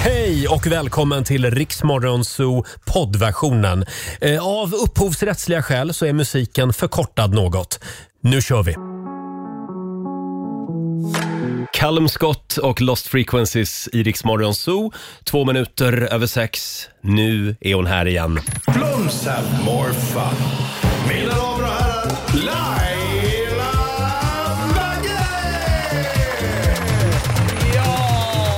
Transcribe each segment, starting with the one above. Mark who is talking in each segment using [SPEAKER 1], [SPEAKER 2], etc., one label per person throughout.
[SPEAKER 1] Hej och välkommen till Riksmorgonzoo poddversionen. Eh, Av upphovsrättsliga skäl så är musiken förkortad något. Nu kör vi! Callum Scott och Lost Frequencies i Riksmorgonzoo. Två minuter över sex. Nu är hon här igen.
[SPEAKER 2] Blooms have more fun. Mina damer och herrar, Laila Bagge! Ja!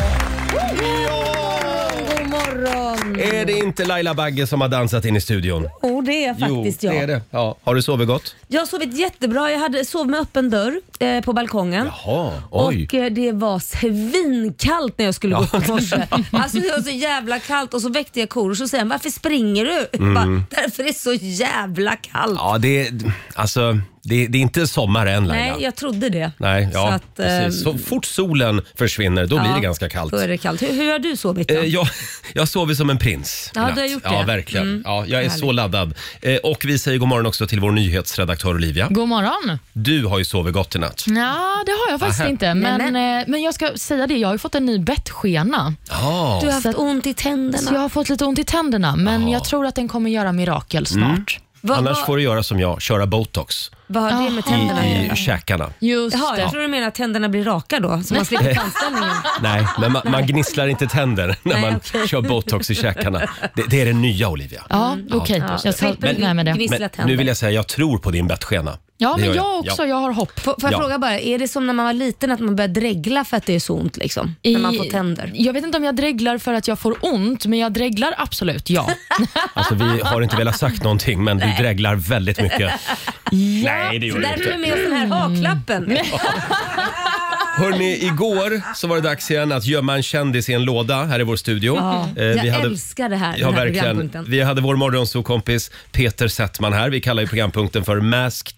[SPEAKER 3] God morgon!
[SPEAKER 1] Är det inte Laila Bagge som har dansat in i studion?
[SPEAKER 3] Oh, det är faktiskt
[SPEAKER 1] jo,
[SPEAKER 3] jag.
[SPEAKER 1] det är det. Ja. Har du sovit gott?
[SPEAKER 3] Jag har sovit jättebra. Jag hade, sov med öppen dörr eh, på balkongen.
[SPEAKER 1] Jaha,
[SPEAKER 3] Och eh, det var svinkallt när jag skulle gå upp i morse. Alltså det var så jävla kallt och så väckte jag Korosh och sa varför springer du? Jag Bara, Därför det är så jävla kallt.
[SPEAKER 1] Mm. Ja, det är, alltså, det, det är inte sommar än Laila.
[SPEAKER 3] Nej, jag trodde det.
[SPEAKER 1] Nej, ja,
[SPEAKER 3] så att, eh,
[SPEAKER 1] precis. Så fort solen försvinner, då blir
[SPEAKER 3] ja,
[SPEAKER 1] det ganska kallt.
[SPEAKER 3] Då är det kallt. Hur, hur har du sovit då?
[SPEAKER 1] Eh, Jag, jag sover som en prins
[SPEAKER 3] Ja,
[SPEAKER 1] i natt.
[SPEAKER 3] du har gjort
[SPEAKER 1] Ja,
[SPEAKER 3] det.
[SPEAKER 1] verkligen.
[SPEAKER 3] Mm.
[SPEAKER 1] Ja, jag är så
[SPEAKER 3] Härligt.
[SPEAKER 1] laddad. Eh, Och vi säger god morgon också till vår nyhetsredaktör Olivia.
[SPEAKER 4] God morgon.
[SPEAKER 1] Du har ju sovit gott i natt.
[SPEAKER 4] Ja, det har jag faktiskt
[SPEAKER 1] Aha.
[SPEAKER 4] inte. Men, eh, men jag ska säga det, jag har ju fått en ny bettskena.
[SPEAKER 1] Ja,
[SPEAKER 3] Du har haft
[SPEAKER 4] så att-
[SPEAKER 3] ont
[SPEAKER 4] Så
[SPEAKER 3] i
[SPEAKER 4] jag
[SPEAKER 3] tänderna.
[SPEAKER 4] har fått lite ont i tänderna, men jag tror att den kommer göra mirakel snart.
[SPEAKER 3] Vad,
[SPEAKER 1] annars
[SPEAKER 3] vad,
[SPEAKER 1] får du göra som jag, köra botox
[SPEAKER 3] vad har det med tänderna att
[SPEAKER 1] i,
[SPEAKER 3] göra?
[SPEAKER 1] i käkarna.
[SPEAKER 4] Just
[SPEAKER 3] Jaha, jag
[SPEAKER 4] det.
[SPEAKER 3] tror du menar att tänderna blir raka då, så man slipper tandställningen.
[SPEAKER 1] Nej, men man, man gnisslar inte tänder när
[SPEAKER 3] Nej,
[SPEAKER 1] man
[SPEAKER 3] okej.
[SPEAKER 1] kör botox i käkarna. Det, det är det nya Olivia.
[SPEAKER 4] Ja, okej.
[SPEAKER 3] Ja,
[SPEAKER 4] Jag tar
[SPEAKER 3] slipper
[SPEAKER 4] med mig det.
[SPEAKER 3] gnissla
[SPEAKER 1] Men nu
[SPEAKER 3] tänder.
[SPEAKER 1] vill jag säga, jag tror på din bettskena.
[SPEAKER 4] Ja,
[SPEAKER 1] Det
[SPEAKER 4] men
[SPEAKER 1] gör
[SPEAKER 4] jag också. Jag har hopp.
[SPEAKER 3] Får, får jag
[SPEAKER 1] Ja.
[SPEAKER 3] fråga bara, är det som när man var liten att man börjar dregla för att det är så ont liksom? När man får
[SPEAKER 4] I-
[SPEAKER 3] tänder?
[SPEAKER 4] Jag vet inte om jag dreglar för att jag får ont, men jag dreglar absolut, ja.
[SPEAKER 1] Alltså, vi har inte velat sagt någonting, men du dreglar väldigt mycket. Nej, det gör du
[SPEAKER 3] Därför är det
[SPEAKER 1] inte.
[SPEAKER 3] med oss den här haklappen.
[SPEAKER 1] Hörni, igår så var det dags igen att gömma en kändis i en låda här i vår studio.
[SPEAKER 3] Ja,
[SPEAKER 1] Eh,
[SPEAKER 3] jag älskar det här,
[SPEAKER 1] ja,
[SPEAKER 3] den här
[SPEAKER 1] verkligen.
[SPEAKER 3] programpunkten.
[SPEAKER 1] Vi hade vår morgonsokompis Peter Settman här. Vi kallar ju programpunkten för Masked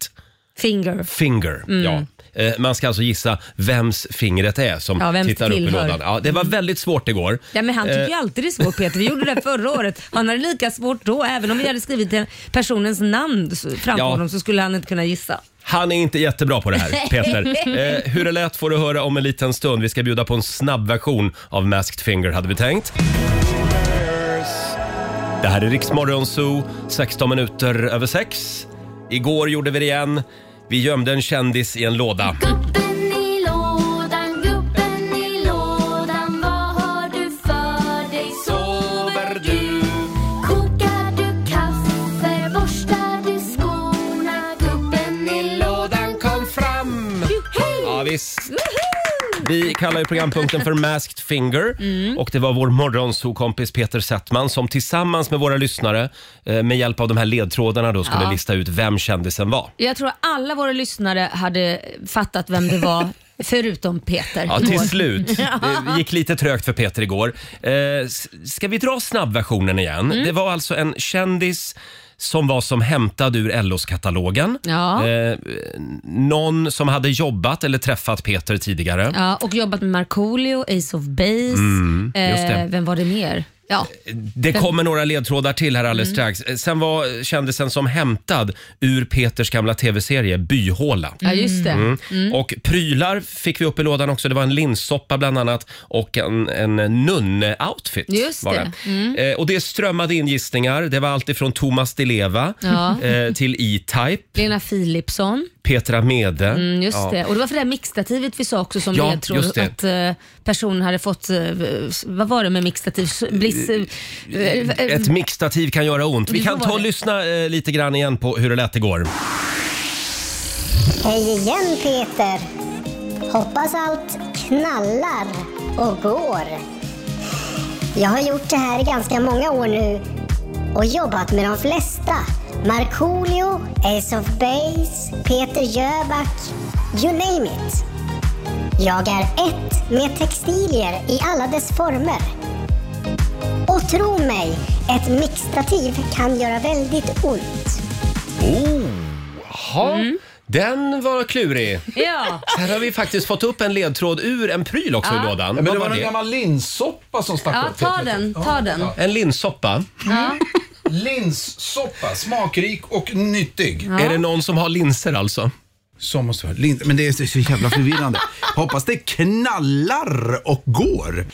[SPEAKER 3] Finger.
[SPEAKER 1] Finger.
[SPEAKER 3] Mm.
[SPEAKER 1] Ja. Eh, Man ska alltså gissa vems fingret är som
[SPEAKER 3] Ja, vems
[SPEAKER 1] tittar upp i
[SPEAKER 3] tillhör. Mm.
[SPEAKER 1] lådan. Ja, det var väldigt svårt igår.
[SPEAKER 3] Ja, men han tycker
[SPEAKER 1] Eh.
[SPEAKER 3] ju alltid det är svårt Peter. Vi gjorde det förra året. Han hade lika svårt då. Även om vi hade skrivit den personens namn s- framför
[SPEAKER 1] Ja.
[SPEAKER 3] honom så skulle han inte kunna gissa.
[SPEAKER 1] Han är inte jättebra på det här, Peter. Eh, hur det lät får du höra om en liten stund. Vi ska bjuda på en snabb version av Masked Finger, hade vi tänkt. Det här är Riksmorgon Zoo, 16 minuter över 6. Igår gjorde vi det igen. Vi gömde en kändis i en låda.
[SPEAKER 5] Gubben i lådan, gubben i lådan Vad har du för dig? Sover du? Kokar du kaffe? Borstar du skorna? Gubben i lådan
[SPEAKER 1] kom fram! Ja, visst. Vi kallar ju programpunkten för Masked Finger och det var vår morgonsokompis Peter Settman som tillsammans med våra lyssnare eh, med hjälp av de här ledtrådarna då skulle lista ut vem kändisen var.
[SPEAKER 3] Jag tror alla våra lyssnare hade fattat vem det var, förutom Peter.
[SPEAKER 1] Ja, till
[SPEAKER 3] Vår-
[SPEAKER 1] slut. Det gick lite trögt för Peter igår. Eh, s- ska vi dra snabbversionen igen? Det var alltså en kändis som var som hämtad ur LOs katalogen.
[SPEAKER 3] Ja.
[SPEAKER 1] Eh, någon som hade jobbat eller träffat Peter tidigare.
[SPEAKER 3] Ja, och jobbat med Markoolio, Ace of Base.
[SPEAKER 1] Mm, just det.
[SPEAKER 3] Eh, vem var det mer? Ja.
[SPEAKER 1] Det kommer några ledtrådar till här alldeles
[SPEAKER 3] Mm.
[SPEAKER 1] strax. Eh, Sen var kändisen som hämtad ur Peters gamla tv-serie Byhåla.
[SPEAKER 3] ja, Mm. just det.
[SPEAKER 1] Mm. Och prylar fick vi upp i lådan också. Det var en linssoppa bland annat och en, en nunne-outfit.
[SPEAKER 3] Just
[SPEAKER 1] var
[SPEAKER 3] det. Mm.
[SPEAKER 1] Eh, och det strömmade in gissningar. Det var allt ifrån Thomas Di Leva
[SPEAKER 3] Ja.
[SPEAKER 1] eh, till E-Type,
[SPEAKER 3] Lena Philipsson.
[SPEAKER 1] Petra Mede.
[SPEAKER 3] Mm, just
[SPEAKER 1] Ja.
[SPEAKER 3] det. Och det var för det här mixtativet vi sa också som
[SPEAKER 1] Ja,
[SPEAKER 3] ledtråd
[SPEAKER 1] just det.
[SPEAKER 3] att eh, personen hade fått, eh, vad var det med mixtativ? S- Bliss, eh, eh, eh,
[SPEAKER 1] Ett mixtativ kan göra ont. Vi
[SPEAKER 3] Det får
[SPEAKER 1] kan
[SPEAKER 3] vara
[SPEAKER 1] ta och
[SPEAKER 3] det.
[SPEAKER 1] lyssna eh, lite grann igen på hur det lät igår.
[SPEAKER 6] Hej igen Peter! Hoppas allt knallar och går. Jag har gjort det här i ganska många år nu och jobbat med de flesta. Markoolio, Ace of Base, Peter Jöback, you name it. Jag är ett med textilier i alla dess former. Och tro mig, ett mixtativ kan göra väldigt ont.
[SPEAKER 1] Oh, ha.
[SPEAKER 3] Mm.
[SPEAKER 1] Den var klurig.
[SPEAKER 3] ja.
[SPEAKER 1] Här har vi faktiskt fått upp en ledtråd ur en pryl också i lådan.
[SPEAKER 2] Ja, men
[SPEAKER 1] Vad
[SPEAKER 2] det var
[SPEAKER 1] var
[SPEAKER 2] en
[SPEAKER 1] det?
[SPEAKER 2] gammal linssoppa som stack
[SPEAKER 3] ja,
[SPEAKER 2] upp. helt
[SPEAKER 3] ta
[SPEAKER 2] enkelt.
[SPEAKER 3] den. Ta den.
[SPEAKER 1] En linssoppa.
[SPEAKER 2] Linssoppa, smakrik och nyttig.
[SPEAKER 1] Är det någon som har linser alltså?
[SPEAKER 2] Som måste vara lin- Men det är så jävla förvirrande. Hoppas det knallar och går.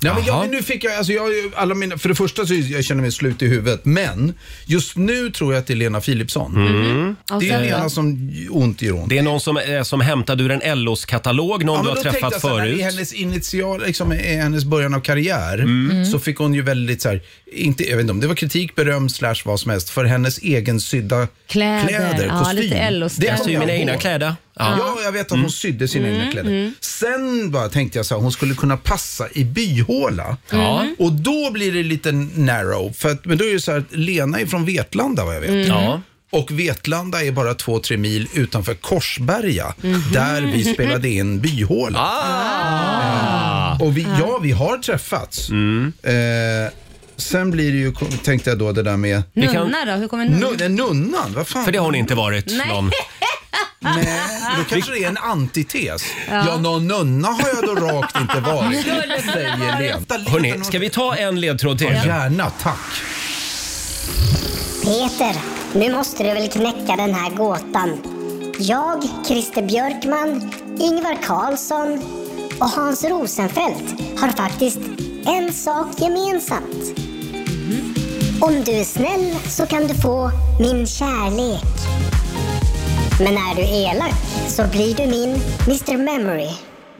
[SPEAKER 2] Nej, men
[SPEAKER 1] Jaha.
[SPEAKER 2] jag, men nu fick jag, alltså jag, har ju alla mina, för det första så är- jag känner mig slut i huvudet, men just nu tror jag att det är Lena Philipsson.
[SPEAKER 1] Mm.
[SPEAKER 2] Det är Lena som ont gör ont.
[SPEAKER 1] Det är någon som, eh, som hämtade ur en LOs katalog, någon
[SPEAKER 2] Ja, men
[SPEAKER 1] du har
[SPEAKER 2] då tänkte
[SPEAKER 1] träffat
[SPEAKER 2] jag så här,
[SPEAKER 1] förut.
[SPEAKER 2] I hennes initial, liksom, i hennes början av karriär
[SPEAKER 1] Mm.
[SPEAKER 2] så fick hon ju väldigt så här, inte, jag vet inte om det var kritik, beröm, slash vad som helst för hennes egen sydda
[SPEAKER 3] Kläder.
[SPEAKER 2] kläder,
[SPEAKER 3] Ja,
[SPEAKER 2] kostym.
[SPEAKER 3] lite
[SPEAKER 2] kommer
[SPEAKER 3] LO-stil.
[SPEAKER 1] Jag syr
[SPEAKER 2] jag
[SPEAKER 1] Alltså, mina
[SPEAKER 2] ihåg.
[SPEAKER 1] egna kläder. Ja.
[SPEAKER 2] Ja. Mm. jag vet att hon sydde sina egna kläder. Sen bara tänkte jag så här, hon skulle kunna passa i byhåla.
[SPEAKER 1] Ja.
[SPEAKER 2] Och då blir det lite narrow. För att, men då är det så här, att Lena är från Vetlanda vad jag vet.
[SPEAKER 1] Ja.
[SPEAKER 2] Och Vetlanda är bara två, tre mil utanför Korsberga, där vi spelade in byhåla. Och vi, Ah. ja, vi har träffats. Eh, sen blir det ju, tänkte jag då, det där med...
[SPEAKER 1] Vi kan,
[SPEAKER 3] Nunna då? Hur kommer nunna?
[SPEAKER 2] Nun, nunnan, vad fan?
[SPEAKER 1] för det har hon inte varit någon.
[SPEAKER 2] Nej, då kanske det är en antites. Ja, någon nunna har jag då rakt inte varit, säger Lena.
[SPEAKER 1] Hörrni, ska vi ta en ledtråd till?
[SPEAKER 2] Gärna, tack.
[SPEAKER 6] Peter, nu måste du väl knäcka den här gåtan. Jag, Christer Björkman, Ingvar Carlsson och Hans Rosenfeldt har faktiskt en sak gemensamt. Om du är snäll så kan du få min kärlek. Men är du elak så blir du min Mr Memory.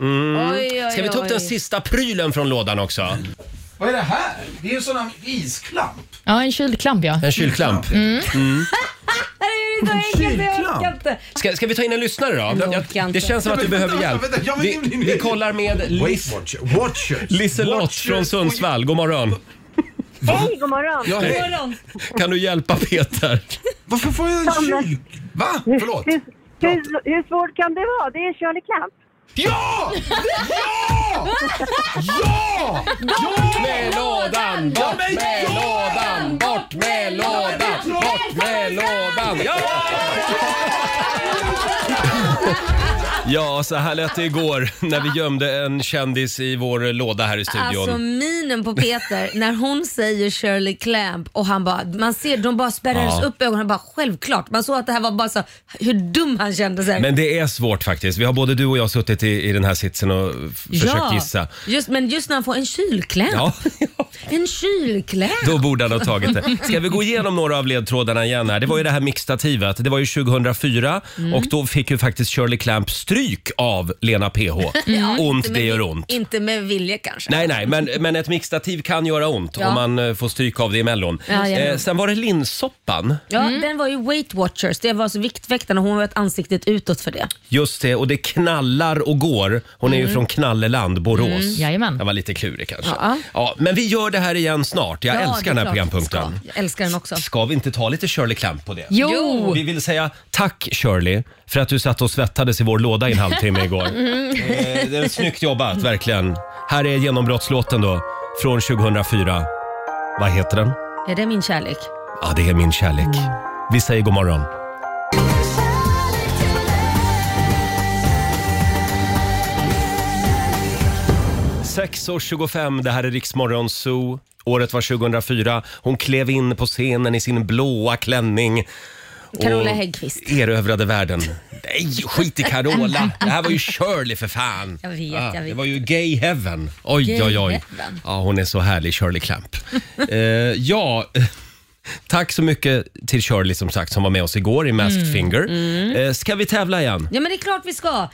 [SPEAKER 3] Oj, oj, oj.
[SPEAKER 1] Ska vi ta upp den sista prylen från lådan också?
[SPEAKER 2] Vad är det här? Det är ju sån här isklamp.
[SPEAKER 4] Ja, en kylklamp ja.
[SPEAKER 1] En kylklamp.
[SPEAKER 2] Mm.
[SPEAKER 3] Nej, det är ju så enkelt. Jag orkar inte.
[SPEAKER 1] Ska, ska vi ta in en lyssnare då?
[SPEAKER 3] Jag orkar inte.
[SPEAKER 1] det känns som att du
[SPEAKER 2] Men
[SPEAKER 1] behöver
[SPEAKER 2] vänta,
[SPEAKER 1] hjälp.
[SPEAKER 2] vänta, jag vill-
[SPEAKER 1] Vi, vi kollar med Lis,
[SPEAKER 2] Weight Watcher. Watchers.
[SPEAKER 1] Liselott
[SPEAKER 2] Watchers
[SPEAKER 1] från
[SPEAKER 2] och-
[SPEAKER 1] Sundsvall. God morgon.
[SPEAKER 7] Hej, god morgon.
[SPEAKER 2] Ja,
[SPEAKER 3] God
[SPEAKER 2] hej.
[SPEAKER 3] morgon.
[SPEAKER 1] Kan du hjälpa Peter?
[SPEAKER 2] Varför får jag en
[SPEAKER 7] men-
[SPEAKER 2] kyl... Va? Förlåt?
[SPEAKER 7] Hur, hur, hur svårt kan det vara? Det är Shirley Clamp.
[SPEAKER 2] Ja! Ja! Ja!
[SPEAKER 1] Bort med lådan! Bort
[SPEAKER 2] med
[SPEAKER 1] lådan! Bort med lådan! Bort med lådan! Ja! Ja, så här lät det igår när vi gömde en kändis i vår låda här i studion.
[SPEAKER 3] Alltså minen på Peter när hon säger Shirley Clamp och han bara, man ser de bara spärrades
[SPEAKER 1] Ja.
[SPEAKER 3] upp ögonen bara självklart. Man såg att det här var bara så, hur dum han kände sig.
[SPEAKER 1] Men det är svårt faktiskt. Vi har både du och jag suttit i, i den här sitsen och f- försökt gissa.
[SPEAKER 3] Just, men just när han får en kylkläm.
[SPEAKER 1] Ja,
[SPEAKER 3] En kylkläm.
[SPEAKER 1] då borde han ha tagit det. Ska vi gå igenom några av ledtrådarna igen här? Det var ju det här mixtativet. Det var ju 2004
[SPEAKER 3] Mm.
[SPEAKER 1] och då fick ju faktiskt Shirley Clamp stryk av Lena PH. Ont, det gör ont.
[SPEAKER 3] Inte med vilja kanske.
[SPEAKER 1] Nej, nej, men, men ett mixtativ kan göra ont
[SPEAKER 3] Ja.
[SPEAKER 1] om man eh, får stryk av det emellan.
[SPEAKER 3] Ja, ja.
[SPEAKER 1] eh, sen var det linssoppan.
[SPEAKER 3] Ja, Den var ju Weight Watchers, det var alltså Viktväktarna och hon har ett ansiktet utåt för det.
[SPEAKER 1] Just det, och det knallar och går. Hon är ju från Knalleland, Borås.
[SPEAKER 4] Jajamän.
[SPEAKER 1] Det var lite klurig kanske.
[SPEAKER 3] Mm. Ja.
[SPEAKER 1] Ja, men vi gör det här igen snart. Jag
[SPEAKER 3] Ja, det är
[SPEAKER 1] älskar den här
[SPEAKER 3] klart.
[SPEAKER 1] programpunkten.
[SPEAKER 3] Ska. Jag älskar den också.
[SPEAKER 1] Ska. vi inte ta lite Shirley Clamp på det?
[SPEAKER 3] Oh.
[SPEAKER 4] Jo!
[SPEAKER 1] Vi vill säga tack Shirley för att du satt och svettades i vår låda i en halvtimme igår. Eh, det är snyggt jobbat, verkligen. Här är genombrottslåten då, från 2004. Vad heter den?
[SPEAKER 3] Är det min kärlek?
[SPEAKER 1] Ja, det är min kärlek. Vi säger god morgon. Sex år 25, det här är Riksmorgon Zoo. Året var 2004. Hon klev in på scenen i sin blåa klänning. och
[SPEAKER 3] Carola Häggkvist.
[SPEAKER 1] Erövrade världen. Nej, skit i Carola! Det här var ju Shirley för fan. Ah,
[SPEAKER 3] Jag vet, jag
[SPEAKER 1] Det
[SPEAKER 3] vet.
[SPEAKER 1] var ju gay heaven. Oj,
[SPEAKER 3] Gay
[SPEAKER 1] oj, oj.
[SPEAKER 3] heaven.
[SPEAKER 1] Ja, hon är så härlig, Shirley Clamp. eh, ja, Tack så mycket till Shirley som sagt som var med oss igår i Masked Finger. Eh, ska vi tävla igen?
[SPEAKER 3] Ja men det är klart vi ska.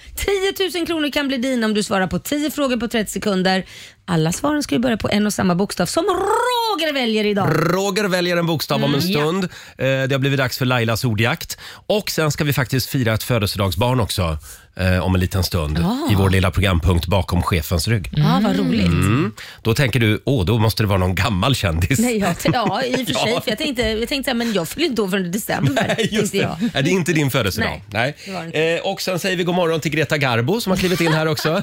[SPEAKER 3] 10 000 kronor kan bli dina om du svarar på 10 frågor på 30 sekunder. Alla svaren ska ju börja på en och samma bokstav som Roger väljer idag.
[SPEAKER 1] Roger väljer en bokstav om en stund. Eh, det har blivit dags för Lailas ordjakt. Och sen ska vi faktiskt fira ett födelsedagsbarn också eh, om en liten stund i vår lilla programpunkt bakom chefens rygg. Mm.
[SPEAKER 3] Ja vad roligt.
[SPEAKER 1] Då tänker du, åh, då måste det vara någon gammal kändis.
[SPEAKER 3] Nej, jag, t- ja i och för sig.
[SPEAKER 1] Ja.
[SPEAKER 3] För jag tänkte, jag tänkte så här, men jag fyller inte år förrän i december.
[SPEAKER 1] Nej, Just
[SPEAKER 3] tänkte
[SPEAKER 1] det.
[SPEAKER 3] jag.
[SPEAKER 1] Nej, det är inte din födelsedag. Nej.
[SPEAKER 3] Nej, det var det inte.
[SPEAKER 1] Eh, och sen säger vi god morgon till Greta Garbo som har klivit in här också.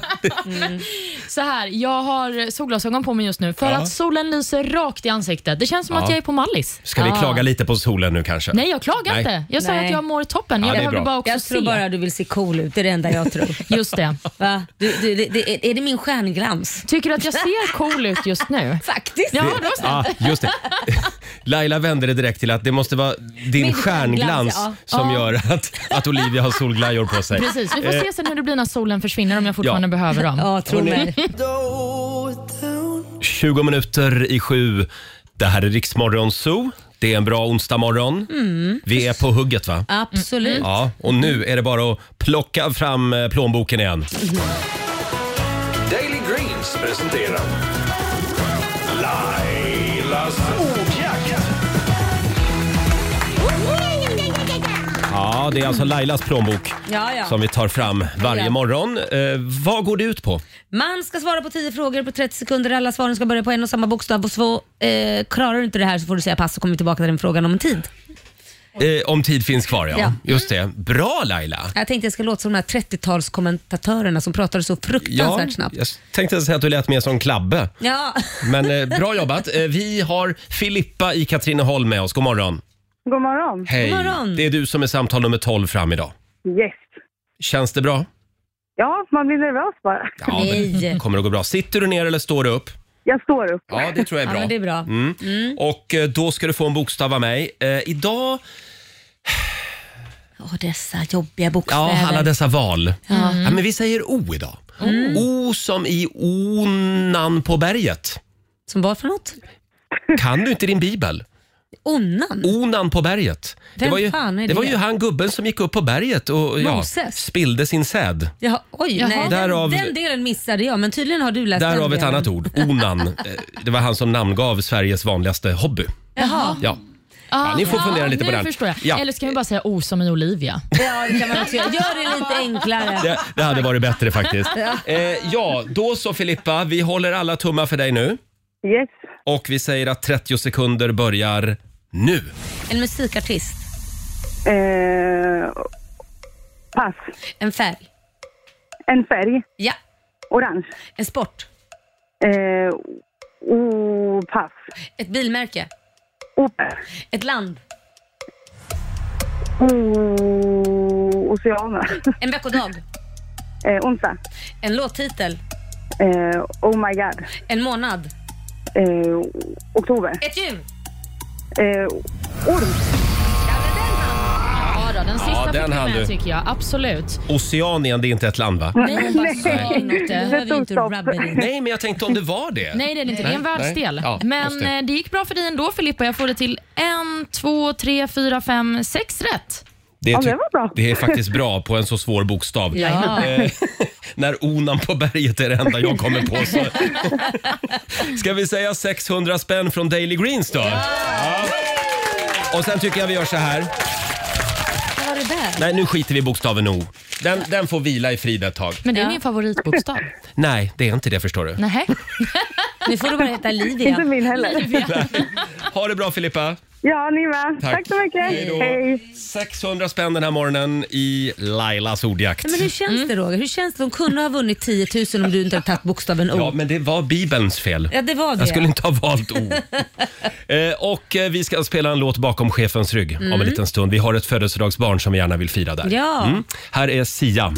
[SPEAKER 4] Så här, jag har solglasögon på mig just nu för att solen lyser rakt i ansiktet. Det känns som att jag är på Mallis.
[SPEAKER 1] Ska vi
[SPEAKER 3] Ah.
[SPEAKER 4] Ja.
[SPEAKER 1] klaga lite på solen nu kanske?
[SPEAKER 4] Nej, jag klagar
[SPEAKER 1] Nej.
[SPEAKER 4] inte. Jag sa
[SPEAKER 3] Nej.
[SPEAKER 4] att jag mår toppen.
[SPEAKER 1] Ja,
[SPEAKER 4] Jag
[SPEAKER 1] det är
[SPEAKER 4] behöver
[SPEAKER 1] bra.
[SPEAKER 4] bara också
[SPEAKER 3] Jag
[SPEAKER 4] se.
[SPEAKER 3] tror bara du vill se cool ut, det är det enda jag tror.
[SPEAKER 4] Just det.
[SPEAKER 3] Va? Du, du, det, det, är- är det min stjärnglans?
[SPEAKER 4] Tycker du att jag ser cool ut just nu?
[SPEAKER 3] Faktiskt.
[SPEAKER 4] Ja, det var snällt.
[SPEAKER 1] Ja, Ah, just det. Laila vände det direkt till att det måste vara din
[SPEAKER 3] Min stjärnglans,
[SPEAKER 1] stjärnglans
[SPEAKER 3] ja. Ah.
[SPEAKER 1] som
[SPEAKER 4] Ja.
[SPEAKER 1] gör att, att Olivia har solglajjor på sig.
[SPEAKER 4] Precis, vi får
[SPEAKER 1] Eh. Mm.
[SPEAKER 4] se sen hur det blir när solen försvinner om jag fortfarande
[SPEAKER 1] Ja.
[SPEAKER 4] behöver dem.
[SPEAKER 3] Ja, tro mig.
[SPEAKER 1] 20 minuter i sju. Det här är Riksmorgon Zoo. Det är en bra onsdagmorgon.
[SPEAKER 3] Mm.
[SPEAKER 1] Vi är på hugget va?
[SPEAKER 3] Absolut.
[SPEAKER 1] Ja, och nu är det bara att plocka fram eh, plånboken igen.
[SPEAKER 8] Daily Greens presenterar Lailas ordjakt.
[SPEAKER 1] Ja, det är alltså Lailas plånbok
[SPEAKER 3] Ja, ja.
[SPEAKER 1] som vi tar fram varje
[SPEAKER 3] Ja.
[SPEAKER 1] morgon. Eh, vad går det ut på?
[SPEAKER 3] Man ska svara på 10 frågor på 30 sekunder. Alla svaren ska börja på en och samma bokstav. Och så, eh, klarar du inte det här så får du säga pass och kommer tillbaka till den frågan om en tid.
[SPEAKER 1] Eh, om tid finns kvar ja.
[SPEAKER 3] Ja.
[SPEAKER 1] Just det. Bra Laila!
[SPEAKER 3] Jag tänkte jag ska låta som de här 30-talskommentatorerna som pratade så fruktansvärt snabbt.
[SPEAKER 1] jag tänkte säga att du lät mer som Klabbe.
[SPEAKER 3] Ja.
[SPEAKER 1] Men eh, bra jobbat. Eh, vi har Filippa i Katrineholm med oss. God morgon.
[SPEAKER 5] God morgon.
[SPEAKER 1] Hej.
[SPEAKER 3] God morgon.
[SPEAKER 1] Det är du som är samtal nummer 12 fram idag.
[SPEAKER 5] Yes.
[SPEAKER 1] Känns det bra?
[SPEAKER 5] Ja, man blir nervös bara.
[SPEAKER 1] Ja, men
[SPEAKER 3] Nej.
[SPEAKER 1] det kommer att gå bra. Sitter du ner eller står du upp?
[SPEAKER 5] Jag står upp.
[SPEAKER 1] Ja, det tror jag är
[SPEAKER 3] Ja,
[SPEAKER 1] bra.
[SPEAKER 3] men det är bra.
[SPEAKER 1] Mm. Och eh, då ska du få en bokstav av mig. Eh, idag,
[SPEAKER 3] Åh, dessa jobbiga
[SPEAKER 1] ja
[SPEAKER 3] bokstäver.
[SPEAKER 1] alla dessa val. Ja,
[SPEAKER 3] Mm.
[SPEAKER 1] men vi säger O idag. O som i onan på berget.
[SPEAKER 3] Som var för något?
[SPEAKER 1] Kan du inte din bibel?
[SPEAKER 3] Onan?
[SPEAKER 1] Onan på berget.
[SPEAKER 3] Vem
[SPEAKER 1] var ju,
[SPEAKER 3] fan är
[SPEAKER 1] det var
[SPEAKER 3] det?
[SPEAKER 1] ju han gubben som gick upp på berget och ja,
[SPEAKER 3] Moses.
[SPEAKER 1] spillde sin säd.
[SPEAKER 3] Jaha, oj,
[SPEAKER 4] Jaha.
[SPEAKER 3] Nej,
[SPEAKER 1] Därav-
[SPEAKER 3] den, den delen missade jag, men tydligen har du läst den
[SPEAKER 1] Därav ett
[SPEAKER 3] delen.
[SPEAKER 1] annat ord, onan. Eh, Det var han som namngav Sveriges vanligaste hobby.
[SPEAKER 3] Jaha.
[SPEAKER 1] Ja.
[SPEAKER 4] Ah,
[SPEAKER 1] ni får fundera lite
[SPEAKER 4] nu
[SPEAKER 1] på den.
[SPEAKER 4] förstår jag.
[SPEAKER 1] Ja.
[SPEAKER 4] Eller ska vi bara säga O som i Olivia?
[SPEAKER 3] Ja, det kan man också göra. Gör det lite enklare.
[SPEAKER 1] Det, det hade varit bättre faktiskt. Eh, ja, då så Filippa, vi håller alla tummar för dig nu.
[SPEAKER 5] Yes.
[SPEAKER 1] Och vi säger att 30 sekunder börjar nu.
[SPEAKER 3] En musikartist,
[SPEAKER 5] Eh, pass.
[SPEAKER 3] en färg,
[SPEAKER 5] En färg.
[SPEAKER 3] ja.
[SPEAKER 5] Orange.
[SPEAKER 3] En sport,
[SPEAKER 5] Eh, o, pass.
[SPEAKER 3] ett bilmärke,
[SPEAKER 5] Opel.
[SPEAKER 3] ett land,
[SPEAKER 5] O, oceaner.
[SPEAKER 3] en veckodag,
[SPEAKER 5] Eh, onsdag.
[SPEAKER 3] en låttitel,
[SPEAKER 5] Eh, oh my god.
[SPEAKER 3] en månad,
[SPEAKER 5] Eh, oktober.
[SPEAKER 3] ett djur.
[SPEAKER 5] Eh, orm.
[SPEAKER 4] Ja, då, den sista
[SPEAKER 1] Ja,
[SPEAKER 4] fick
[SPEAKER 1] den
[SPEAKER 4] vi
[SPEAKER 1] hann
[SPEAKER 4] med
[SPEAKER 1] du.
[SPEAKER 4] tycker jag. Absolut.
[SPEAKER 1] Oceanien, det är inte ett land va?
[SPEAKER 3] Nej, jag bara sa något. Du behöver ju inte
[SPEAKER 5] Stopp.
[SPEAKER 3] rubba det.
[SPEAKER 1] Nej, men jag tänkte om det var det.
[SPEAKER 4] Nej, det är det inte. Det är en
[SPEAKER 1] Nej,
[SPEAKER 4] världsdel.
[SPEAKER 1] nej. Ja,
[SPEAKER 4] Men
[SPEAKER 1] just det.
[SPEAKER 4] det. det gick bra för dig ändå, Filippa. Jag får det till en, två, tre, fyra, fem, sex rätt.
[SPEAKER 1] Det,
[SPEAKER 5] det
[SPEAKER 1] ty-
[SPEAKER 5] var bra.
[SPEAKER 1] det är faktiskt bra på en så svår bokstav. Eh, när onan på berget är det enda jag kommer på. Så. Ska vi säga 600 spänn från Daily Greens då? Ja. Och sen tycker jag vi gör så här.
[SPEAKER 3] Vad var det där?
[SPEAKER 1] Nej, nu skiter vi i bokstaven O. Den, den får vila i frid ett tag.
[SPEAKER 4] Men det är min favoritbokstav.
[SPEAKER 1] Nej, det är inte det förstår du.
[SPEAKER 4] Nähä.
[SPEAKER 3] Nu får du bara heta
[SPEAKER 5] Inte
[SPEAKER 3] Livia.
[SPEAKER 5] min heller.
[SPEAKER 1] Ha det bra Filippa.
[SPEAKER 5] Ja, ni med.
[SPEAKER 1] Tack.
[SPEAKER 5] Tack. så mycket.
[SPEAKER 1] Hej då.
[SPEAKER 5] Hej.
[SPEAKER 1] 600 spänn den här morgonen i Lailas ordjakt.
[SPEAKER 3] Men hur känns det Roger? Hur känns det? De kunde ha vunnit 10 000 om du inte hade tagit bokstaven O.
[SPEAKER 1] Ja, men det var Bibelns fel.
[SPEAKER 3] Ja, det var det.
[SPEAKER 1] Jag skulle inte ha valt O. eh, och eh, vi ska spela en låt bakom chefens rygg om en liten stund. Vi har ett födelsedagsbarn som vi gärna vill fira där.
[SPEAKER 3] Mm.
[SPEAKER 1] Mm.
[SPEAKER 3] Ja.
[SPEAKER 1] Här är Sia.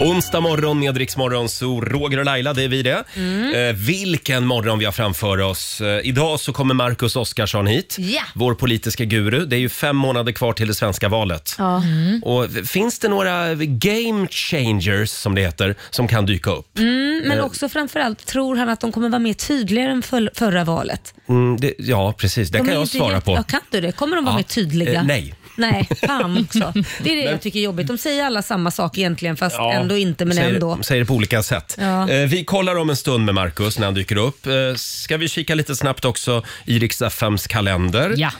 [SPEAKER 1] Onsdag morgon med Rix Morgon, så Roger och Laila, det är vi det.
[SPEAKER 3] Mm.
[SPEAKER 1] Eh, vilken morgon vi har framför oss. Eh, idag så kommer Marcus Oskarsson hit,
[SPEAKER 3] Ja.
[SPEAKER 1] vår politiska guru. Det är ju fem månader kvar till det svenska valet.
[SPEAKER 3] Ja. Mm.
[SPEAKER 1] Och finns det några game changers, som det heter, som kan dyka upp?
[SPEAKER 3] Mm. Men också framförallt, tror han att de kommer vara mer tydligare än för, förra valet?
[SPEAKER 1] Mm, det, ja, precis.
[SPEAKER 3] De
[SPEAKER 1] Det kan
[SPEAKER 3] är
[SPEAKER 1] jag
[SPEAKER 3] inte
[SPEAKER 1] svara
[SPEAKER 3] jätte-
[SPEAKER 1] på.
[SPEAKER 3] Ja, kan du det? Kommer de vara
[SPEAKER 1] Ja.
[SPEAKER 3] mer tydliga?
[SPEAKER 1] Eh, nej.
[SPEAKER 3] Nej, fan också. Det är det jag tycker är jobbigt. De säger alla samma sak egentligen fast
[SPEAKER 1] Ja,
[SPEAKER 3] ändå inte men
[SPEAKER 1] säger,
[SPEAKER 3] ändå.
[SPEAKER 1] Säger det på olika sätt.
[SPEAKER 3] Ja.
[SPEAKER 1] Eh, vi kollar om en stund med Markus när han dyker upp. Eh, ska vi kika lite snabbt också i Rix FMs kalender.
[SPEAKER 4] Ja.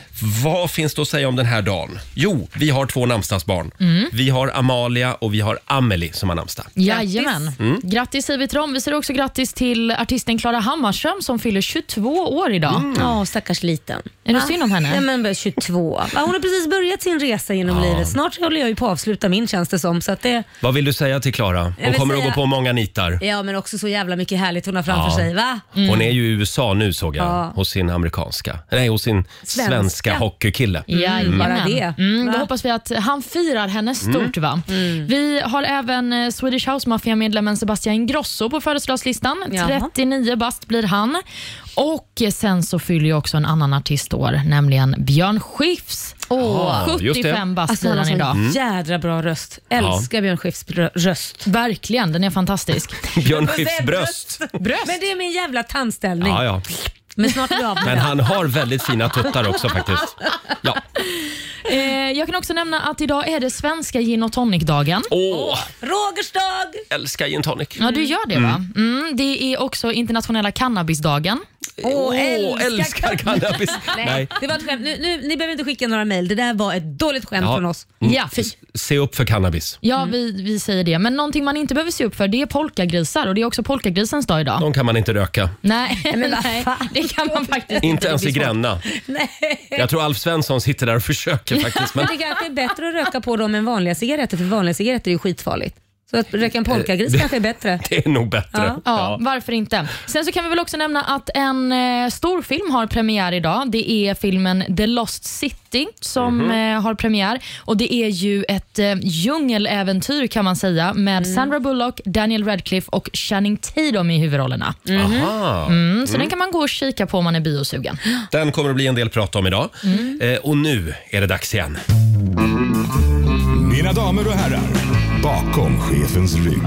[SPEAKER 1] Vad finns det att säga om den här dagen? Jo, vi har två namnsdagsbarn.
[SPEAKER 3] Mm.
[SPEAKER 1] Vi har Amalia och vi har Amelie som har namnsdag.
[SPEAKER 4] Jajamän.
[SPEAKER 1] Mm.
[SPEAKER 4] Grattis säger vi till dem. Vi säger också grattis till artisten Klara Hammarström som fyller 22 år idag.
[SPEAKER 1] Mm.
[SPEAKER 3] Ja, stackars liten.
[SPEAKER 4] Är det
[SPEAKER 3] Va?
[SPEAKER 4] synd om henne?
[SPEAKER 3] Ja, men bara 22. Va, Hon har precis börjat sin resa genom livet. Snart håller jag ju på att avsluta min känns det som. Så att det,
[SPEAKER 1] Vad vill du säga till Klara?
[SPEAKER 3] Jag
[SPEAKER 1] Hon
[SPEAKER 3] vill
[SPEAKER 1] kommer att
[SPEAKER 3] säga-
[SPEAKER 1] gå på många nitar.
[SPEAKER 3] ja, men också så jävla mycket härligt hon har framför
[SPEAKER 1] Ja.
[SPEAKER 3] sig. Va? Mm.
[SPEAKER 1] Hon är ju i USA nu såg jag,
[SPEAKER 3] Ja.
[SPEAKER 1] hos sin amerikanska, nej hos sin svenska,
[SPEAKER 3] Svenska.
[SPEAKER 1] hockeykille.
[SPEAKER 4] Jajamän.
[SPEAKER 3] Bara det.
[SPEAKER 4] Mm,
[SPEAKER 3] Va? Mm.
[SPEAKER 4] då hoppas vi att han firar
[SPEAKER 1] Mm.
[SPEAKER 4] henne stort. Va? Vi har även eh, Swedish House Mafia-medlemmen Sebastian Ingrosso på födelsedagslistan.
[SPEAKER 3] Jaha.
[SPEAKER 4] 39 bast blir han. Och sen så fyller ju också en annan artist år, nämligen Björn Skifs.
[SPEAKER 1] Ah, just det. mm.
[SPEAKER 4] 75 bast
[SPEAKER 3] Alltså
[SPEAKER 4] blir
[SPEAKER 3] han har
[SPEAKER 4] han
[SPEAKER 3] sån
[SPEAKER 4] idag.
[SPEAKER 3] jädra bra röst. Älskar Björn Skifs brö- röst.
[SPEAKER 4] Verkligen, den är fantastisk.
[SPEAKER 1] Björn Skifs bröst.
[SPEAKER 4] Bröst.
[SPEAKER 3] Men det är min jävla tandställning.
[SPEAKER 1] Ja, ja.
[SPEAKER 3] Men snart är vi av med
[SPEAKER 1] Men
[SPEAKER 3] den.
[SPEAKER 1] han har väldigt fina tuttar också faktiskt. Ja.
[SPEAKER 4] Eh, jag kan också nämna att idag är det svenska gin och tonic-dagen.
[SPEAKER 1] Åh,
[SPEAKER 3] Rogers dag!
[SPEAKER 1] älskar gin tonic.
[SPEAKER 4] Ja, du gör det va? Mm, det är också internationella cannabisdagen.
[SPEAKER 3] Åh,
[SPEAKER 1] Åh,
[SPEAKER 3] älskar
[SPEAKER 1] älskar cannabis. Nej.
[SPEAKER 3] Nej, det var ett skämt. Nu, nu, ni behöver inte skicka några mejl. Det där var ett dåligt skämt
[SPEAKER 1] Ja. Mm.
[SPEAKER 3] från oss.
[SPEAKER 4] Ja,
[SPEAKER 1] Se upp för cannabis.
[SPEAKER 4] ja vi, vi säger det. Men någonting man inte behöver se upp för det är polkagrisar och det är också polkagrisens dag idag.
[SPEAKER 1] De kan man inte röka.
[SPEAKER 4] Nej,
[SPEAKER 3] men vad
[SPEAKER 4] nej,
[SPEAKER 3] fan.
[SPEAKER 4] det kan man faktiskt
[SPEAKER 1] Inte
[SPEAKER 4] Det
[SPEAKER 1] ens
[SPEAKER 4] blir
[SPEAKER 1] i
[SPEAKER 4] svårt.
[SPEAKER 1] Gränna. Jag tror Alf Svensson sitter där och försöker faktiskt. Men
[SPEAKER 3] Men det kanske är bättre att röka på dem än vanliga cigaretter, för vanliga cigaretter är ju skitfarligt. Så att röka en polkagris kanske är bättre.
[SPEAKER 1] Eh, det är nog bättre.
[SPEAKER 3] Ja.
[SPEAKER 4] Ja, varför inte? Sen så kan vi väl också nämna att en eh, stor film har premiär idag. Det är filmen The Lost City som eh, har premiär. Och Det är ju ett eh, djungeläventyr kan man säga med Sandra Bullock, Daniel Radcliffe och Channing Tatum i huvudrollerna.
[SPEAKER 1] Aha.
[SPEAKER 4] Mm, så den kan man gå och kika på om man är biosugen.
[SPEAKER 1] Den kommer att bli en del prat om idag.
[SPEAKER 3] Mm.
[SPEAKER 1] Eh, och nu är det dags igen.
[SPEAKER 8] Mina damer och herrar, bakom chefens rygg.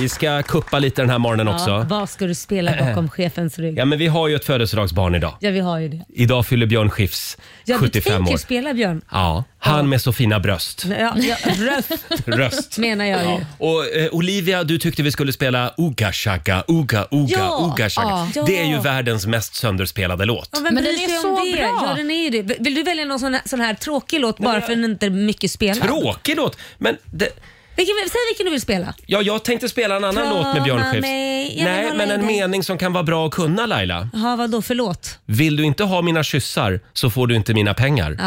[SPEAKER 1] Vi ska kuppa lite den här morgonen
[SPEAKER 3] Ja,
[SPEAKER 1] också.
[SPEAKER 3] vad ska du spela bakom chefens rygg?
[SPEAKER 1] Ja, men vi har ju ett födelsedagsbarn idag.
[SPEAKER 3] Ja, vi har ju det.
[SPEAKER 1] Idag fyller Björn Skifs
[SPEAKER 3] Ja, du
[SPEAKER 1] 75
[SPEAKER 3] tänker
[SPEAKER 1] år.
[SPEAKER 3] spela Björn.
[SPEAKER 1] Ja, han med så fina bröst.
[SPEAKER 3] Ja, ja, röst
[SPEAKER 1] Röst.
[SPEAKER 3] menar jag ju.
[SPEAKER 1] Och eh, Olivia, du tyckte vi skulle spela Uga Shaka, Uga Uga
[SPEAKER 3] Ja,
[SPEAKER 1] Uga Shaka.
[SPEAKER 3] ja.
[SPEAKER 1] Det är ju världens mest sönderspelade låt.
[SPEAKER 3] Ja, vem
[SPEAKER 4] Men
[SPEAKER 3] bryr
[SPEAKER 4] den är
[SPEAKER 3] sig om
[SPEAKER 4] så
[SPEAKER 3] det?
[SPEAKER 4] bra.
[SPEAKER 3] Ja, den är ju det. Vill du välja någon sån här, sån här tråkig låt bara för att den inte är mycket spelad?
[SPEAKER 1] Tråkig låt, men det,
[SPEAKER 3] Vilken, säg vilken du vill spela.
[SPEAKER 1] ja, jag tänkte spela en annan
[SPEAKER 3] Krama
[SPEAKER 1] låt med Björn Skifs.
[SPEAKER 3] mig, jag vill
[SPEAKER 1] Nej,
[SPEAKER 3] hålla
[SPEAKER 1] men
[SPEAKER 3] i
[SPEAKER 1] en
[SPEAKER 3] dig.
[SPEAKER 1] mening som kan vara bra att kunna Laila.
[SPEAKER 3] Jaha, vadå för låt?
[SPEAKER 1] Vill du inte ha mina kyssar så får du inte mina pengar.
[SPEAKER 3] Ja.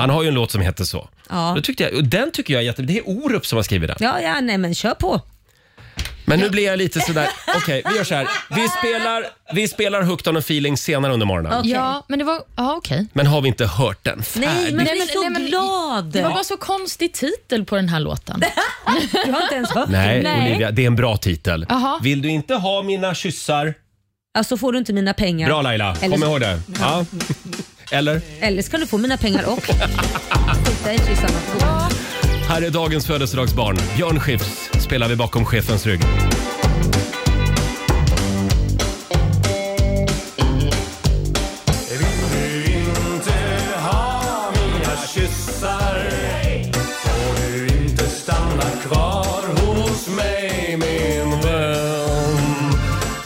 [SPEAKER 1] Han har ju en låt som heter så.
[SPEAKER 3] Ja.
[SPEAKER 1] Då tyckte jag, och den tycker jag är jättebra. Det är Orup som har skrivit den.
[SPEAKER 3] Ja, ja, nej men kör på.
[SPEAKER 1] Men nu blir jag lite sådär, okej vi gör så här. Vi spelar, vi spelar Hooked on a feeling senare under morgonen.
[SPEAKER 3] Okej.
[SPEAKER 4] Ja, men det var... Ja, okej.
[SPEAKER 1] Men har vi inte hört den
[SPEAKER 3] Nej,
[SPEAKER 1] färdigt?
[SPEAKER 3] men
[SPEAKER 4] Nej,
[SPEAKER 3] jag är
[SPEAKER 4] men-
[SPEAKER 3] så
[SPEAKER 4] nej, men-
[SPEAKER 3] glad.
[SPEAKER 4] Det var bara så konstig titel på den här låten.
[SPEAKER 3] Jag har inte ens hört
[SPEAKER 1] Nej,
[SPEAKER 3] den.
[SPEAKER 1] Olivia, det är en bra titel.
[SPEAKER 4] Jaha.
[SPEAKER 1] Vill du inte ha mina kyssar?
[SPEAKER 3] Alltså får du inte mina pengar.
[SPEAKER 1] Bra Laila,
[SPEAKER 3] Eller-
[SPEAKER 1] kom ihåg det. Ja. Eller?
[SPEAKER 3] Eller så kan du få mina pengar och... Skita i kyssarna.
[SPEAKER 1] Här är dagens födelsedagsbarn. Björn Skifs spelar vi bakom chefens rygg.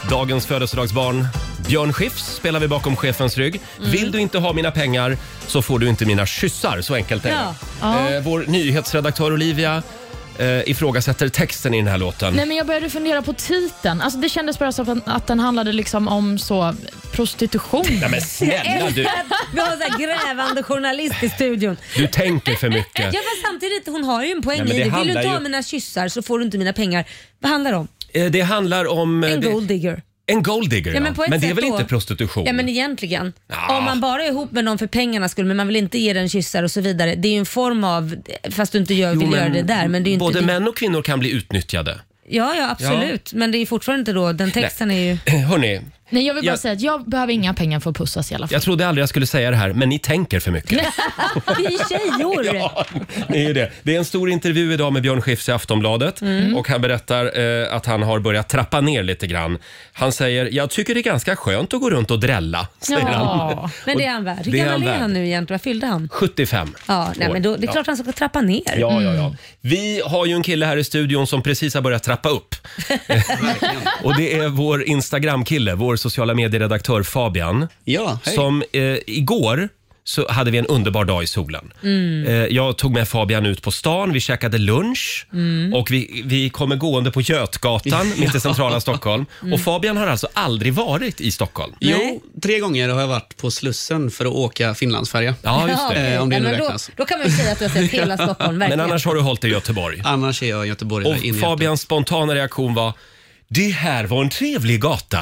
[SPEAKER 1] Dagens födelsedagsbarn. Björn Skifs spelar vi bakom chefens rygg. Vill du inte ha mina pengar så får du inte mina kyssar. Så enkelt är det. Eh, vår nyhetsredaktör Olivia eh, ifrågasätter texten i den här låten.
[SPEAKER 4] Nej, men jag började fundera på titeln. Alltså, det kändes bara som att den handlade liksom om så prostitution.
[SPEAKER 1] Nej, men snälla du,
[SPEAKER 3] Vi har en sån här grävande journalist i studion.
[SPEAKER 1] du tänker för mycket.
[SPEAKER 3] Ja fast samtidigt, hon har ju en poäng
[SPEAKER 1] Nej, men
[SPEAKER 3] i det.
[SPEAKER 1] det
[SPEAKER 3] Vill du
[SPEAKER 1] handlar
[SPEAKER 3] inte ha
[SPEAKER 1] ju-
[SPEAKER 3] mina kyssar så får du inte mina pengar. Vad handlar det om?
[SPEAKER 1] Eh, Det handlar om... eh,
[SPEAKER 3] En
[SPEAKER 1] det-
[SPEAKER 3] golddigger.
[SPEAKER 1] En golddigger, ja.
[SPEAKER 3] Ja,
[SPEAKER 1] Men,
[SPEAKER 3] men på ett
[SPEAKER 1] det är
[SPEAKER 3] sätt
[SPEAKER 1] väl
[SPEAKER 3] då.
[SPEAKER 1] inte prostitution?
[SPEAKER 3] Ja men egentligen.
[SPEAKER 1] Ja.
[SPEAKER 3] Om man bara är ihop med någon för pengarnas skull men man vill inte ge den kyssar och så vidare. Det är ju en form av, fast du inte gör,
[SPEAKER 1] Jo,
[SPEAKER 3] vill
[SPEAKER 1] men
[SPEAKER 3] göra det där. Men det är ju
[SPEAKER 1] både
[SPEAKER 3] inte,
[SPEAKER 1] män och kvinnor kan bli utnyttjade.
[SPEAKER 3] Ja, ja absolut. Men det är ju fortfarande inte då, den texten är ju...
[SPEAKER 1] Eh, Hörni,
[SPEAKER 4] Nej, jag vill bara
[SPEAKER 1] Jag-
[SPEAKER 4] säga att jag behöver inga pengar för att pussas i alla fall.
[SPEAKER 1] jag trodde aldrig jag skulle säga det här, men ni tänker för mycket.
[SPEAKER 3] Vi är tjejor!
[SPEAKER 1] Ja, det är ju det. Det är en stor intervju idag med Björn Skifs i Aftonbladet
[SPEAKER 3] Mm.
[SPEAKER 1] och han berättar eh, att han har börjat trappa ner lite grann. Han säger, jag tycker det är ganska skönt att gå runt och drälla, säger han.
[SPEAKER 4] Ja.
[SPEAKER 3] Men det är han värd. Hur
[SPEAKER 1] Det är
[SPEAKER 3] gammal
[SPEAKER 1] han
[SPEAKER 3] är
[SPEAKER 1] värd.
[SPEAKER 3] han nu egentligen? Vad fyllde han?
[SPEAKER 1] 75
[SPEAKER 3] Ja, nej,
[SPEAKER 1] år.
[SPEAKER 3] men då, det är
[SPEAKER 1] Ja.
[SPEAKER 3] klart han ska trappa ner.
[SPEAKER 1] Ja, ja,
[SPEAKER 9] Mm.
[SPEAKER 1] ja. Vi har ju en kille här i studion som precis har börjat trappa upp. och det är vår Instagram-kille, vår sociala medieredaktör Fabian.
[SPEAKER 9] Ja, hej.
[SPEAKER 1] Som eh, igår så hade vi en underbar dag i solen.
[SPEAKER 9] Mm.
[SPEAKER 1] Eh, jag tog med Fabian ut på stan, vi käkade lunch
[SPEAKER 9] Mm.
[SPEAKER 1] och vi, vi kommer gående på Götgatan mitt i centrala Stockholm.
[SPEAKER 9] Mm.
[SPEAKER 1] Och Fabian har alltså aldrig varit i Stockholm.
[SPEAKER 9] Jo, tre gånger har jag varit på Slussen för att åka Finlandsfärja.
[SPEAKER 1] Ja, just det.
[SPEAKER 9] Eh, om det
[SPEAKER 3] Ja,
[SPEAKER 9] nu
[SPEAKER 3] men då,
[SPEAKER 9] räknas.
[SPEAKER 3] då kan man ju säga att du har sett hela Stockholm,
[SPEAKER 1] Men
[SPEAKER 3] verkligen.
[SPEAKER 1] annars har du hållit dig i Göteborg.
[SPEAKER 9] Annars är jag i Göteborg.
[SPEAKER 1] Och Fabians spontana reaktion var det här var en trevlig gata.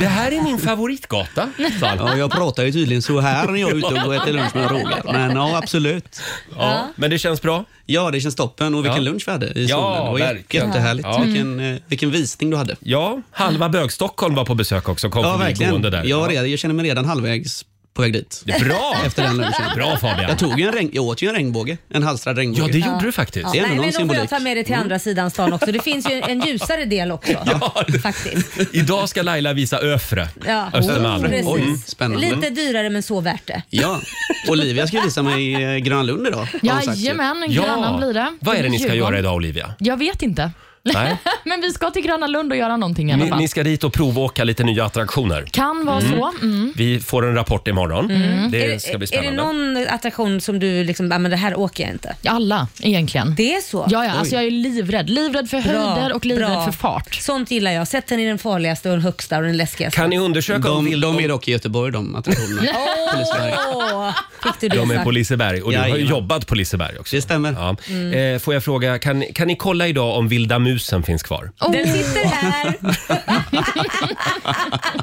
[SPEAKER 1] Det här är min favoritgata, sa han.
[SPEAKER 9] Ja, jag pratar ju tydligen så här när jag är ute och äter lunch med rolig. Men ja, absolut.
[SPEAKER 1] Ja, men det känns bra.
[SPEAKER 9] Ja, det känns toppen. Och vilken
[SPEAKER 1] Ja.
[SPEAKER 9] lunch vi hade i
[SPEAKER 1] Ja,
[SPEAKER 9] solen. Det var ju
[SPEAKER 1] verkligen.
[SPEAKER 9] jättehärligt.
[SPEAKER 1] Ja.
[SPEAKER 9] Vilken, eh, vilken visning du hade.
[SPEAKER 1] Ja, halva bög-Stockholm var på besök också. Kom
[SPEAKER 9] Ja,
[SPEAKER 1] förbi
[SPEAKER 9] verkligen.
[SPEAKER 1] gående där.
[SPEAKER 9] Jag, var redan, jag känner mig redan halvvägs på väg dit.
[SPEAKER 1] Bra!
[SPEAKER 9] Efter den lunchen.
[SPEAKER 1] Bra Fabian.
[SPEAKER 9] Jag, tog ju en regn, jag åt ju en regnbåge. En halstrad
[SPEAKER 1] Ja,
[SPEAKER 9] regnbåge.
[SPEAKER 1] det gjorde du Mm. faktiskt.
[SPEAKER 9] Det är
[SPEAKER 3] Nej,
[SPEAKER 9] ändå
[SPEAKER 3] men
[SPEAKER 9] någon
[SPEAKER 3] då får
[SPEAKER 9] symbolik.
[SPEAKER 3] jag ta med det till andra sidan stan också. Det finns ju en ljusare del också. Faktiskt.
[SPEAKER 1] Idag ska Laila visa Öfre,
[SPEAKER 3] Ja. Oh,
[SPEAKER 1] Östermalm. Mm.
[SPEAKER 3] Precis.
[SPEAKER 9] Oj, spännande.
[SPEAKER 3] Lite dyrare men så värt det.
[SPEAKER 9] Ja, Olivia ska visa mig eh, Gröna Lund idag. har hon sagt ju.
[SPEAKER 4] Jajamän, Grönan blir det.
[SPEAKER 1] Vad är det ni ska
[SPEAKER 4] Djurgården.
[SPEAKER 1] göra idag Olivia?
[SPEAKER 4] Jag vet inte.
[SPEAKER 1] Nej.
[SPEAKER 4] Men vi ska till Gröna Lund och göra någonting i alla
[SPEAKER 1] Ni,
[SPEAKER 4] fall.
[SPEAKER 1] ni ska dit och provåka lite nya attraktioner.
[SPEAKER 4] Kan vara så. Mm.
[SPEAKER 1] Vi får en rapport imorgon. Det ska bli
[SPEAKER 3] Mm. Är det
[SPEAKER 1] spännande.
[SPEAKER 3] någon attraktion som du liksom, ah, men det här åker jag inte?
[SPEAKER 4] Alla egentligen.
[SPEAKER 3] Det är så?
[SPEAKER 4] Ja, ja, alltså jag är livrädd. Livrädd för höjder och livrädd
[SPEAKER 3] bra.
[SPEAKER 4] för fart.
[SPEAKER 3] Sånt gillar jag. Sätt den i den farligaste och den högsta och den läskigaste.
[SPEAKER 1] Kan ni undersöka om
[SPEAKER 9] De,
[SPEAKER 1] vill...
[SPEAKER 9] de är dock i Göteborg de attraktionerna. Polisverige.
[SPEAKER 3] Åh, fick du det
[SPEAKER 1] De är
[SPEAKER 3] sagt?
[SPEAKER 1] på Liseberg och du har ju
[SPEAKER 9] Jajamän.
[SPEAKER 1] jobbat på Liseberg också.
[SPEAKER 9] Det stämmer.
[SPEAKER 1] Ja. Eh, får jag fråga, kan, kan ni kolla idag om vilda musen finns kvar?
[SPEAKER 3] Den sitter här.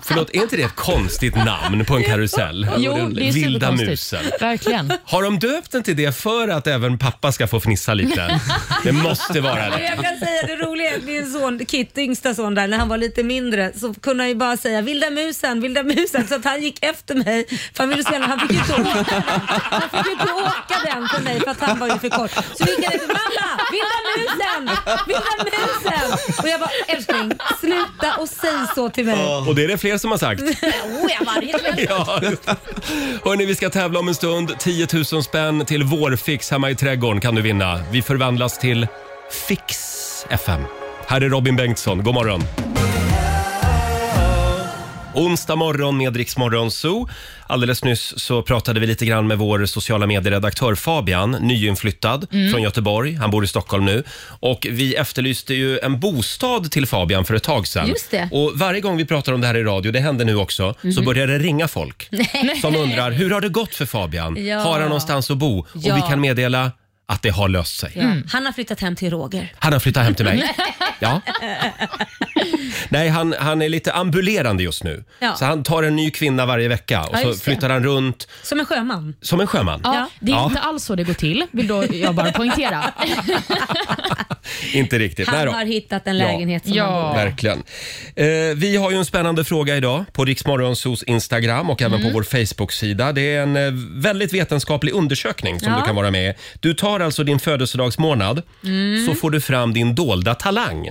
[SPEAKER 1] Förlåt, är inte det ett konstigt namn på en karusell?
[SPEAKER 4] Jo, det är
[SPEAKER 1] vilda
[SPEAKER 4] superkonstigt.
[SPEAKER 1] musen.
[SPEAKER 4] Verkligen.
[SPEAKER 1] Har de döpt den till det för att även pappa ska få fnissa lite? Det måste vara
[SPEAKER 3] Men
[SPEAKER 1] det.
[SPEAKER 3] jag kan säga det roliga är att min son, Kit, yngsta son där, när han var lite mindre så kunde han ju bara säga vilda musen, vilda musen så att han gick efter mig för han ville se den. Han fick ju inte åka den. Han fick ju inte åka den för mig för att han var ju för kort. Så gick han efter mamma, vilda musen, vilda musen. Och jag bara älskling, sluta och säg så till mig.
[SPEAKER 1] Och det är det fler som har sagt.
[SPEAKER 3] Oh, jag var helt
[SPEAKER 1] Ja. Hörni, vi ska tävla om en stund. 10 000 spänn till vårfix hemma i trädgården kan du vinna. Vi förvandlas till Fix FM. Här är Robin Bengtsson. God morgon. Onsdag morgon med Rix Morgon Zoo. Alldeles nyss så pratade vi lite grann med vår sociala medieredaktör Fabian, nyinflyttad
[SPEAKER 3] Mm.
[SPEAKER 1] från Göteborg. Han bor i Stockholm nu. Och vi efterlyste ju en bostad till Fabian för ett tag sedan.
[SPEAKER 3] Just det. Mhm.
[SPEAKER 1] Och varje gång vi pratar om det här i radio, det händer nu också, så börjar det ringa folk som undrar hur har det gått för Fabian?
[SPEAKER 3] Ja.
[SPEAKER 1] Har han någonstans att bo?
[SPEAKER 3] Ja.
[SPEAKER 1] Och vi kan meddela att det har löst sig.
[SPEAKER 3] Mm. Han har flyttat hem till Roger.
[SPEAKER 1] Han har flyttat hem till mig. Ja. Nej, han, han är lite ambulerande just nu.
[SPEAKER 3] Ja.
[SPEAKER 1] Så han tar en ny kvinna varje vecka och
[SPEAKER 4] Ja,
[SPEAKER 1] så
[SPEAKER 4] just det.
[SPEAKER 1] flyttar han runt
[SPEAKER 3] Som en sjöman.
[SPEAKER 1] som en sjöman.
[SPEAKER 4] Ja,
[SPEAKER 3] Ja.
[SPEAKER 4] Det är
[SPEAKER 1] Ja.
[SPEAKER 4] inte alls så det går till, vill då jag bara poängtera.
[SPEAKER 1] Inte riktigt. Nej
[SPEAKER 3] Han
[SPEAKER 1] då.
[SPEAKER 3] har hittat en
[SPEAKER 1] Ja.
[SPEAKER 3] lägenhet som han bor i.
[SPEAKER 4] ja.
[SPEAKER 1] Verkligen. Eh, vi har ju en spännande fråga idag på Riksmorgonsos Instagram och även på vår Facebook-sida. Det är en eh, väldigt vetenskaplig undersökning som
[SPEAKER 3] Ja.
[SPEAKER 1] du kan vara med i. Du tar alltså din födelsedagsmånad så får du fram din dolda talang.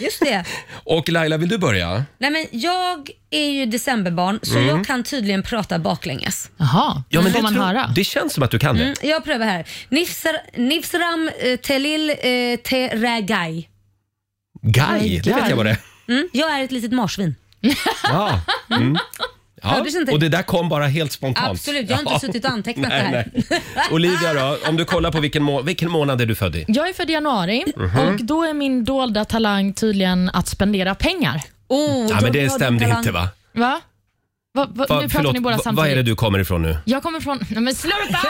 [SPEAKER 3] Just det.
[SPEAKER 1] Och Laila, vill du börja?
[SPEAKER 3] Nej, men jag är ju decemberbarn så jag kan tydligen prata baklänges.
[SPEAKER 4] Jaha, ja, men får man
[SPEAKER 1] tror-
[SPEAKER 4] höra?
[SPEAKER 1] det känns som att du kan det.
[SPEAKER 3] Mm, Jag prövar här. Nifsar, Nifsram eh, Telil eh, Teragai.
[SPEAKER 1] Guy, det vet jag vad det är.
[SPEAKER 3] Mm. Jag är ett litet marsvin.
[SPEAKER 1] Ja. Mm. Ja.
[SPEAKER 3] Hördes inte?
[SPEAKER 1] Och det där kom bara helt spontant.
[SPEAKER 3] Absolut, jag har inte
[SPEAKER 1] Ja.
[SPEAKER 3] suttit och antecknat
[SPEAKER 1] Nej,
[SPEAKER 3] det här.
[SPEAKER 1] nej. Olivia då, om du kollar på vilken, må- vilken månad är du född i?
[SPEAKER 4] Jag är född i januari
[SPEAKER 1] Mhm.
[SPEAKER 4] och då är min dolda talang tydligen att spendera pengar.
[SPEAKER 3] Oh,
[SPEAKER 1] Ja, men
[SPEAKER 3] då-
[SPEAKER 1] det
[SPEAKER 3] då-
[SPEAKER 1] stämde
[SPEAKER 3] talang.
[SPEAKER 1] inte va?
[SPEAKER 4] Va? Va, va,
[SPEAKER 1] va
[SPEAKER 4] nu pratar
[SPEAKER 1] förlåt,
[SPEAKER 4] ni båda
[SPEAKER 1] va-
[SPEAKER 4] samtidigt.
[SPEAKER 1] vad är det du kommer ifrån nu?
[SPEAKER 4] Jag kommer från... Nej men slurpa!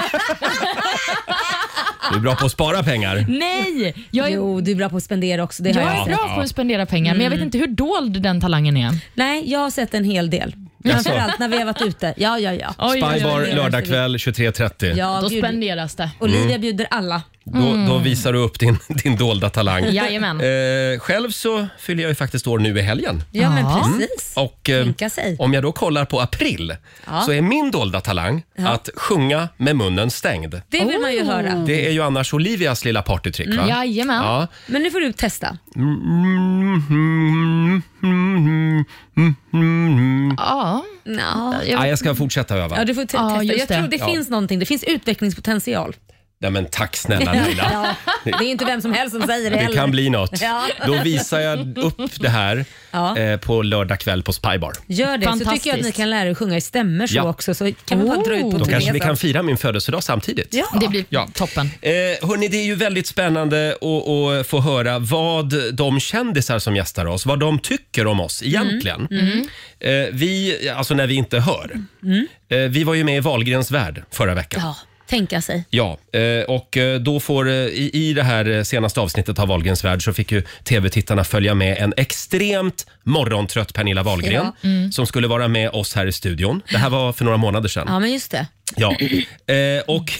[SPEAKER 1] Du är bra på att spara pengar.
[SPEAKER 4] Nej! Jag är,
[SPEAKER 3] Jo, du är bra på att spendera också. Det har
[SPEAKER 4] jag Mm.
[SPEAKER 3] jag
[SPEAKER 4] är
[SPEAKER 3] sett.
[SPEAKER 4] bra på att spendera pengar men jag vet inte hur dold den talangen är.
[SPEAKER 3] Nej, jag har sett en hel del. Framförallt när vi har varit ute. Ja, ja, ja.
[SPEAKER 4] Oj, oj, oj,
[SPEAKER 1] Spybar
[SPEAKER 4] oj.
[SPEAKER 1] lördagkväll 23.30.
[SPEAKER 3] ja Mm.
[SPEAKER 4] Då
[SPEAKER 3] bjud-
[SPEAKER 4] spenderas det.
[SPEAKER 3] Olivia
[SPEAKER 1] Mm.
[SPEAKER 3] bjuder alla.
[SPEAKER 1] Då, då visar du upp din, din dolda talang.
[SPEAKER 4] Jajamän.
[SPEAKER 1] Eh, själv så fyller jag ju faktiskt år nu i helgen.
[SPEAKER 3] Ja, men precis.
[SPEAKER 1] Och eh,
[SPEAKER 3] Tänka sig.
[SPEAKER 1] om jag då kollar på april så är min dolda talang att sjunga med munnen stängd.
[SPEAKER 3] Det vill man ju
[SPEAKER 4] Oh.
[SPEAKER 3] höra.
[SPEAKER 1] Det är ju annars Olivias lilla partytrick
[SPEAKER 3] Mm,
[SPEAKER 1] va?
[SPEAKER 4] Jajamän.
[SPEAKER 1] Ja.
[SPEAKER 3] Men nu får du testa.
[SPEAKER 4] Ja.
[SPEAKER 3] Ja,
[SPEAKER 1] Ja, jag ska fortsätta
[SPEAKER 3] ja
[SPEAKER 1] öva.
[SPEAKER 3] du får te-
[SPEAKER 4] Ja,
[SPEAKER 3] testa.
[SPEAKER 4] just
[SPEAKER 3] Jag tror det
[SPEAKER 4] det.
[SPEAKER 3] finns någonting. Det finns utvecklingspotential.
[SPEAKER 1] Nej, men tack snälla Laila.
[SPEAKER 3] Ja, det är inte vem som helst som säger det
[SPEAKER 1] Det
[SPEAKER 3] heller.
[SPEAKER 1] kan bli något.
[SPEAKER 3] Ja.
[SPEAKER 1] Då visar jag upp det här
[SPEAKER 3] Ja.
[SPEAKER 1] eh, på lördag kväll på Spybar.
[SPEAKER 3] Gör det, så
[SPEAKER 4] Fantastiskt.
[SPEAKER 3] tycker jag att ni kan lära er själva sjunga i stämmor så
[SPEAKER 1] Ja.
[SPEAKER 3] också. Så kan vi bara dra ut på
[SPEAKER 1] Då
[SPEAKER 3] turné
[SPEAKER 1] kanske vi
[SPEAKER 3] sen.
[SPEAKER 1] kan fira min födelsedag samtidigt.
[SPEAKER 3] Ja.
[SPEAKER 4] Det blir
[SPEAKER 1] Ja.
[SPEAKER 4] toppen.
[SPEAKER 1] Eh, hörni, det är ju väldigt spännande att, att få höra vad de kändisar som gästar oss, vad de tycker om oss egentligen.
[SPEAKER 3] Mm.
[SPEAKER 1] Eh, vi, alltså när vi inte hör. Eh, vi var ju med i Wahlgrens värld förra veckan.
[SPEAKER 3] Mm. Ja, tänka sig.
[SPEAKER 1] Ja, eh, och eh, då får eh, i, i det här eh, senaste avsnittet av Wahlgrens värld så fick ju tv-tittarna följa med en extremt morgontrött Pernilla Wahlgren som skulle vara med oss här i studion. Det här var för några månader sedan.
[SPEAKER 3] Mm. Ja, men just det.
[SPEAKER 1] Ja. Eh, och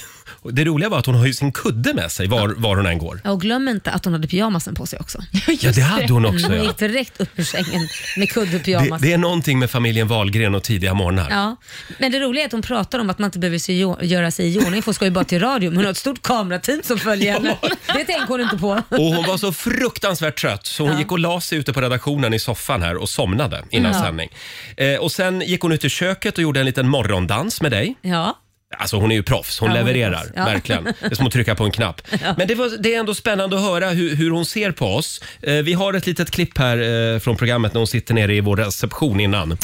[SPEAKER 1] och det roliga var att hon har ju sin kudde med sig var, var hon än går.
[SPEAKER 3] Ja, Och glöm inte att hon hade pyjamasen på sig också.
[SPEAKER 1] Ja, det hade hon också.
[SPEAKER 3] Hon
[SPEAKER 1] Ja.
[SPEAKER 3] gick direkt upp ur sängen med kudde och
[SPEAKER 1] Det,
[SPEAKER 3] pyjamas.
[SPEAKER 1] det är någonting med familjen Wahlgren och tidiga morgnar.
[SPEAKER 3] Ja. Men det roliga är att hon pratar om att man inte behöver se, göra sig i ordning för hon ska ju bara till radio. Men hon har ett stort kamerateam som följer henne. Det tänker hon inte på.
[SPEAKER 1] Och hon var så fruktansvärt trött så hon gick och la sig ute på redaktionen i soffan här och somnade innan sändning. Eh, och sen gick hon ut i köket och gjorde en liten morgondans med dig.
[SPEAKER 3] Ja.
[SPEAKER 1] Alltså hon är ju proffs, hon
[SPEAKER 3] Ja, hon är
[SPEAKER 1] levererar.
[SPEAKER 3] proffs. Ja.
[SPEAKER 1] Verkligen. Det är som att trycka på en knapp. Men det, var, det är ändå spännande att höra hur, hur hon ser på oss. Eh, vi har ett litet klipp här eh, från programmet när hon sitter nere i vår reception innan.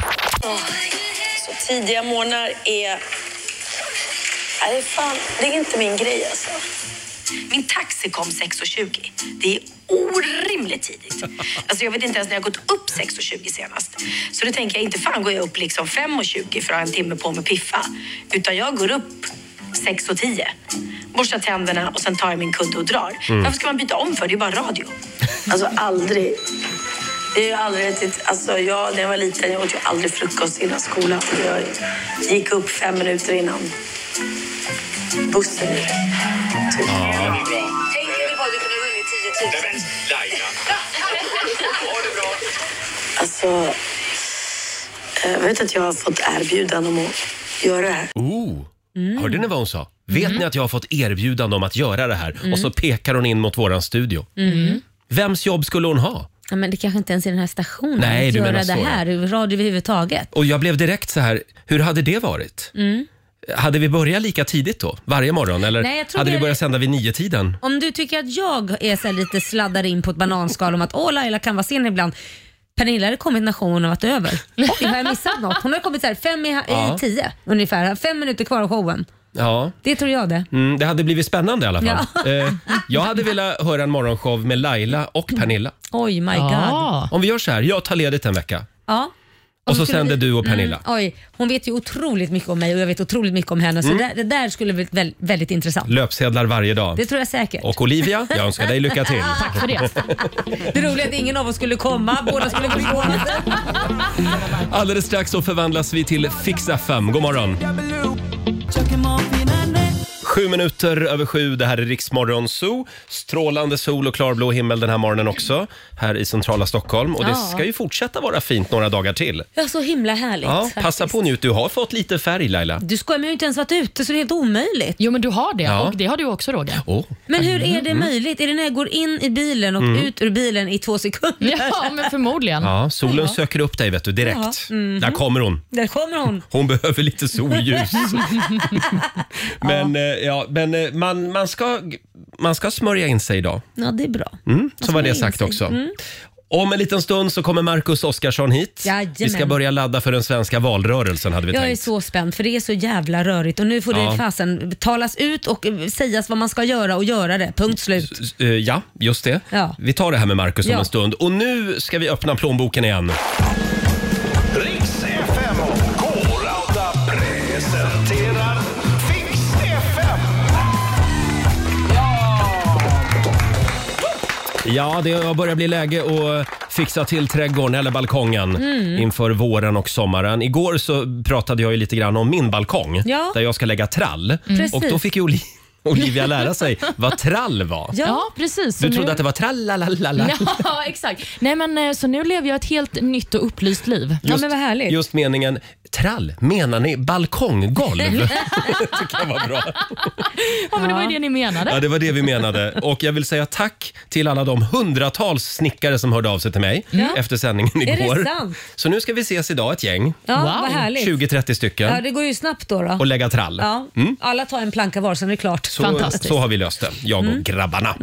[SPEAKER 7] Tidiga morgnar är... Nej, det är fan, det är inte min grej alltså. Min taxi kom 6.20. Det är orimligt tidigt. Alltså jag vet inte ens när jag gått upp 6.20 senast. Så då tänker jag inte fan går jag upp liksom 5.20 för att ha en timme på mig att piffa. Utan jag går upp 6.10, borstar tänderna och sen tar jag min kudde och drar. Varför ska man byta om för? Det är ju bara radio. Alltså aldrig. Det är ju aldrig ett, alltså jag, när jag var liten jag åt ju aldrig frukost innan skolan. Jag gick upp fem minuter innan bussen gick. Typ. Tänk dig vad du kunde ha vunnit 10 000. Alltså, jag vet att jag har fått erbjudande om att göra det här.
[SPEAKER 1] Oh.
[SPEAKER 3] Mm.
[SPEAKER 1] Hörde ni vad hon sa? Vet ni att jag har fått erbjudande om att göra det här?
[SPEAKER 3] Mm.
[SPEAKER 1] Och så pekar hon in mot våran studio. Vems jobb skulle hon ha?
[SPEAKER 3] Ja, men det kanske inte ens är den här stationen.
[SPEAKER 1] Nej,
[SPEAKER 3] att
[SPEAKER 1] du
[SPEAKER 3] göra
[SPEAKER 1] menar
[SPEAKER 3] det
[SPEAKER 1] så, ja.
[SPEAKER 3] här, radio överhuvudtaget.
[SPEAKER 1] Och jag blev direkt så här, hur hade det varit? Hade vi börjat lika tidigt då, varje morgon? Eller
[SPEAKER 3] Mm. Nej, jag tror
[SPEAKER 1] hade vi
[SPEAKER 3] det-
[SPEAKER 1] börjat sända vid nio tiden?
[SPEAKER 3] Om du tycker att jag är så här lite sladdar in på ett bananskal om att åh Laila kan vara sen ibland. Pernilla hade kommit när showen har varit över. Oj, har jag missat något? Hon har kommit så här fem i,
[SPEAKER 1] Ja.
[SPEAKER 3] i tio ungefär. Fem minuter kvar av showen.
[SPEAKER 1] Ja,
[SPEAKER 3] Det tror jag det.
[SPEAKER 1] mm, det hade blivit spännande i alla fall. Eh, jag hade velat höra en morgonshow med Laila och Pernilla.
[SPEAKER 3] Oj, my god.
[SPEAKER 4] Ja.
[SPEAKER 1] Om vi gör så här, jag tar ledigt en vecka
[SPEAKER 3] Ja.
[SPEAKER 1] och så
[SPEAKER 3] skulle
[SPEAKER 1] sänder
[SPEAKER 3] vi-
[SPEAKER 1] du och Pernilla.
[SPEAKER 3] Oj, hon vet ju otroligt mycket om mig och jag vet otroligt mycket om henne. Så
[SPEAKER 1] Mm.
[SPEAKER 3] det, det där skulle bli väl, väldigt intressant.
[SPEAKER 1] Löpsedlar varje dag.
[SPEAKER 3] Det tror jag säkert.
[SPEAKER 1] Och Olivia, jag önskar dig lycka till.
[SPEAKER 4] Tack för det.
[SPEAKER 3] Det roliga är att ingen av oss skulle komma. Båda skulle förvåna sig.
[SPEAKER 1] Alldeles strax så förvandlas vi till Fixa fem. God morgon! Sju minuter över sju, det här är Riksmorgon Zoo. Strålande sol och klarblå himmel den här morgonen också, här i centrala Stockholm. Och det
[SPEAKER 3] Ja.
[SPEAKER 1] ska ju fortsätta vara fint några dagar till.
[SPEAKER 3] Ja, så himla härligt.
[SPEAKER 1] Ja,
[SPEAKER 3] faktiskt.
[SPEAKER 1] passa på och njut. Du har fått lite färg Laila.
[SPEAKER 3] Du skojar, men jag har ju inte ens varit ute så det är helt omöjligt.
[SPEAKER 4] Jo, men du har det
[SPEAKER 1] Ja.
[SPEAKER 4] och det har du också Roger.
[SPEAKER 1] Oh.
[SPEAKER 3] Men hur är det möjligt? Är det när jag går in i bilen och
[SPEAKER 1] Mm.
[SPEAKER 3] ut ur bilen i två sekunder?
[SPEAKER 4] Ja, men förmodligen.
[SPEAKER 1] Ja, Mm. solen söker upp dig vet du, direkt. Där kommer hon.
[SPEAKER 3] Där kommer hon.
[SPEAKER 1] Hon behöver lite solljus. men eh, ja, men eh, man, man, ska, man ska smörja in sig idag.
[SPEAKER 3] Ja, det är bra.
[SPEAKER 1] Mm, så var
[SPEAKER 3] smörja
[SPEAKER 1] det
[SPEAKER 3] in
[SPEAKER 1] sagt
[SPEAKER 3] sig.
[SPEAKER 1] också. Om en liten stund så kommer Marcus Oskarsson hit.
[SPEAKER 3] Jajamän.
[SPEAKER 1] Vi ska börja ladda för den svenska valrörelsen hade vi
[SPEAKER 3] Jag är
[SPEAKER 1] tänkt.
[SPEAKER 3] så spänd för det är så jävla rörigt och nu får
[SPEAKER 1] Ja.
[SPEAKER 3] det fasen talas ut och eh, sägas vad man ska göra och göra det. Punkt slut.
[SPEAKER 1] S- eh, Ja, just det.
[SPEAKER 3] Ja.
[SPEAKER 1] Vi tar det här med Marcus om
[SPEAKER 3] Ja.
[SPEAKER 1] en stund. Och nu ska vi öppna plånboken igen.
[SPEAKER 8] Riks FM och K-Rauta presenterar Fix FM.
[SPEAKER 1] Ja, det har börjat bli läge att fixa till trädgården eller balkongen
[SPEAKER 3] Mm.
[SPEAKER 1] inför våren och sommaren. Igår så pratade jag ju lite grann om min balkong
[SPEAKER 3] Ja.
[SPEAKER 1] där jag ska lägga trall. Och då
[SPEAKER 3] Precis.
[SPEAKER 1] fick ju Oli- Olivia lära sig vad trall var.
[SPEAKER 3] Ja.
[SPEAKER 4] Ja, precis. Så
[SPEAKER 1] Du trodde
[SPEAKER 4] nu-
[SPEAKER 1] att det var trallalalala.
[SPEAKER 4] Ja, exakt. Nej, men, eh, så nu lever jag ett helt nytt och upplyst liv.
[SPEAKER 3] Ja, men vad härligt.
[SPEAKER 1] Just meningen trall, menar ni balkonggolv? det kan vara bra.
[SPEAKER 4] Ja, men det var ju det ni
[SPEAKER 1] Ja,
[SPEAKER 4] menade.
[SPEAKER 1] det var det vi menade. Och jag vill säga tack till alla de hundratals snickare som hörde av sig till mig efter sändningen
[SPEAKER 3] det
[SPEAKER 1] igår.
[SPEAKER 3] sant?
[SPEAKER 1] Så nu ska vi ses idag ett gäng.
[SPEAKER 3] Ja,
[SPEAKER 4] Wow.
[SPEAKER 3] vad härligt.
[SPEAKER 1] 20-30 stycken.
[SPEAKER 3] Ja, det går ju snabbt då. då.
[SPEAKER 1] och lägga trall. Mm.
[SPEAKER 3] Ja. Alla tar en planka var, sen är det klart.
[SPEAKER 1] Så,
[SPEAKER 4] Fantastiskt.
[SPEAKER 1] så har vi löst det, jag och
[SPEAKER 3] Mm.
[SPEAKER 1] grabbarna.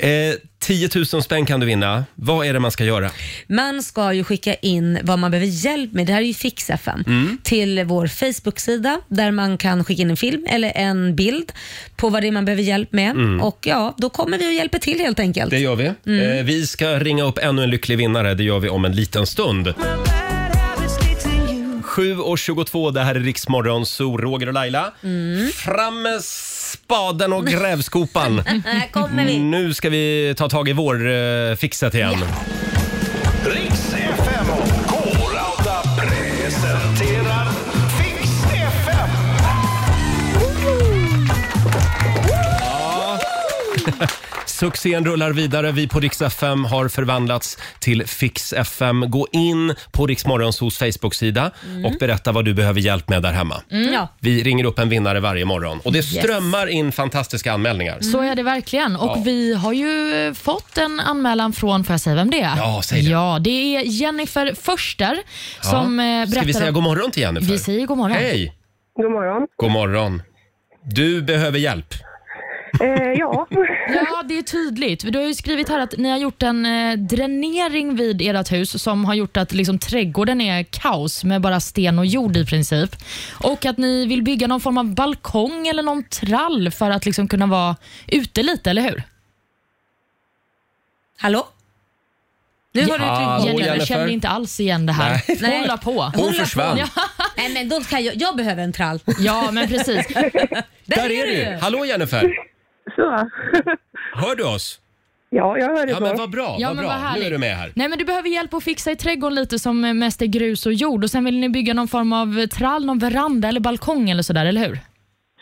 [SPEAKER 1] Eh, 10 000 spänn kan du vinna. Vad är det man ska göra?
[SPEAKER 3] Man ska ju skicka in vad man behöver hjälp med, det här är ju Fix FM,
[SPEAKER 1] Mm.
[SPEAKER 3] till vår Facebook-sida där man kan skicka in en film eller en bild på vad det är man behöver hjälp med. Och ja, då kommer vi och hjälper till helt enkelt.
[SPEAKER 1] Mm. Det gör vi. Eh, vi ska ringa upp ännu en lycklig vinnare. Det gör vi om en liten stund. 7.22, det här är Riksmorgon, så Roger och Laila. Framme spaden och grävskopan.
[SPEAKER 3] Här kommer vi.
[SPEAKER 1] Nu ska vi ta tag i vår eh, fixet igen.
[SPEAKER 8] Riks FM och K-Rauta presenterar Fix FM.
[SPEAKER 1] Succén rullar vidare. Vi på Rix FM har förvandlats till Fix FM. Gå in på Rix Morgonzos Facebook-sida och berätta vad du behöver hjälp med där hemma.
[SPEAKER 3] Mm. Ja.
[SPEAKER 1] Vi ringer upp en vinnare varje morgon och det strömmar in fantastiska anmälningar.
[SPEAKER 4] Så är det verkligen. Och
[SPEAKER 1] Ja.
[SPEAKER 4] Vi har ju fått en anmälan från, får jag säga vem det är?
[SPEAKER 1] Ja, säg det.
[SPEAKER 4] Ja, det är Jennifer Förster som eh,
[SPEAKER 1] Ja.
[SPEAKER 4] berättar...
[SPEAKER 1] Ska vi säga
[SPEAKER 4] om-
[SPEAKER 1] god morgon till Jennifer?
[SPEAKER 4] Vi säger god morgon.
[SPEAKER 1] Hej!
[SPEAKER 10] God morgon.
[SPEAKER 1] God morgon. Du behöver hjälp.
[SPEAKER 10] Eh, ja.
[SPEAKER 4] Ja, det är tydligt. Du har ju skrivit här att ni har gjort en eh, dränering vid ert hus som har gjort att liksom, trädgården är kaos med bara sten och jord i princip. Och att ni vill bygga någon form av balkong eller någon trall för att liksom, kunna vara ute lite, eller hur?
[SPEAKER 3] Hallå? Nu har du
[SPEAKER 1] Ja,
[SPEAKER 3] tryckt på.
[SPEAKER 1] hon
[SPEAKER 4] Jennifer
[SPEAKER 1] Jennifer.
[SPEAKER 4] känner inte alls igen det här.
[SPEAKER 1] Nej.
[SPEAKER 4] Hon la på.
[SPEAKER 1] Hon försvann.
[SPEAKER 4] Ja,
[SPEAKER 3] Nej men då kan jag, jag behöver en trall.
[SPEAKER 4] ja, men precis.
[SPEAKER 1] Där är du! Hallå Jennifer!
[SPEAKER 10] Så.
[SPEAKER 1] Hör du oss?
[SPEAKER 10] Ja, jag hör det
[SPEAKER 1] Ja men
[SPEAKER 10] på.
[SPEAKER 1] vad bra,
[SPEAKER 4] Ja,
[SPEAKER 1] vad
[SPEAKER 4] men
[SPEAKER 1] bra.
[SPEAKER 4] vad härligt.
[SPEAKER 1] nu är du med här.
[SPEAKER 4] Nej, men du behöver hjälp att fixa i trädgården lite som eh, mest är grus och jord. Och Sen vill ni bygga någon form av trall, någon veranda eller balkong eller sådär, eller hur?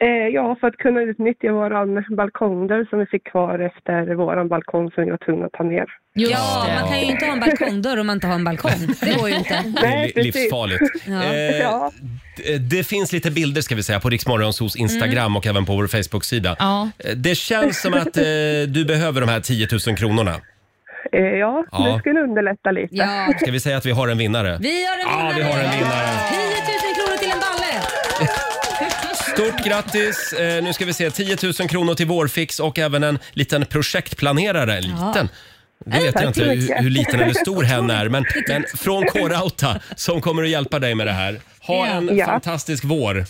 [SPEAKER 10] Eh, ja, för att kunna utnyttja våran balkong där som vi fick kvar efter våran balkong som vi var tvungna att ta ner.
[SPEAKER 4] Just
[SPEAKER 3] Ja,
[SPEAKER 4] det.
[SPEAKER 3] man kan ju inte ha en balkongdörr om man inte har en balkong. Det går ju inte.
[SPEAKER 1] Det är
[SPEAKER 10] Nej,
[SPEAKER 1] li-
[SPEAKER 10] precis.
[SPEAKER 1] livsfarligt. Eh,
[SPEAKER 10] Ja.
[SPEAKER 1] d- eh, det finns lite bilder ska vi säga på Riksmorgonsos Instagram och även på vår Facebook-sida.
[SPEAKER 4] Mm. Ja.
[SPEAKER 1] Eh, Det känns som att eh, du behöver de här 10 000 kronorna.
[SPEAKER 10] Eh, ja,
[SPEAKER 1] Ja.
[SPEAKER 10] det skulle underlätta lite.
[SPEAKER 3] Ja.
[SPEAKER 1] Ska vi säga att vi har en vinnare?
[SPEAKER 3] Vi har en
[SPEAKER 1] Ja,
[SPEAKER 3] vinnare!
[SPEAKER 1] vi har en vinnare.
[SPEAKER 3] 10 000 kronor till en balle!
[SPEAKER 1] Stort grattis! Eh, nu ska vi se, 10 000 kronor till vårfix och även en liten projektplanerare. En Liten? Det vet jag inte hur, hur liten eller stor hen är, men, men från K-Rauta som kommer att hjälpa dig med det här. Ha en
[SPEAKER 10] Ja.
[SPEAKER 1] fantastisk vår!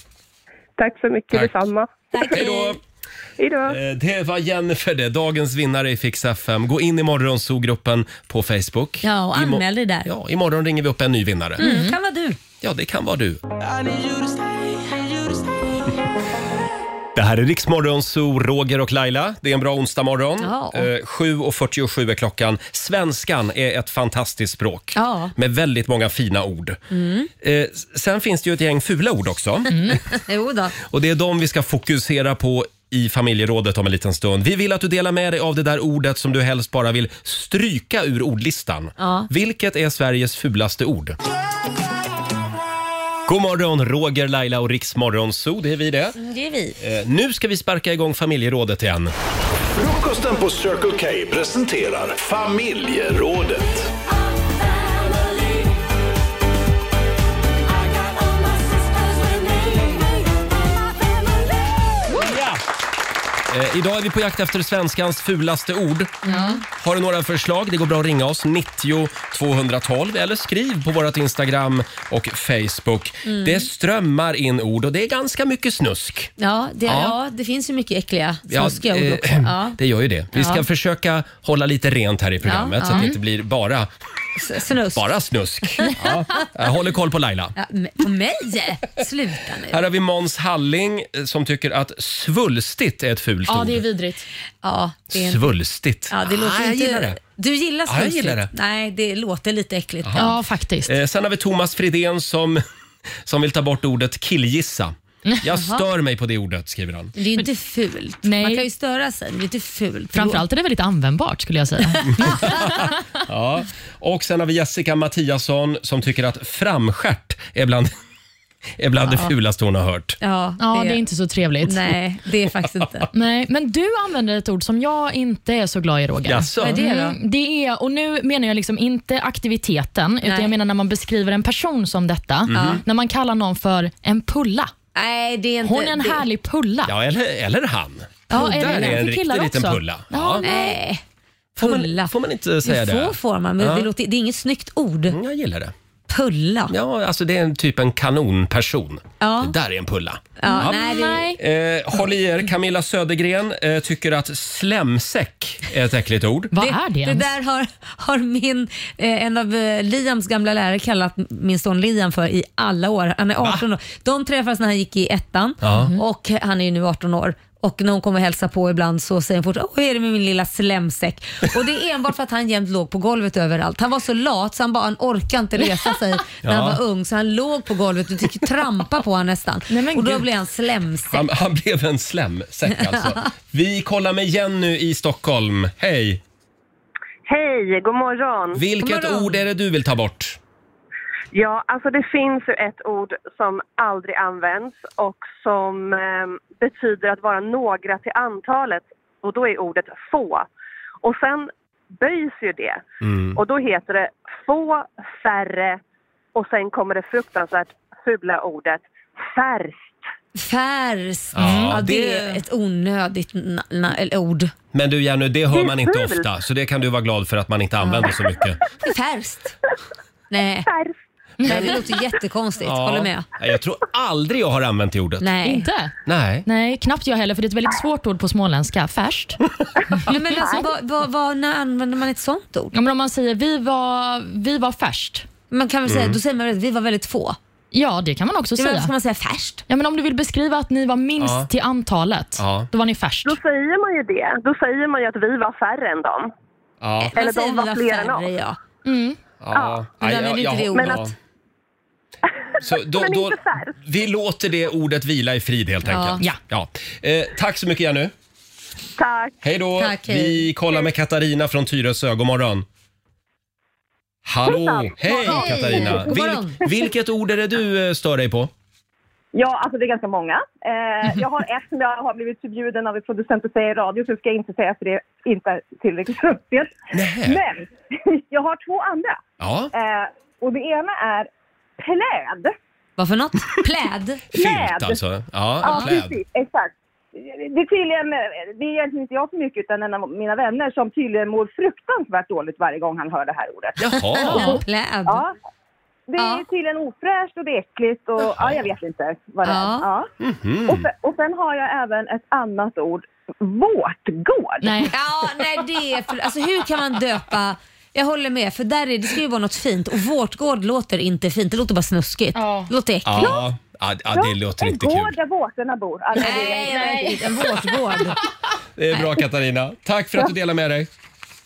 [SPEAKER 10] Tack så mycket,
[SPEAKER 1] Tack.
[SPEAKER 10] detsamma.
[SPEAKER 1] Hej då!
[SPEAKER 10] Hej då.
[SPEAKER 1] Eh, Det var Jennifer det, dagens vinnare i Fix FM. Gå in i morgonsogruppen på Facebook.
[SPEAKER 3] Ja, och
[SPEAKER 1] Imo-
[SPEAKER 3] anmäl dig där. Mm.
[SPEAKER 1] Ja, imorgon ringer vi upp en ny vinnare.
[SPEAKER 3] Det kan vara du.
[SPEAKER 1] Ja, det kan vara du. Det här är Riksmorgon, Zoo, Roger och Laila. Det är en bra onsdag morgon.
[SPEAKER 3] Ja.
[SPEAKER 1] Eh, 7.47 är klockan. Svenskan är ett fantastiskt språk
[SPEAKER 3] Ja. Mm.
[SPEAKER 1] med väldigt många fina ord. Eh, s- sen finns det ju ett gäng fula ord också.
[SPEAKER 3] Jo då.
[SPEAKER 1] Och Det är de vi ska fokusera på i familjerådet om en liten stund. Vi vill att du delar med dig av det där ordet som du helst bara vill stryka ur ordlistan.
[SPEAKER 3] Ja.
[SPEAKER 1] Vilket är Sveriges fulaste ord? God morgon, Roger, Laila och Riksmorgon Zoo. Det är vi det.
[SPEAKER 4] Mm,
[SPEAKER 3] Det är vi.
[SPEAKER 1] Eh, nu ska vi sparka igång familjerådet igen.
[SPEAKER 8] Frukosten på Circle K presenterar Familjerådet.
[SPEAKER 1] Ja! Eh, idag är vi på jakt efter svenskans fulaste ord. Har du några förslag? Det går bra att ringa oss, 90 212 eller skriv på vårt Instagram och Facebook.
[SPEAKER 3] Mm.
[SPEAKER 1] Det strömmar in ord och det är ganska mycket snusk.
[SPEAKER 3] Ja det,
[SPEAKER 1] Ja.
[SPEAKER 3] ja. det finns ju mycket äckliga snuskiga ord
[SPEAKER 1] eh,
[SPEAKER 3] också. Ja.
[SPEAKER 1] Det gör ju det. Vi ska
[SPEAKER 3] Ja.
[SPEAKER 1] försöka hålla lite rent här i programmet så att det inte blir bara,
[SPEAKER 3] S- Snusk.
[SPEAKER 1] bara snusk. ja. Jag håller koll på Laila.
[SPEAKER 3] Ja, men- på mig? Sluta nu.
[SPEAKER 1] Här har vi Måns Halling eh, som tycker att svulstigt är ett fult
[SPEAKER 4] Ja,
[SPEAKER 1] ord.
[SPEAKER 4] det är vidrigt.
[SPEAKER 3] Ja, det, är-
[SPEAKER 1] Svulstigt.
[SPEAKER 3] ja, det låter
[SPEAKER 1] ah, jag
[SPEAKER 3] inte...
[SPEAKER 1] gillar det.
[SPEAKER 3] Du gillar
[SPEAKER 1] Ja, jag
[SPEAKER 3] snuskigt?
[SPEAKER 1] gillar det.
[SPEAKER 3] Nej, det låter lite äckligt.
[SPEAKER 4] Ja, faktiskt.
[SPEAKER 1] Eh, sen har vi Thomas Fridén som, som vill ta bort ordet killgissa. Jag stör mig på det ordet, skriver han.
[SPEAKER 3] Det är ju inte fult.
[SPEAKER 4] Nej.
[SPEAKER 3] Man kan ju störa sig, men det är inte fult.
[SPEAKER 4] Framförallt är det väldigt användbart skulle jag säga.
[SPEAKER 1] Ja. Och sen har vi Jessica Mattiasson som tycker att framskärt är bland, är bland det fulaste hon har hört.
[SPEAKER 3] Ja,
[SPEAKER 4] Ja, det är inte så trevligt.
[SPEAKER 3] Nej, det är faktiskt inte.
[SPEAKER 4] Nej, men du använder ett ord som jag inte är så glad i Roger.
[SPEAKER 1] Jaså?
[SPEAKER 3] Vad är det då?
[SPEAKER 4] Mm, det är, och nu menar jag liksom inte aktiviteten, utan
[SPEAKER 3] Nej.
[SPEAKER 4] jag menar när man beskriver en person som detta.
[SPEAKER 1] Mhm.
[SPEAKER 4] När man kallar någon för en pulla.
[SPEAKER 3] Nej, det är inte...
[SPEAKER 4] Hon är en
[SPEAKER 3] det-
[SPEAKER 4] härlig pulla.
[SPEAKER 1] Ja, eller, eller han.
[SPEAKER 4] Ja, är
[SPEAKER 1] Där
[SPEAKER 4] det
[SPEAKER 1] är
[SPEAKER 4] den
[SPEAKER 1] en
[SPEAKER 4] för
[SPEAKER 1] riktig
[SPEAKER 4] killar
[SPEAKER 1] liten
[SPEAKER 4] också?
[SPEAKER 1] pulla.
[SPEAKER 4] Ja,
[SPEAKER 1] Ja.
[SPEAKER 3] Nej,
[SPEAKER 1] Får man-
[SPEAKER 3] pulla.
[SPEAKER 1] Får man inte säga
[SPEAKER 3] Jo,
[SPEAKER 1] det?
[SPEAKER 3] får, får man, men
[SPEAKER 1] Ja.
[SPEAKER 3] det, låter, det är inget snyggt ord.
[SPEAKER 1] Mm, Jag gillar det.
[SPEAKER 3] Pulla. Ja,
[SPEAKER 1] Ja, alltså det är en typ en kanonperson.
[SPEAKER 3] Ja.
[SPEAKER 1] Det där är en pulla.
[SPEAKER 3] Nej, det,
[SPEAKER 4] Nej.
[SPEAKER 1] Eh, håll i er, Camilla Södergren eh, tycker att slemsäck är ett äckligt ord.
[SPEAKER 4] Vad är det,
[SPEAKER 3] det
[SPEAKER 4] ens?
[SPEAKER 3] där har, har min, eh, en av eh, Liams gamla lärare kallat min son Liam för
[SPEAKER 4] Mm-hmm.
[SPEAKER 3] i alla år. Han är 18 år. De träffades när han gick i ettan
[SPEAKER 1] Ja.
[SPEAKER 3] och han är ju nu 18 år. Och när hon kommer och hälsar på ibland så säger hon fort Åh, hur är det med min lilla slämsäck? Och det är enbart för att han jämt låg på golvet överallt. Han var så lat så han bara han orkade inte resa sig när han
[SPEAKER 1] Ja.
[SPEAKER 3] var ung så han låg på golvet och fick trampa på honom nästan.
[SPEAKER 4] Nej, men
[SPEAKER 3] och då
[SPEAKER 4] gud.
[SPEAKER 3] blev han slämsäck.
[SPEAKER 1] Han, han blev en slemsäck alltså. Vi kollar med Jenny i Stockholm. Hej!
[SPEAKER 10] Hej, god morgon.
[SPEAKER 1] Vilket
[SPEAKER 3] morgon.
[SPEAKER 1] ord är det du vill ta bort?
[SPEAKER 10] Ja, alltså det finns ju ett ord som aldrig används och som eh, betyder att vara några till antalet och då är ordet få. Och sen böjs ju det och då heter det få, färre och sen kommer det fruktansvärt fula ordet färskt.
[SPEAKER 3] Färskt.
[SPEAKER 1] Ja,
[SPEAKER 3] Ja, det... är
[SPEAKER 1] det-
[SPEAKER 3] ett onödigt na- na- eller ord.
[SPEAKER 1] Men du Jenny, det hör
[SPEAKER 10] är
[SPEAKER 1] man inte
[SPEAKER 10] fult.
[SPEAKER 1] ofta så det kan du vara glad för att man inte använder så mycket.
[SPEAKER 3] Färskt. Nej,
[SPEAKER 10] Färskt.
[SPEAKER 3] nej, det låter jättekonstigt. Håller med.
[SPEAKER 1] Ja, Jag tror aldrig jag har använt det ordet.
[SPEAKER 3] Nej.
[SPEAKER 4] Inte?
[SPEAKER 1] Nej.
[SPEAKER 4] Nej, knappt jag heller för det är ett väldigt svårt ord på småländska. Färskt.
[SPEAKER 3] Nej, men alltså, vad, vad, vad, när använder man ett sånt ord?
[SPEAKER 4] Ja, men om man säger vi var, vi var färskt.
[SPEAKER 3] Man kan väl säga,
[SPEAKER 1] Mm.
[SPEAKER 3] Då säger man väl att vi var väldigt få.
[SPEAKER 4] Ja, det kan man också
[SPEAKER 3] Ja, men alltså,
[SPEAKER 4] säga.
[SPEAKER 3] ska man säga färskt?
[SPEAKER 4] Ja, men om du vill beskriva att ni var minst
[SPEAKER 1] Ja.
[SPEAKER 4] till antalet,
[SPEAKER 1] Ja.
[SPEAKER 4] då var ni färskt.
[SPEAKER 10] Då säger man ju det. Då säger man ju att vi var färre än dem.
[SPEAKER 1] Ja.
[SPEAKER 10] Eller
[SPEAKER 3] man säger
[SPEAKER 10] de var fler än oss.
[SPEAKER 3] ja.
[SPEAKER 1] Ja.
[SPEAKER 3] men
[SPEAKER 1] Aj,
[SPEAKER 3] använder
[SPEAKER 1] jag-
[SPEAKER 3] inte det
[SPEAKER 1] jag-
[SPEAKER 3] ordet.
[SPEAKER 1] ja. Så då,
[SPEAKER 10] Men
[SPEAKER 1] då,
[SPEAKER 10] inte färskt.
[SPEAKER 1] vi låter det ordet vila i frid helt
[SPEAKER 3] Ja.
[SPEAKER 1] enkelt. Ja. Eh, tack så mycket Jenny.
[SPEAKER 10] Tack.
[SPEAKER 1] Hej då.
[SPEAKER 3] Tack, hej.
[SPEAKER 1] Vi kollar med Katarina från Tyresö. God morgon. Hallå!
[SPEAKER 10] Hejsan.
[SPEAKER 1] Hej
[SPEAKER 3] Hej.
[SPEAKER 1] Katarina!
[SPEAKER 3] God morgon.
[SPEAKER 1] Vil- vilket ord är det du eh, stör dig på?
[SPEAKER 10] Ja, alltså det är ganska många. Eh, jag har ett som jag har blivit förbjuden av en producent att säga i radio, så det ska jag inte säga för det är inte tillräckligt rumpigt.
[SPEAKER 1] Nej.
[SPEAKER 10] Men jag har två andra.
[SPEAKER 1] Ja,
[SPEAKER 10] Eh, och det ena är pläd.
[SPEAKER 3] Vad för något? Pläd?
[SPEAKER 1] filt
[SPEAKER 10] pläd.
[SPEAKER 1] alltså. Ja, pläd.
[SPEAKER 10] precis. Exakt. Det är tydligen, det är egentligen inte jag så mycket utan en av mina vänner som tydligen mår fruktansvärt dåligt varje gång han hör det här ordet.
[SPEAKER 1] Jaha.
[SPEAKER 3] Pläd.
[SPEAKER 10] Ja. Det är
[SPEAKER 3] Mm. Ja.
[SPEAKER 10] tydligen ofräscht och det är äckligt och ja, jag vet inte vad det
[SPEAKER 3] Ja.
[SPEAKER 10] är. Ja. Och,
[SPEAKER 1] Mhm. Mm.
[SPEAKER 10] sen, och sen har jag även ett annat ord, vårtgård.
[SPEAKER 4] Nej.
[SPEAKER 3] Ja, nej det är för, alltså hur kan man döpa jag håller med, för där är, det ska ju vara något fint och vårtgård låter inte fint. Det låter bara snuskigt.
[SPEAKER 4] Ja.
[SPEAKER 3] Det låter äckligt.
[SPEAKER 1] Ja, ja, ja, det låter
[SPEAKER 10] en
[SPEAKER 1] inte
[SPEAKER 10] gård
[SPEAKER 1] kul.
[SPEAKER 10] där vårtorna bor. Alltså, det är-
[SPEAKER 3] Nej, nej, en vårtgård.
[SPEAKER 1] Det är bra Katarina. Tack för att du delade med dig.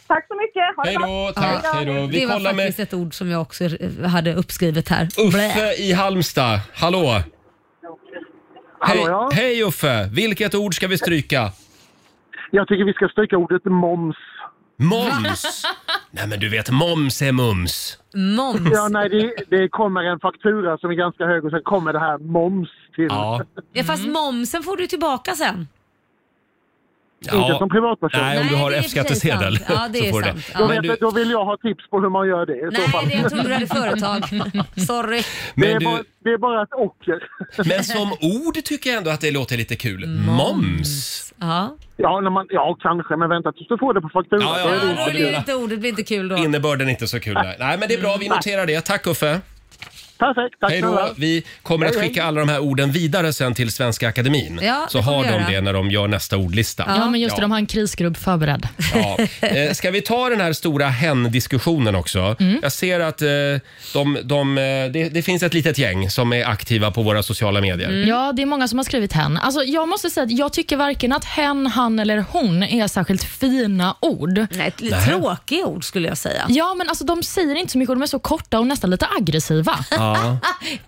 [SPEAKER 10] Tack så mycket, ha det
[SPEAKER 1] Hej
[SPEAKER 10] bra.
[SPEAKER 1] då, tack. Hej då. Vi
[SPEAKER 3] det var
[SPEAKER 1] kollar
[SPEAKER 3] faktiskt
[SPEAKER 1] med
[SPEAKER 3] ett ord som jag också eh, hade uppskrivet här. Blä.
[SPEAKER 1] Uffe i Halmstad. Hallå! Hej,
[SPEAKER 11] ja.
[SPEAKER 1] hej Uffe! Vilket ord ska vi stryka?
[SPEAKER 11] Jag tycker vi ska stryka ordet moms.
[SPEAKER 1] Moms! Nej men du vet, moms är mums.
[SPEAKER 3] Moms.
[SPEAKER 11] Ja, nej, det, det kommer en faktura som är ganska hög och sen kommer det här moms till.
[SPEAKER 1] Ja.
[SPEAKER 3] Ja, fast
[SPEAKER 1] Mm.
[SPEAKER 3] momsen får du tillbaka sen.
[SPEAKER 11] Inte som privatperson.
[SPEAKER 1] Nej, om du
[SPEAKER 3] Nej,
[SPEAKER 1] har
[SPEAKER 3] det är i och för sig
[SPEAKER 1] F-skattsedel
[SPEAKER 3] sant. Ja, det
[SPEAKER 1] så
[SPEAKER 3] är
[SPEAKER 1] får du det.
[SPEAKER 3] sant.
[SPEAKER 11] Då,
[SPEAKER 3] Ja.
[SPEAKER 1] Men,
[SPEAKER 11] vet,
[SPEAKER 1] du,
[SPEAKER 11] jag- då vill jag ha tips på hur man gör det i så
[SPEAKER 3] Nej,
[SPEAKER 11] fall.
[SPEAKER 3] det, jag trodde du hade företag. Sorry.
[SPEAKER 11] Det är,
[SPEAKER 1] men,
[SPEAKER 11] bara,
[SPEAKER 1] du,
[SPEAKER 11] det är bara ett ocker.
[SPEAKER 1] men som ord tycker jag ändå att det låter lite kul. Moms!
[SPEAKER 3] Ja.
[SPEAKER 11] Ja, när man, ja, kanske, men vänta tills du får det på fakturan.
[SPEAKER 1] Ja, ja,
[SPEAKER 11] Då
[SPEAKER 3] Ja,
[SPEAKER 11] är det-
[SPEAKER 3] då blir
[SPEAKER 1] det blir-
[SPEAKER 3] det inte ordet blir inte kul då.
[SPEAKER 1] Innebörden är inte så kul. Där. Nej men det är bra, vi noterar det. Tack Uffe!
[SPEAKER 11] Perfekt, tack
[SPEAKER 1] Hej då!
[SPEAKER 11] snälla.
[SPEAKER 1] Vi kommer att
[SPEAKER 11] Hej, hej.
[SPEAKER 1] skicka alla de här orden vidare sen till Svenska Akademin.
[SPEAKER 3] Ja,
[SPEAKER 1] så
[SPEAKER 3] det får
[SPEAKER 1] har
[SPEAKER 3] vi
[SPEAKER 1] de
[SPEAKER 3] göra.
[SPEAKER 1] det när de gör nästa ordlista.
[SPEAKER 4] Ja, men just det,
[SPEAKER 1] Ja.
[SPEAKER 4] de har en krisgrupp förberedd.
[SPEAKER 1] Ja. Eh, Ska vi ta den här stora hen-diskussionen också? Jag ser att eh, de, de, eh, det, det finns ett litet gäng som är aktiva på våra sociala medier.
[SPEAKER 4] Ja, det är många som har skrivit hen. Alltså, jag måste säga att jag tycker varken att hen, han eller hon är särskilt fina ord.
[SPEAKER 3] Nej, ett lite tråkigt ord skulle jag säga.
[SPEAKER 4] Ja, men alltså, de säger inte så mycket och de är så korta och nästan lite aggressiva.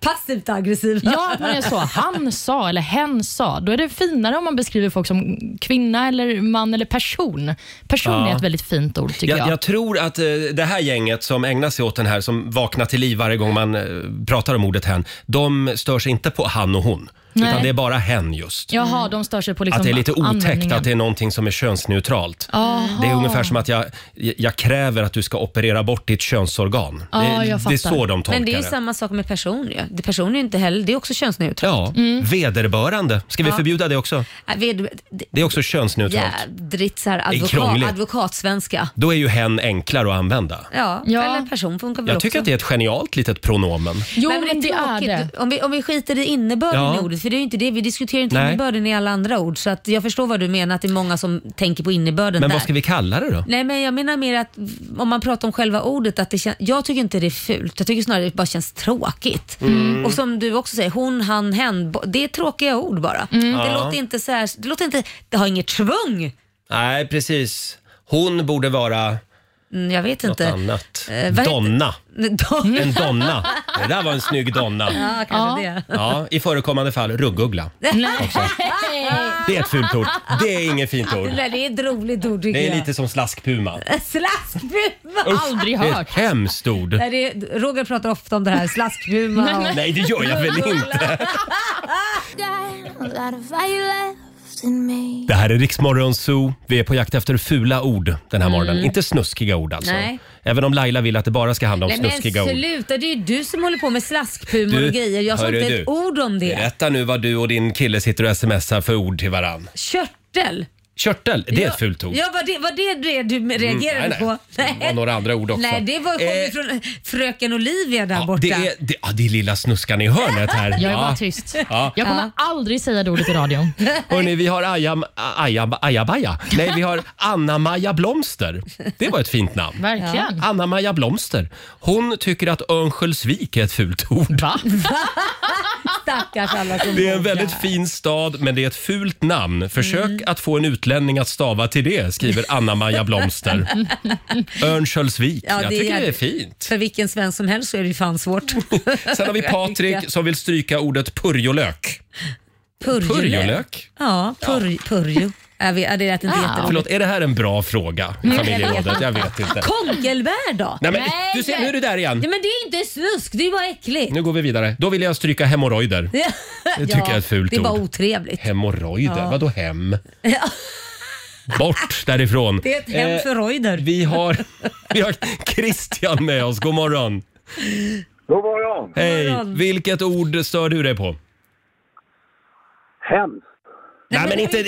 [SPEAKER 3] Passivt aggressiv.
[SPEAKER 4] Ja, att man är så. Han sa eller hen sa. Då är det finare om man beskriver folk som kvinna eller man eller person. Person är ett väldigt fint ord tycker
[SPEAKER 1] Jag,
[SPEAKER 4] jag.
[SPEAKER 1] jag tror att eh, det här gänget som ägnar sig åt den här, som vaknar till liv varje gång man eh, pratar om ordet hen, de stör sig inte på han och hon.
[SPEAKER 4] Nej.
[SPEAKER 1] Utan det är bara hen just.
[SPEAKER 4] Jaha, de stör sig på liksom
[SPEAKER 1] Att det är lite otäckt
[SPEAKER 4] användningen.
[SPEAKER 1] att det är någonting som är könsneutralt. Det är
[SPEAKER 3] Ah.
[SPEAKER 1] ungefär som att jag, jag kräver att du ska operera bort ditt könsorgan.
[SPEAKER 4] Ja,
[SPEAKER 1] det,
[SPEAKER 4] jag
[SPEAKER 1] det är
[SPEAKER 4] fattar.
[SPEAKER 1] så de tolkar
[SPEAKER 3] Ah, Men det är ju samma sak med person ju. Det person är ju inte heller, det är också könsneutralt.
[SPEAKER 1] Ja, vederbörande. Ska vi förbjuda det också?
[SPEAKER 3] Äh, ved- det-
[SPEAKER 1] Det är också könsneutralt.
[SPEAKER 3] Jädrigt så här
[SPEAKER 1] är
[SPEAKER 3] advokat,
[SPEAKER 1] krångligt.
[SPEAKER 3] advokatsvenska.
[SPEAKER 1] Då är ju hen enklare att använda.
[SPEAKER 3] Ja,
[SPEAKER 4] Ja.
[SPEAKER 3] eller person funkar väl
[SPEAKER 1] Jag
[SPEAKER 3] också.
[SPEAKER 1] tycker att det är ett genialt litet pronomen.
[SPEAKER 4] Jo,
[SPEAKER 3] Nej,
[SPEAKER 4] men det är
[SPEAKER 3] tråkigt.
[SPEAKER 4] det.
[SPEAKER 3] Om vi, om vi skiter i innebörden
[SPEAKER 1] Ja.
[SPEAKER 3] i ordet, för det är ju inte det. Vi diskuterar ju inte
[SPEAKER 1] Nej.
[SPEAKER 3] innebörden i alla andra ord. Så att jag förstår vad du menar, att det är många som tänker på innebörden
[SPEAKER 1] Men
[SPEAKER 3] där.
[SPEAKER 1] vad ska vi kalla det då?
[SPEAKER 3] Nej, men jag menar mer att om man pratar om själva ordet, att det kän- jag tycker inte det är fult. Jag tycker snarare det bara känns tråkigt.
[SPEAKER 1] Mm.
[SPEAKER 3] Och som du också säger, hon, han, hen. bo- Det är tråkiga ord bara.
[SPEAKER 4] Mm.
[SPEAKER 3] Det,
[SPEAKER 1] Ja.
[SPEAKER 3] låter inte så här, det låter inte, det har inget tvång.
[SPEAKER 1] Nej, precis. Hon borde vara
[SPEAKER 3] Mm, Jag vet
[SPEAKER 1] något
[SPEAKER 3] inte.
[SPEAKER 1] annat.
[SPEAKER 3] Eh, vad heter-
[SPEAKER 1] donna.
[SPEAKER 3] Don-
[SPEAKER 1] En donna. Det där var en snygg donna.
[SPEAKER 3] Ja, kanske det.
[SPEAKER 1] Ja, i förekommande fall ruggugla. Det är ett fult ord. Det är inget fint ord.
[SPEAKER 3] Det, där, det är ett roligt ord tycker
[SPEAKER 1] Det är
[SPEAKER 3] jag.
[SPEAKER 1] lite som slaskpuma.
[SPEAKER 3] Slaskpuma!
[SPEAKER 1] Usch, Det är ett hemskt ord.
[SPEAKER 3] Nej, det är, Roger pratar ofta om det här, slaskpuma. och-
[SPEAKER 1] Nej, det gör jag väl inte. Det här är Riksmorgon Zoo. Vi är på jakt efter fula ord den här
[SPEAKER 3] Mm.
[SPEAKER 1] morgonen. Inte snuskiga ord alltså.
[SPEAKER 3] Nej.
[SPEAKER 1] Även om Laila vill att det bara ska handla om
[SPEAKER 3] Nej, men
[SPEAKER 1] snuskiga ord.
[SPEAKER 3] sluta, det är ju du som håller på med slaskpuma
[SPEAKER 1] Du,
[SPEAKER 3] och grejer. Jag sa
[SPEAKER 1] hörru
[SPEAKER 3] inte ett
[SPEAKER 1] du.
[SPEAKER 3] ord om det.
[SPEAKER 1] Berätta nu vad du och din kille sitter och smsar för ord till varann.
[SPEAKER 3] Körtel.
[SPEAKER 1] Körtel, det är
[SPEAKER 3] Ja.
[SPEAKER 1] ett fult ord. Mm,
[SPEAKER 3] Ja, var det var det, det du reagerade
[SPEAKER 1] nej, nej.
[SPEAKER 3] på?
[SPEAKER 1] Det var några andra ord också.
[SPEAKER 3] Nej, det var, kom ju från eh, fröken Olivia där borta.
[SPEAKER 1] Det är, det, ja, det är lilla snuskan i hörnet här.
[SPEAKER 4] Jag är
[SPEAKER 1] Ja.
[SPEAKER 4] bara tyst.
[SPEAKER 1] Ja.
[SPEAKER 4] Jag kommer aldrig säga det ordet i radion.
[SPEAKER 1] Hörni, vi har Aja, Aja, Ajabaja. Nej, vi har Anna-Maja Blomster. Det var ett fint namn.
[SPEAKER 4] Verkligen.
[SPEAKER 1] Anna-Maja Blomster. Hon tycker att Örnsköldsvik är ett fult ord.
[SPEAKER 3] Stackars alla som
[SPEAKER 1] Det är en
[SPEAKER 3] bor
[SPEAKER 1] väldigt
[SPEAKER 3] där.
[SPEAKER 1] fin stad, men det är ett fult namn. Försök
[SPEAKER 3] Mm.
[SPEAKER 1] att få en utlänning att stava till det, skriver Anna-Maja Blomster. Örnsköldsvik.
[SPEAKER 3] Ja,
[SPEAKER 1] Jag
[SPEAKER 3] det
[SPEAKER 1] tycker
[SPEAKER 3] är-
[SPEAKER 1] det är fint.
[SPEAKER 3] För vilken svensk som helst så är det ju fan svårt.
[SPEAKER 1] Sen har vi Patrik som vill stryka ordet purjolök. Purjolök?
[SPEAKER 3] Ja, purj, purjo. Jag vet, ja, det lät inte
[SPEAKER 1] Förlåt,
[SPEAKER 3] jätteroligt.
[SPEAKER 1] är det här en bra fråga?
[SPEAKER 3] Nej,
[SPEAKER 1] Familjerådet? Jag vet inte.
[SPEAKER 3] Kongelbär då?
[SPEAKER 1] Nej, men, du ser, nu är du där igen.
[SPEAKER 3] Nej, men det är inte snusk, det är bara äckligt.
[SPEAKER 1] Nu går vi vidare. Då vill jag stryka hemorrojder.
[SPEAKER 3] Ja,
[SPEAKER 1] Det tycker jag är ett fult
[SPEAKER 3] Det är bara
[SPEAKER 1] ord.
[SPEAKER 3] otrevligt.
[SPEAKER 1] Hemorrojder?
[SPEAKER 3] Ja.
[SPEAKER 1] Vadå hem? Bort därifrån.
[SPEAKER 3] Det är ett hem
[SPEAKER 1] Eh,
[SPEAKER 3] för rojder.
[SPEAKER 1] Vi har, vi har Christian med oss. God morgon.
[SPEAKER 12] God morgon!
[SPEAKER 1] Hej.
[SPEAKER 12] morgon.
[SPEAKER 1] Vilket ord stör du dig på?
[SPEAKER 12] Hemskt.
[SPEAKER 1] Nej, men inte...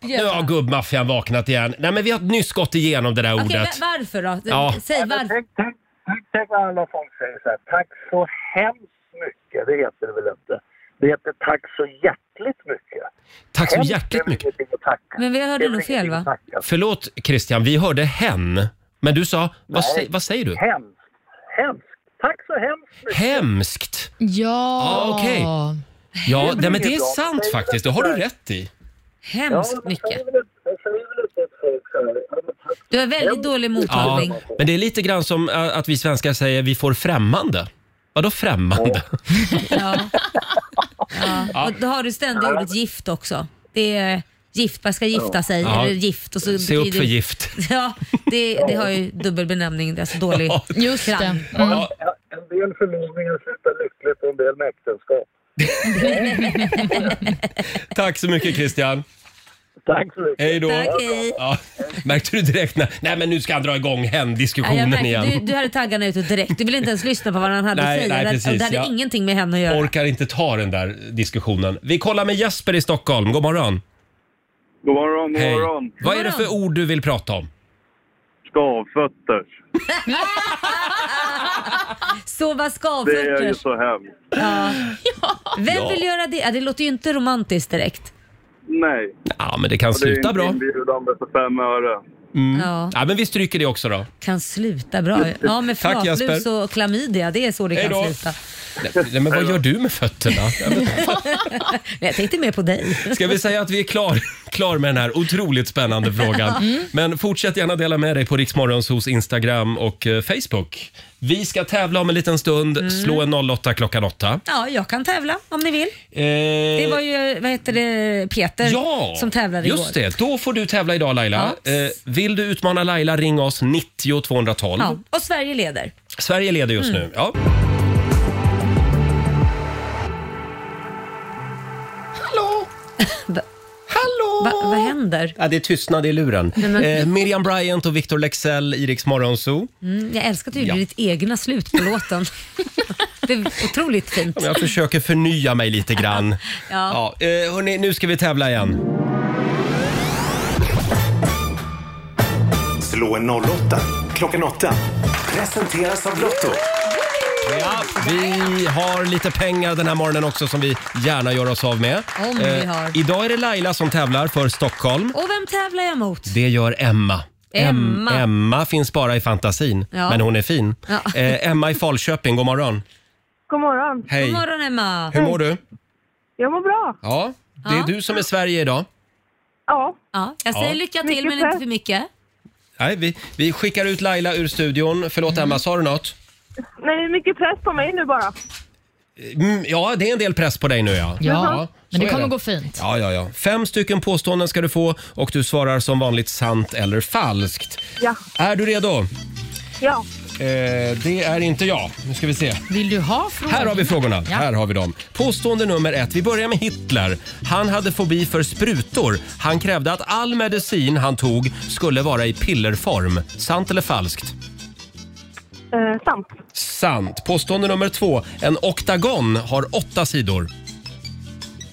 [SPEAKER 1] Nu har
[SPEAKER 3] Okej,
[SPEAKER 1] gubbmaffian vaknat igen. Nej, men vi har nyss gått igenom det där ordet.
[SPEAKER 3] men varför då?
[SPEAKER 1] Ja.
[SPEAKER 3] Säg varför.
[SPEAKER 12] Tänk vad alla folk säger så här. Tack så hemskt mycket. Det heter det väl inte? Det heter tack så hjärtligt mycket.
[SPEAKER 1] Tack så
[SPEAKER 12] Hemskt
[SPEAKER 1] hjärtligt
[SPEAKER 12] är väl
[SPEAKER 1] mycket.
[SPEAKER 12] ingenting att tacka.
[SPEAKER 3] Men vi
[SPEAKER 12] Det
[SPEAKER 3] hörde
[SPEAKER 12] är väl
[SPEAKER 3] nog fel va?
[SPEAKER 1] Förlåt Christian, vi hörde hen. Men du sa, vad,
[SPEAKER 12] Nej.
[SPEAKER 1] sä- vad säger du?
[SPEAKER 12] Hemskt. Hemskt. Tack så hemskt mycket.
[SPEAKER 1] Hemskt.
[SPEAKER 4] Ja.
[SPEAKER 1] Ja, okej. Ja, nej, men det är sant
[SPEAKER 12] Säg det
[SPEAKER 1] faktiskt. Det har du rätt i.
[SPEAKER 3] Hemskt mycket. Du har väldigt dålig
[SPEAKER 1] Ja,
[SPEAKER 3] mottagning.
[SPEAKER 1] men det är lite grann som ä, att vi svenskar säger vi får främmande. Vadå främmande?
[SPEAKER 3] Ja. Och då har du ständigt ordet gift också. Det är gift, man ska gifta sig.
[SPEAKER 1] Ja.
[SPEAKER 3] Eller gift och så
[SPEAKER 1] Se upp
[SPEAKER 3] betyder-
[SPEAKER 1] för gift.
[SPEAKER 3] Ja, det, det har ju dubbel benämning. Alltså dålig
[SPEAKER 4] Just det.
[SPEAKER 3] klang.
[SPEAKER 12] En del förlovningar slutar lyckligt och en del med äktenskap.
[SPEAKER 1] Tack så mycket Christian.
[SPEAKER 12] Tack så mycket.
[SPEAKER 1] Hej då.
[SPEAKER 3] Tack, hej.
[SPEAKER 1] Ja, märkte du direkt när, nej men nu ska han dra igång
[SPEAKER 3] Ja, jag
[SPEAKER 1] hen-diskussionen
[SPEAKER 3] märkte,
[SPEAKER 1] igen.
[SPEAKER 3] du, du hade taggarna ute direkt. Du ville inte ens lyssna på vad han hade
[SPEAKER 1] Nej,
[SPEAKER 3] att säga.
[SPEAKER 1] nej,
[SPEAKER 3] Det-
[SPEAKER 1] precis,
[SPEAKER 3] det hade
[SPEAKER 1] ja.
[SPEAKER 3] ingenting med henne att göra.
[SPEAKER 1] Orkar inte ta den där diskussionen. Vi kollar med Jesper i Stockholm. God morgon.
[SPEAKER 13] God morgon, god
[SPEAKER 1] Hej.
[SPEAKER 13] morgon.
[SPEAKER 1] Vad är det för ord du vill prata om?
[SPEAKER 13] Skavfötter.
[SPEAKER 3] Sova
[SPEAKER 13] Det är ju
[SPEAKER 3] skavfötter.
[SPEAKER 13] så hemskt.
[SPEAKER 3] Ja. Vem
[SPEAKER 1] Ja.
[SPEAKER 3] vill göra det? Ja, det låter ju inte romantiskt direkt.
[SPEAKER 13] Nej.
[SPEAKER 1] Ja, men det kan
[SPEAKER 13] Och det är
[SPEAKER 1] sluta
[SPEAKER 13] inte
[SPEAKER 1] bra.
[SPEAKER 13] inbjudande för fem öre.
[SPEAKER 1] Mm.
[SPEAKER 3] Ja.
[SPEAKER 1] men vi stryker det också då.
[SPEAKER 3] Kan sluta bra. Ja, med
[SPEAKER 1] Tack,
[SPEAKER 3] flatlus
[SPEAKER 1] Jasper.
[SPEAKER 3] och klamydia. Det är så det
[SPEAKER 1] Hej
[SPEAKER 3] kan
[SPEAKER 1] då.
[SPEAKER 3] sluta.
[SPEAKER 1] Nej, nej, men vad gör du med fötterna?
[SPEAKER 3] Nej, jag tänkte mer på dig.
[SPEAKER 1] Ska vi säga att vi är klar, klar med den här otroligt spännande frågan?
[SPEAKER 3] Mm.
[SPEAKER 1] Men fortsätt gärna dela med dig på Riksmorgonsos Instagram och eh, Facebook. Vi ska tävla om en liten stund.
[SPEAKER 3] Mm.
[SPEAKER 1] Slå en 08 klockan Eh, 8.
[SPEAKER 3] Ja, jag kan tävla om ni vill. Det var ju vad heter det, Peter
[SPEAKER 1] Eh. Ja,
[SPEAKER 3] som tävlade igår.
[SPEAKER 1] just det. Då får du tävla idag Laila. Eh, vill du utmana Laila, ring oss 90 212.
[SPEAKER 3] Ja, och Sverige leder.
[SPEAKER 1] Sverige leder just
[SPEAKER 3] Mm.
[SPEAKER 1] nu. Ja. Hallå! Hallå!
[SPEAKER 3] vad händer?
[SPEAKER 1] Ja, det är tystnad i luren.
[SPEAKER 3] Nej, men-
[SPEAKER 1] Eh, Miriam Bryant och Victor Lexell i Rix Morgonzoo.
[SPEAKER 3] Mm, jag älskar att du
[SPEAKER 1] Ja.
[SPEAKER 3] gjorde ditt egna slut på låten. det är otroligt fint.
[SPEAKER 1] Ja, men Jag försöker förnya mig lite grann.
[SPEAKER 3] Ja.
[SPEAKER 1] Ja, eh, hörni, nu ska vi tävla igen.
[SPEAKER 8] Slå en 08 klockan 8. Presenteras av Lotto.
[SPEAKER 1] Ja, vi har lite pengar den här morgonen också som vi gärna gör oss av med. Eh,
[SPEAKER 3] Om vi har.
[SPEAKER 1] idag är det Laila som tävlar för Stockholm.
[SPEAKER 3] Och vem tävlar jag mot?
[SPEAKER 1] Det gör Emma.
[SPEAKER 3] Emma.
[SPEAKER 1] Em- Emma finns bara i fantasin,
[SPEAKER 3] Ja.
[SPEAKER 1] men hon är fin.
[SPEAKER 3] Ja.
[SPEAKER 1] Eh, Emma i Falköping, god morgon.
[SPEAKER 10] God morgon.
[SPEAKER 1] Hej. God morgon,
[SPEAKER 3] Emma.
[SPEAKER 1] Hur mår du?
[SPEAKER 10] Jag mår bra.
[SPEAKER 1] Ja, det är
[SPEAKER 3] Ja.
[SPEAKER 1] du som är Sverige idag.
[SPEAKER 10] Ja.
[SPEAKER 3] ja jag säger
[SPEAKER 1] Ja.
[SPEAKER 3] lycka till men inte för mycket.
[SPEAKER 1] Nej, vi, vi skickar ut Laila ur studion. Förlåt
[SPEAKER 4] Mm.
[SPEAKER 1] Emma, sa du något?
[SPEAKER 10] Nej, det är mycket press på mig nu bara.
[SPEAKER 1] Mm, ja, det är en del press på dig nu ja.
[SPEAKER 4] men
[SPEAKER 1] så
[SPEAKER 4] det
[SPEAKER 1] är
[SPEAKER 4] kommer gå fint.
[SPEAKER 1] Ja, ja, ja. Fem stycken påståenden ska du få och du svarar som vanligt sant eller falskt.
[SPEAKER 10] Ja.
[SPEAKER 1] Är du redo?
[SPEAKER 10] Ja.
[SPEAKER 1] Eh, det är inte jag. Nu ska vi se.
[SPEAKER 4] Vill du ha frågan?
[SPEAKER 1] Här har vi frågorna.
[SPEAKER 4] Ja.
[SPEAKER 1] Här har vi dem. Påstående nummer ett. Vi börjar med Hitler. Han hade fobi för sprutor. Han krävde att all medicin han tog skulle vara i pillerform. Sant eller falskt?
[SPEAKER 10] Eh, sant.
[SPEAKER 1] Sant. Påstående nummer två. En oktagon har åtta sidor.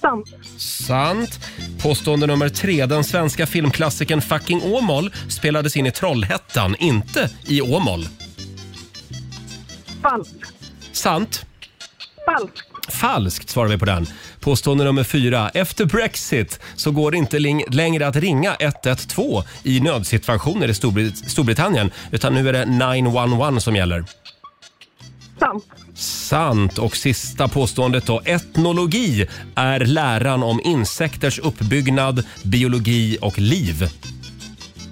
[SPEAKER 10] Sant.
[SPEAKER 1] Sant. Påstående nummer tre. Den svenska filmklassikern Fucking Åmål spelades in i Trollhättan, inte i Åmål.
[SPEAKER 10] Falskt.
[SPEAKER 1] Sant.
[SPEAKER 10] Falskt.
[SPEAKER 1] Falskt svarar vi på den. Påstående nummer fyra. Efter Brexit så går det inte ling- längre att ringa 112 i nödsituationer i Storbrit- Storbritannien utan nu är det 911 som gäller.
[SPEAKER 10] Sant.
[SPEAKER 1] Sant. Och sista påståendet då. Etnologi är läran om insekters uppbyggnad, biologi och liv.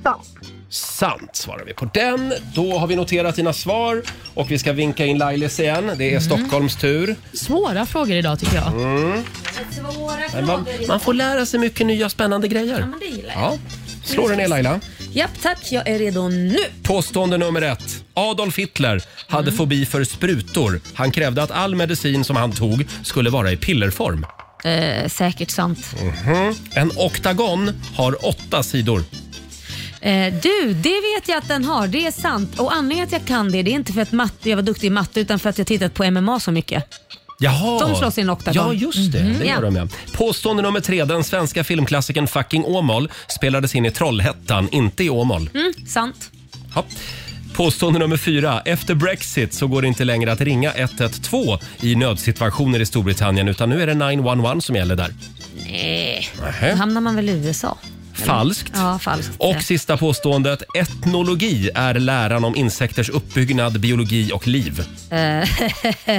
[SPEAKER 10] Sant.
[SPEAKER 1] Sant svarar vi på den. Då har vi noterat dina svar och vi ska vinka in Lailis igen. Det är
[SPEAKER 3] Mm.
[SPEAKER 1] Stockholms tur.
[SPEAKER 4] Svåra frågor idag tycker jag.
[SPEAKER 1] Mm. Men man, man får lära sig mycket nya spännande grejer. Ja,
[SPEAKER 3] men det gillar
[SPEAKER 1] jag. Slå den ner Laila.
[SPEAKER 3] Japp tack, jag är redo nu.
[SPEAKER 1] Påstående nummer ett. Adolf Hitler hade
[SPEAKER 3] Mm.
[SPEAKER 1] fobi för sprutor. Han krävde att all medicin som han tog skulle vara i pillerform.
[SPEAKER 3] Eh, säkert sant.
[SPEAKER 1] Mhm. En oktagon har åtta sidor.
[SPEAKER 3] Eh, du, det vet jag att den har. Det är sant. Och anledningen till att jag kan det, det är inte för att matte, jag var duktig i matte utan för att jag tittat på MMA så mycket.
[SPEAKER 1] Jaha.
[SPEAKER 3] De slåss i en oktagon.
[SPEAKER 1] Ja, just det.
[SPEAKER 3] Mhm.
[SPEAKER 1] Det gör
[SPEAKER 3] Ja.
[SPEAKER 1] de, ja. Påstående nummer tre. Den svenska filmklassikern Fucking Åmål spelades in i Trollhättan, inte i Åmål.
[SPEAKER 3] Mm, sant.
[SPEAKER 1] Ja. Påstående nummer fyra. Efter Brexit så går det inte längre att ringa 112 i nödsituationer i Storbritannien utan nu är det 911 som gäller där.
[SPEAKER 3] Nej.
[SPEAKER 1] Nähä.
[SPEAKER 3] Då hamnar man väl i USA?
[SPEAKER 1] Falskt.
[SPEAKER 3] Ja, falskt.
[SPEAKER 1] Och sista påståendet. Etnologi är läran om insekters uppbyggnad, biologi och liv.
[SPEAKER 3] Eh,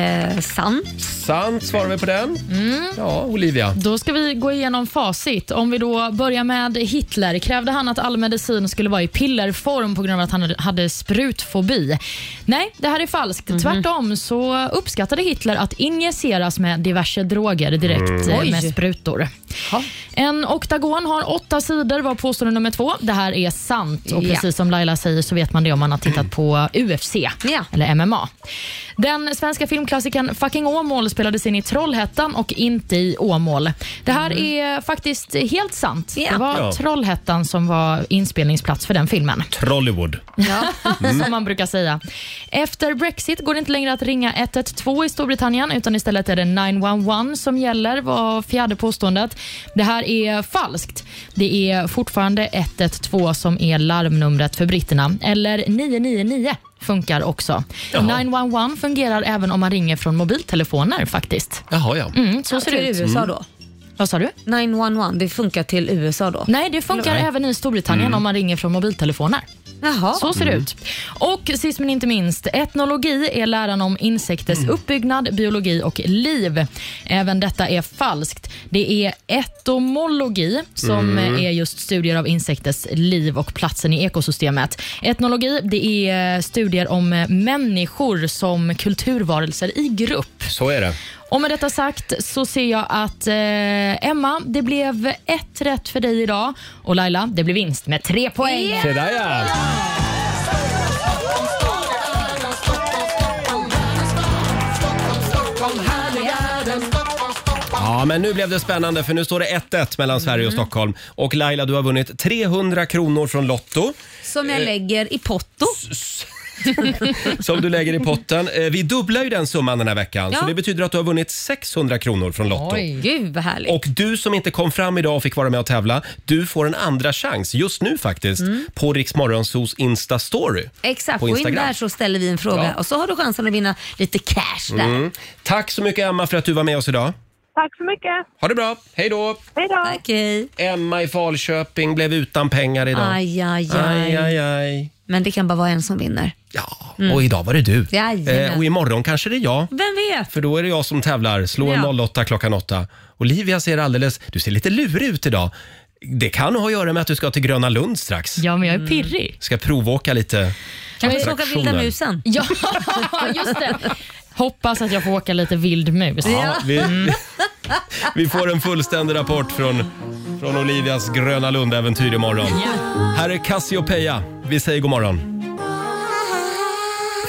[SPEAKER 3] eh, sant.
[SPEAKER 1] Sant svarar vi på den.
[SPEAKER 3] Mm.
[SPEAKER 1] Ja, Olivia.
[SPEAKER 4] Då ska vi gå igenom facit. Om vi då börjar med Hitler. Krävde han att all medicin skulle vara i pillerform på grund av att han hade sprutfobi? Nej, det här är falskt.
[SPEAKER 5] Mhm.
[SPEAKER 4] Tvärtom så uppskattade Hitler att injiceras med diverse droger direkt
[SPEAKER 5] Mm.
[SPEAKER 4] eh,
[SPEAKER 5] Oj.
[SPEAKER 4] med sprutor. En oktagon har åtta sidor var påstående nummer två. Det här är sant och
[SPEAKER 5] Ja.
[SPEAKER 4] precis som Laila säger så vet man det om man har tittat på UFC eller MMA. Den svenska filmklassikern Fucking Åmål spelades in i Trollhättan och inte i Åmål. Det här är faktiskt helt sant. Det var
[SPEAKER 1] Mm. Ja.
[SPEAKER 4] Trollhättan som var inspelningsplats för den filmen.
[SPEAKER 1] Trollywood.
[SPEAKER 4] Som man brukar säga. Efter Brexit går det inte längre att ringa 112 i Storbritannien utan istället är det 911 som gäller var fjärde påståendet. Det här är falskt. Det är fortfarande 112 som är larmnumret för britterna. Eller 999 funkar också. 911 fungerar även om man ringer från mobiltelefoner faktiskt.
[SPEAKER 1] Jaha, ja.
[SPEAKER 4] Mm, så
[SPEAKER 3] Ja,
[SPEAKER 4] ser
[SPEAKER 3] till
[SPEAKER 4] det ut.
[SPEAKER 3] USA då?
[SPEAKER 4] Vad sa du?
[SPEAKER 3] 911, det funkar till USA då?
[SPEAKER 4] Nej, det funkar även i Storbritannien
[SPEAKER 3] Mm.
[SPEAKER 4] om man ringer från mobiltelefoner.
[SPEAKER 3] Jaha.
[SPEAKER 4] Så ser det
[SPEAKER 3] Mm.
[SPEAKER 4] ut. Och sist men inte minst, etnologi är läran om insekters uppbyggnad, biologi och liv. Även detta är falskt. Det är etomologi som
[SPEAKER 5] Mm.
[SPEAKER 4] är just studier av insekters liv och platsen i ekosystemet. Etnologi det är studier om eh, människor som kulturvarelser i grupp.
[SPEAKER 1] Så är det.
[SPEAKER 4] Och med detta sagt så ser jag att eh, Emma, det blev ett rätt för dig idag. Och Laila, det blev vinst med tre poäng.
[SPEAKER 1] Se där ja. Ja, men nu blev det spännande för nu står det 1-1 mellan Sverige
[SPEAKER 3] Mm.
[SPEAKER 1] och Stockholm. Och Laila, du har vunnit 300 kronor från Lotto.
[SPEAKER 3] Som jag
[SPEAKER 1] Eh,
[SPEAKER 3] lägger i potto.
[SPEAKER 1] som du lägger i potten. Eh, Vi dubblar ju den summan den här veckan, så
[SPEAKER 3] Ja.
[SPEAKER 1] det betyder att du har vunnit 600 kronor från Lotto.
[SPEAKER 3] Gud vad härligt.
[SPEAKER 1] Och du som inte kom fram idag och fick vara med och tävla, du får en andra chans just nu faktiskt
[SPEAKER 3] Mm. Eh.
[SPEAKER 1] på Rix Morgonzos Insta-story.
[SPEAKER 3] Exakt,
[SPEAKER 1] på
[SPEAKER 3] gå in
[SPEAKER 1] Instagram.
[SPEAKER 3] där så ställer vi en fråga
[SPEAKER 1] Ja.
[SPEAKER 3] och så har du chansen att vinna lite cash där.
[SPEAKER 1] Mm. Tack så mycket Emma för att du var med oss idag.
[SPEAKER 10] Tack så mycket.
[SPEAKER 1] Ha det bra, hej då!
[SPEAKER 10] Hej då!
[SPEAKER 1] Emma i Falköping blev utan pengar idag.
[SPEAKER 3] Aj, aj, aj.
[SPEAKER 1] Aj, aj, aj.
[SPEAKER 3] Men det kan bara vara en som vinner.
[SPEAKER 1] Ja,
[SPEAKER 3] Mm.
[SPEAKER 1] Och idag var det du.
[SPEAKER 3] Jajamän.
[SPEAKER 1] Eh, och imorgon kanske det är jag.
[SPEAKER 3] Vem vet?
[SPEAKER 1] För då är det jag som tävlar. Slå en
[SPEAKER 3] Ja.
[SPEAKER 1] 08 klockan 8. Olivia ser alldeles... Du ser lite lurig ut idag. Det kan ha att göra med att du ska till Gröna Lund strax.
[SPEAKER 4] Ja, men jag är pirrig.
[SPEAKER 1] Ska provåka lite attraktioner.
[SPEAKER 4] Ja, just det. Hoppas att jag får åka lite vild mus.
[SPEAKER 1] Ja, vi-
[SPEAKER 3] Mm.
[SPEAKER 1] vi- Vi får en fullständig rapport från, från Olivias Gröna Lund-äventyr imorgon. Här är Cassiopeia. Vi säger god morgon.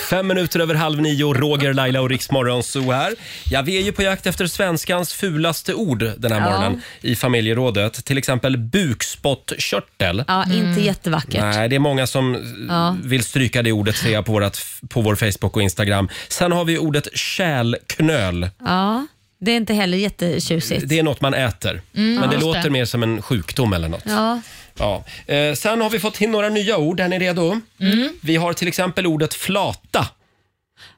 [SPEAKER 1] Fem minuter över halv nio, Roger, Laila och Riksmorgon så här. Ja, vi är ju på jakt efter svenskans fulaste ord den här
[SPEAKER 3] Ja.
[SPEAKER 1] morgonen i familjerådet. Till exempel bukspottkörtel.
[SPEAKER 3] Ja,
[SPEAKER 4] Mm.
[SPEAKER 3] inte jättevackert.
[SPEAKER 1] Nej, det är många som eh,
[SPEAKER 3] Ja.
[SPEAKER 1] vill stryka det ordet ser jag på, vårat, på vår Facebook och Instagram. Sen har vi ordet kärlknöl.
[SPEAKER 3] Ja, det är inte heller jättetjusigt.
[SPEAKER 1] Det är något man äter,
[SPEAKER 3] Mm,
[SPEAKER 1] men det
[SPEAKER 3] just
[SPEAKER 1] låter
[SPEAKER 3] det.
[SPEAKER 1] mer som en sjukdom eller något. Ja.
[SPEAKER 3] Ja.
[SPEAKER 1] Eh, sen har vi fått in några nya ord. Är ni redo?
[SPEAKER 3] Mm.
[SPEAKER 1] Vi har till exempel ordet flata,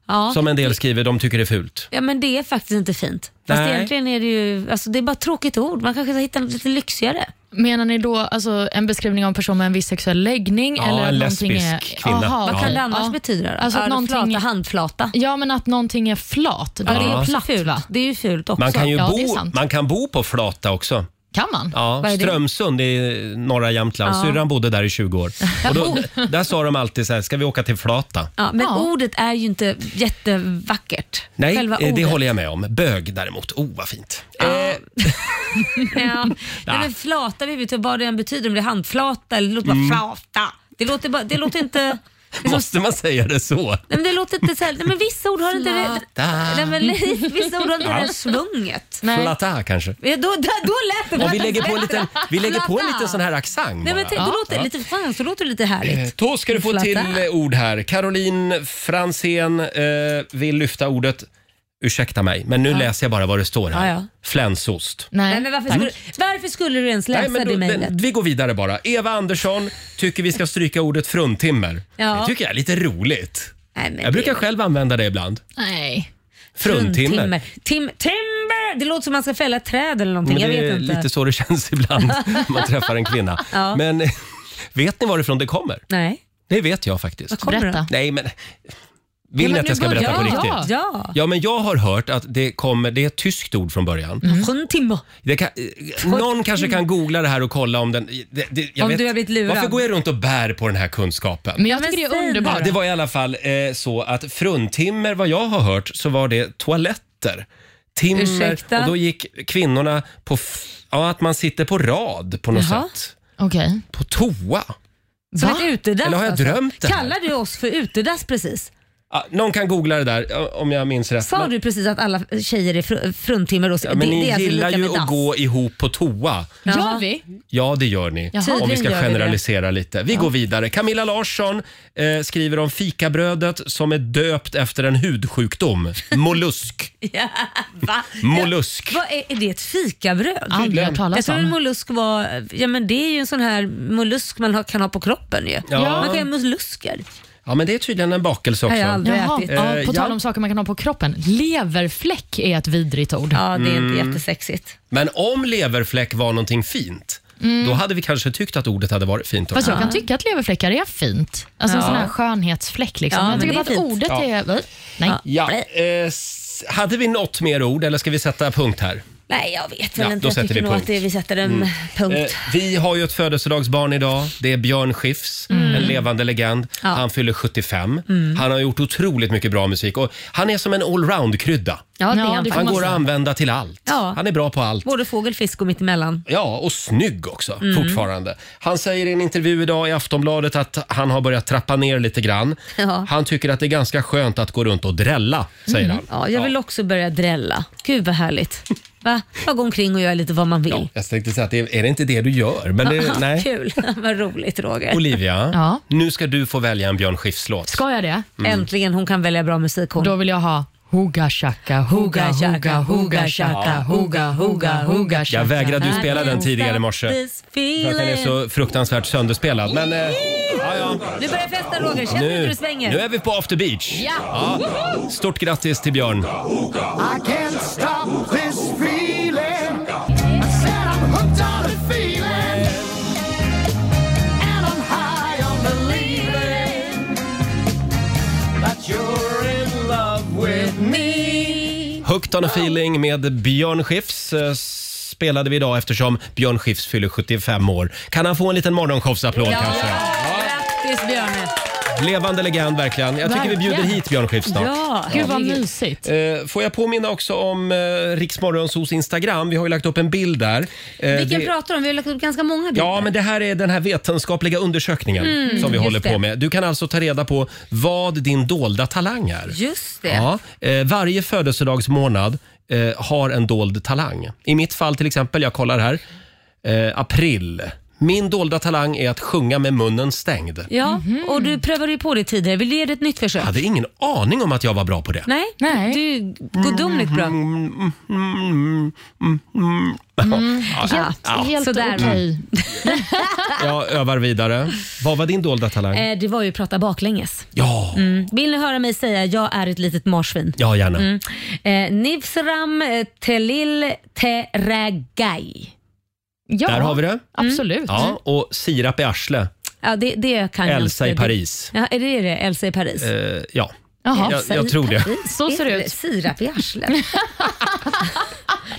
[SPEAKER 3] Ja.
[SPEAKER 1] som en del skriver de tycker är fult.
[SPEAKER 3] ja, men det är faktiskt inte fint. Fast
[SPEAKER 1] Nej.
[SPEAKER 3] egentligen är det ju, alltså det är bara ett tråkigt ord. Man kanske ska hitta något lite lyxigare.
[SPEAKER 4] Menar ni då alltså, en beskrivning av en person med en viss sexuell läggning?
[SPEAKER 1] Ja,
[SPEAKER 4] eller
[SPEAKER 1] en
[SPEAKER 4] att någonting
[SPEAKER 1] lesbisk
[SPEAKER 4] är...
[SPEAKER 1] kvinna.
[SPEAKER 4] Aha,
[SPEAKER 1] Vad kan
[SPEAKER 4] okej.
[SPEAKER 1] det
[SPEAKER 3] annars betyda då?
[SPEAKER 4] Alltså att
[SPEAKER 3] Örflata,
[SPEAKER 4] någonting...
[SPEAKER 3] handflata?
[SPEAKER 4] Ja, men att någonting är flat. Då
[SPEAKER 1] Ja,
[SPEAKER 4] är
[SPEAKER 1] det är också
[SPEAKER 4] platt, fult.
[SPEAKER 3] Det är ju fult också.
[SPEAKER 1] Man kan ju
[SPEAKER 4] ja, det är
[SPEAKER 1] bo,
[SPEAKER 4] sant.
[SPEAKER 1] man kan bo på flata också.
[SPEAKER 4] Kan man?
[SPEAKER 1] Ja, Strömsund i norra Jämtland.
[SPEAKER 3] Ja.
[SPEAKER 1] Syrran bodde där i 20 år. Och då, där sa de alltid så här, ska vi åka till flata?
[SPEAKER 3] Ja, men ordet är ju inte jättevackert.
[SPEAKER 1] Nej,
[SPEAKER 3] Själva
[SPEAKER 1] eh, det
[SPEAKER 3] ordet.
[SPEAKER 1] håller jag med om. Bög däremot, oh vad fint.
[SPEAKER 4] Mm.
[SPEAKER 3] ja. Nej, men flata vet vi inte vad det än betyder. Om det är handflata eller det låter bara
[SPEAKER 1] Mm.
[SPEAKER 3] flata. Det låter, bara, det låter inte...
[SPEAKER 1] Måste man säga det så?
[SPEAKER 3] Nej, men det låter inte så här, nej, men vissa ord har inte det,
[SPEAKER 1] Flata.
[SPEAKER 3] nej, men, vissa ord har inte
[SPEAKER 1] Ja.
[SPEAKER 3] det där svunget.
[SPEAKER 1] Flata kanske?
[SPEAKER 3] Ja, då, då, då lät det
[SPEAKER 1] Och vi lägger på en
[SPEAKER 3] faktiskt
[SPEAKER 1] liten,
[SPEAKER 3] bättre.
[SPEAKER 1] vi lägger på en
[SPEAKER 3] Flata.
[SPEAKER 1] liten sån här accent
[SPEAKER 3] Nej, men
[SPEAKER 1] bara.
[SPEAKER 3] tänk, då låter det lite franskt, då låter det lite
[SPEAKER 1] Eh,
[SPEAKER 3] härligt.
[SPEAKER 1] Då ska du få
[SPEAKER 3] Flata.
[SPEAKER 1] till eh, ord här. Caroline Fransén eh, vill lyfta ordet Ursäkta mig, men nu läser jag bara vad det står här.
[SPEAKER 3] Ja, ja.
[SPEAKER 1] Flänsost.
[SPEAKER 3] Nej, men varför,
[SPEAKER 1] Tack.
[SPEAKER 3] skulle, varför skulle du ens läsa
[SPEAKER 1] men
[SPEAKER 3] det
[SPEAKER 1] då-
[SPEAKER 3] mejlet?
[SPEAKER 1] men vi går vidare bara. Eva Andersson tycker vi ska stryka ordet fruntimmer.
[SPEAKER 3] Ja.
[SPEAKER 1] Det tycker jag är lite roligt.
[SPEAKER 3] Nej, men
[SPEAKER 1] jag brukar
[SPEAKER 3] det-
[SPEAKER 1] själv använda det ibland.
[SPEAKER 4] Nej.
[SPEAKER 1] Fruntimmer.
[SPEAKER 3] Tim, timber! Det låter som man ska fälla ett träd eller någonting.
[SPEAKER 1] Men det
[SPEAKER 3] jag vet
[SPEAKER 1] är
[SPEAKER 3] inte.
[SPEAKER 1] lite så det känns ibland när man träffar en kvinna.
[SPEAKER 3] Ja.
[SPEAKER 1] Men vet ni varifrån det kommer?
[SPEAKER 3] Nej.
[SPEAKER 1] Det vet jag faktiskt.
[SPEAKER 3] Vad kommer det? Berätta.
[SPEAKER 1] Nej, men... Vill ni
[SPEAKER 3] men
[SPEAKER 1] att jag
[SPEAKER 3] nu
[SPEAKER 1] ska
[SPEAKER 3] börjar-
[SPEAKER 1] berätta på
[SPEAKER 3] Ja,
[SPEAKER 1] riktigt?
[SPEAKER 3] ja.
[SPEAKER 1] ja, men jag har hört att det kommer... Det är ett tyskt ord från början.
[SPEAKER 3] Fruntimmer.
[SPEAKER 1] Det kan, eh, någon kanske kan googla det här och kolla om den... Det, det, jag
[SPEAKER 3] Om
[SPEAKER 1] vet,
[SPEAKER 3] du har blivit lurad.
[SPEAKER 1] Varför går jag runt och bär på den här kunskapen?
[SPEAKER 4] Men jag tycker det är
[SPEAKER 1] Ja,
[SPEAKER 4] underbart.
[SPEAKER 1] det var i alla fall eh, så att fruntimmer, vad jag har hört, så var det toaletter. Timmer,
[SPEAKER 4] Ursäkta?
[SPEAKER 1] och då gick kvinnorna på... f- Ja, att man sitter på rad på något
[SPEAKER 4] Jaha.
[SPEAKER 1] sätt.
[SPEAKER 4] Okej.
[SPEAKER 1] På toa.
[SPEAKER 3] Som
[SPEAKER 1] Va?
[SPEAKER 3] ett utedass
[SPEAKER 1] Eller har jag
[SPEAKER 3] alltså.
[SPEAKER 1] drömt det här?
[SPEAKER 3] Kallar du oss för utedass precis?
[SPEAKER 1] Ja, någon kan googla det där eh, om jag minns rätt.
[SPEAKER 3] Sa
[SPEAKER 1] Men-
[SPEAKER 3] du precis att alla tjejer är fr- fruntimmer? Och,
[SPEAKER 1] Ja, men
[SPEAKER 3] det,
[SPEAKER 1] ni
[SPEAKER 3] det är alltså
[SPEAKER 1] gillar
[SPEAKER 3] lika
[SPEAKER 1] ju
[SPEAKER 3] med
[SPEAKER 1] att
[SPEAKER 3] dass.
[SPEAKER 1] gå ihop på toa.
[SPEAKER 3] Jaha.
[SPEAKER 1] Ja, det gör ni.
[SPEAKER 3] Jaha.
[SPEAKER 1] Om vi ska
[SPEAKER 3] Tydligen gör vi
[SPEAKER 1] generalisera lite. Vi går vidare. Camilla Larsson eh, skriver om fikabrödet som är döpt efter en hudsjukdom. Mollusk.
[SPEAKER 3] Ja, va?
[SPEAKER 1] Mollusk.
[SPEAKER 3] Vad är, är det ett fikabröd?
[SPEAKER 1] Aldrig hört talas
[SPEAKER 3] Jag tror
[SPEAKER 1] om.
[SPEAKER 3] en mollusk var, ja men det är ju en sån här mollusk man har, kan ha på kroppen ju.
[SPEAKER 1] Ja.
[SPEAKER 3] Man kan ha mollusker.
[SPEAKER 1] Ja, men det är tydligen en bakelse också.
[SPEAKER 3] Har jag aldrig
[SPEAKER 4] Jaha,
[SPEAKER 3] ätit.
[SPEAKER 4] ja,
[SPEAKER 1] Eh,
[SPEAKER 4] på tal
[SPEAKER 1] ja.
[SPEAKER 4] om saker man kan ha på kroppen. Leverfläck är ett vidrigt ord.
[SPEAKER 3] Ja,
[SPEAKER 1] det är inte Mm.
[SPEAKER 3] jättesexigt.
[SPEAKER 1] Men om leverfläck var någonting fint,
[SPEAKER 4] Mm.
[SPEAKER 1] då hade vi kanske tyckt att ordet hade varit fint.
[SPEAKER 4] Fast
[SPEAKER 1] också.
[SPEAKER 4] jag kan tycka att leverfläckar är fint. Alltså en
[SPEAKER 1] Ja.
[SPEAKER 4] sån här skönhetsfläck liksom.
[SPEAKER 1] Ja,
[SPEAKER 4] jag
[SPEAKER 1] men
[SPEAKER 4] tycker bara
[SPEAKER 1] det är
[SPEAKER 4] att
[SPEAKER 1] fint.
[SPEAKER 4] ordet är...
[SPEAKER 1] Ja.
[SPEAKER 4] Nej.
[SPEAKER 1] Ja, eh, s- hade vi något mer ord eller ska vi sätta punkt här?
[SPEAKER 3] Nej, jag vet väl
[SPEAKER 1] Ja,
[SPEAKER 3] inte.
[SPEAKER 1] då
[SPEAKER 3] Jag
[SPEAKER 1] sätter
[SPEAKER 3] tycker
[SPEAKER 1] vi
[SPEAKER 3] nog
[SPEAKER 1] punkt.
[SPEAKER 3] att det, vi sätter en
[SPEAKER 1] Mm.
[SPEAKER 3] punkt.
[SPEAKER 1] Eh, vi har ju ett födelsedagsbarn idag. Det är Björn Skifs,
[SPEAKER 3] Mm.
[SPEAKER 1] en levande legend.
[SPEAKER 3] Ja.
[SPEAKER 1] Han fyller 75.
[SPEAKER 3] Mm.
[SPEAKER 1] Han har gjort otroligt mycket bra musik och han är som en allround-krydda.
[SPEAKER 3] Ja, det är Ja, han det får
[SPEAKER 1] han
[SPEAKER 3] man
[SPEAKER 1] går
[SPEAKER 3] säga.
[SPEAKER 1] att använda till allt.
[SPEAKER 3] Ja.
[SPEAKER 1] Han är bra på allt.
[SPEAKER 3] Både fågel, fisk och mittemellan.
[SPEAKER 1] Ja, och snygg också
[SPEAKER 3] Mm.
[SPEAKER 1] fortfarande. Han säger i en intervju idag i Aftonbladet att han har börjat trappa ner lite grann.
[SPEAKER 3] Ja. Mm.
[SPEAKER 1] Han tycker att det är ganska skönt att gå runt och drälla, säger han.
[SPEAKER 3] Ja, jag vill också börja drälla. Gud vad härligt. Va? Bara gå omkring och göra lite vad man vill.
[SPEAKER 1] Jag tänkte säga att det, är det inte det du gör? Men det, Eh, nej.
[SPEAKER 3] Kul, vad roligt Roger.
[SPEAKER 1] Olivia,
[SPEAKER 3] Ja.
[SPEAKER 1] nu ska du få välja en Björn Skifs-låt.
[SPEAKER 4] Ska jag det?
[SPEAKER 1] Mm.
[SPEAKER 3] Äntligen, hon kan välja bra musik hon.
[SPEAKER 4] Då vill jag ha Huga Shaka, Huga Shaka, Huga Shaka, Huga Huga Huga Shaka.
[SPEAKER 1] Jag vägrade ju spela den tidigare i morse. För att den är så fruktansvärt sönderspelad. Men eh,
[SPEAKER 3] Nu börjar festen Roger, känner du hur
[SPEAKER 1] nu,
[SPEAKER 3] det svänger?
[SPEAKER 1] nu är vi på after beach.
[SPEAKER 3] Ja.
[SPEAKER 1] Ja. Stort grattis till Björn.
[SPEAKER 5] I can't stop this feeling. I said I'm hooked on a feeling. And I'm high on believing that you're in love with me.
[SPEAKER 1] Hooked on a feeling med Björn Skifs eh, spelade vi idag eftersom Björn Skifs fyller 75 år. Kan han få en liten morgonshowsapplåd
[SPEAKER 3] Ja.
[SPEAKER 1] kanske?
[SPEAKER 3] Grattis Björne.
[SPEAKER 1] Levande legend verkligen. Jag tycker vi
[SPEAKER 3] Verkligen.
[SPEAKER 1] bjuder hit Björn Skifs snart.
[SPEAKER 4] Ja, gud vad mysigt.
[SPEAKER 1] Eh, Får jag påminna också om eh, Riksmorgonsos Instagram. Vi har ju lagt upp en bild där. Eh,
[SPEAKER 3] Vilken
[SPEAKER 1] det-
[SPEAKER 3] pratar du om? Vi har lagt upp ganska många bilder.
[SPEAKER 1] Ja, men det här är den här vetenskapliga undersökningen
[SPEAKER 3] Mm,
[SPEAKER 1] som vi
[SPEAKER 3] just
[SPEAKER 1] håller
[SPEAKER 3] det.
[SPEAKER 1] på med. Du kan alltså ta reda på vad din dolda talang är.
[SPEAKER 3] Just det.
[SPEAKER 1] Ja, eh, varje födelsedagsmånad eh, har en dold talang. I mitt fall till exempel, jag kollar här, eh, april. Min dolda talang är att sjunga med munnen stängd.
[SPEAKER 3] Ja,
[SPEAKER 4] Mhm.
[SPEAKER 3] och du prövade ju på det tidigare. Vill du ge det ett nytt försök?
[SPEAKER 1] Jag hade ingen aning om att jag var bra på det.
[SPEAKER 3] Nej, Nej. du är gudomligt bra.
[SPEAKER 1] Mm, Ja. Ja.
[SPEAKER 3] Sådär. Mm.
[SPEAKER 1] okej. Jag övar vidare. Vad var din dolda talang?
[SPEAKER 3] Eh, Det var ju att prata baklänges.
[SPEAKER 1] Ja,
[SPEAKER 3] Mm. Vill ni höra mig säga jag är ett litet marsvin?
[SPEAKER 1] ja gärna.
[SPEAKER 3] Mm. Eh, Nivsram eh, Telil Teragay. Ja,
[SPEAKER 1] Där har vi
[SPEAKER 4] Mm.
[SPEAKER 1] det.
[SPEAKER 3] Absolut.
[SPEAKER 1] Ja, och sirap i arsle.
[SPEAKER 3] Ja, det, det kan jag
[SPEAKER 1] Elsa i
[SPEAKER 3] inte. Det-
[SPEAKER 1] Paris.
[SPEAKER 3] Ja, är det det? Elsa i Paris?
[SPEAKER 1] Eh, ja,
[SPEAKER 3] Jaha.
[SPEAKER 1] jag,
[SPEAKER 3] Elsa i
[SPEAKER 1] jag tror det.
[SPEAKER 3] Paris. är det Sirap i arslet.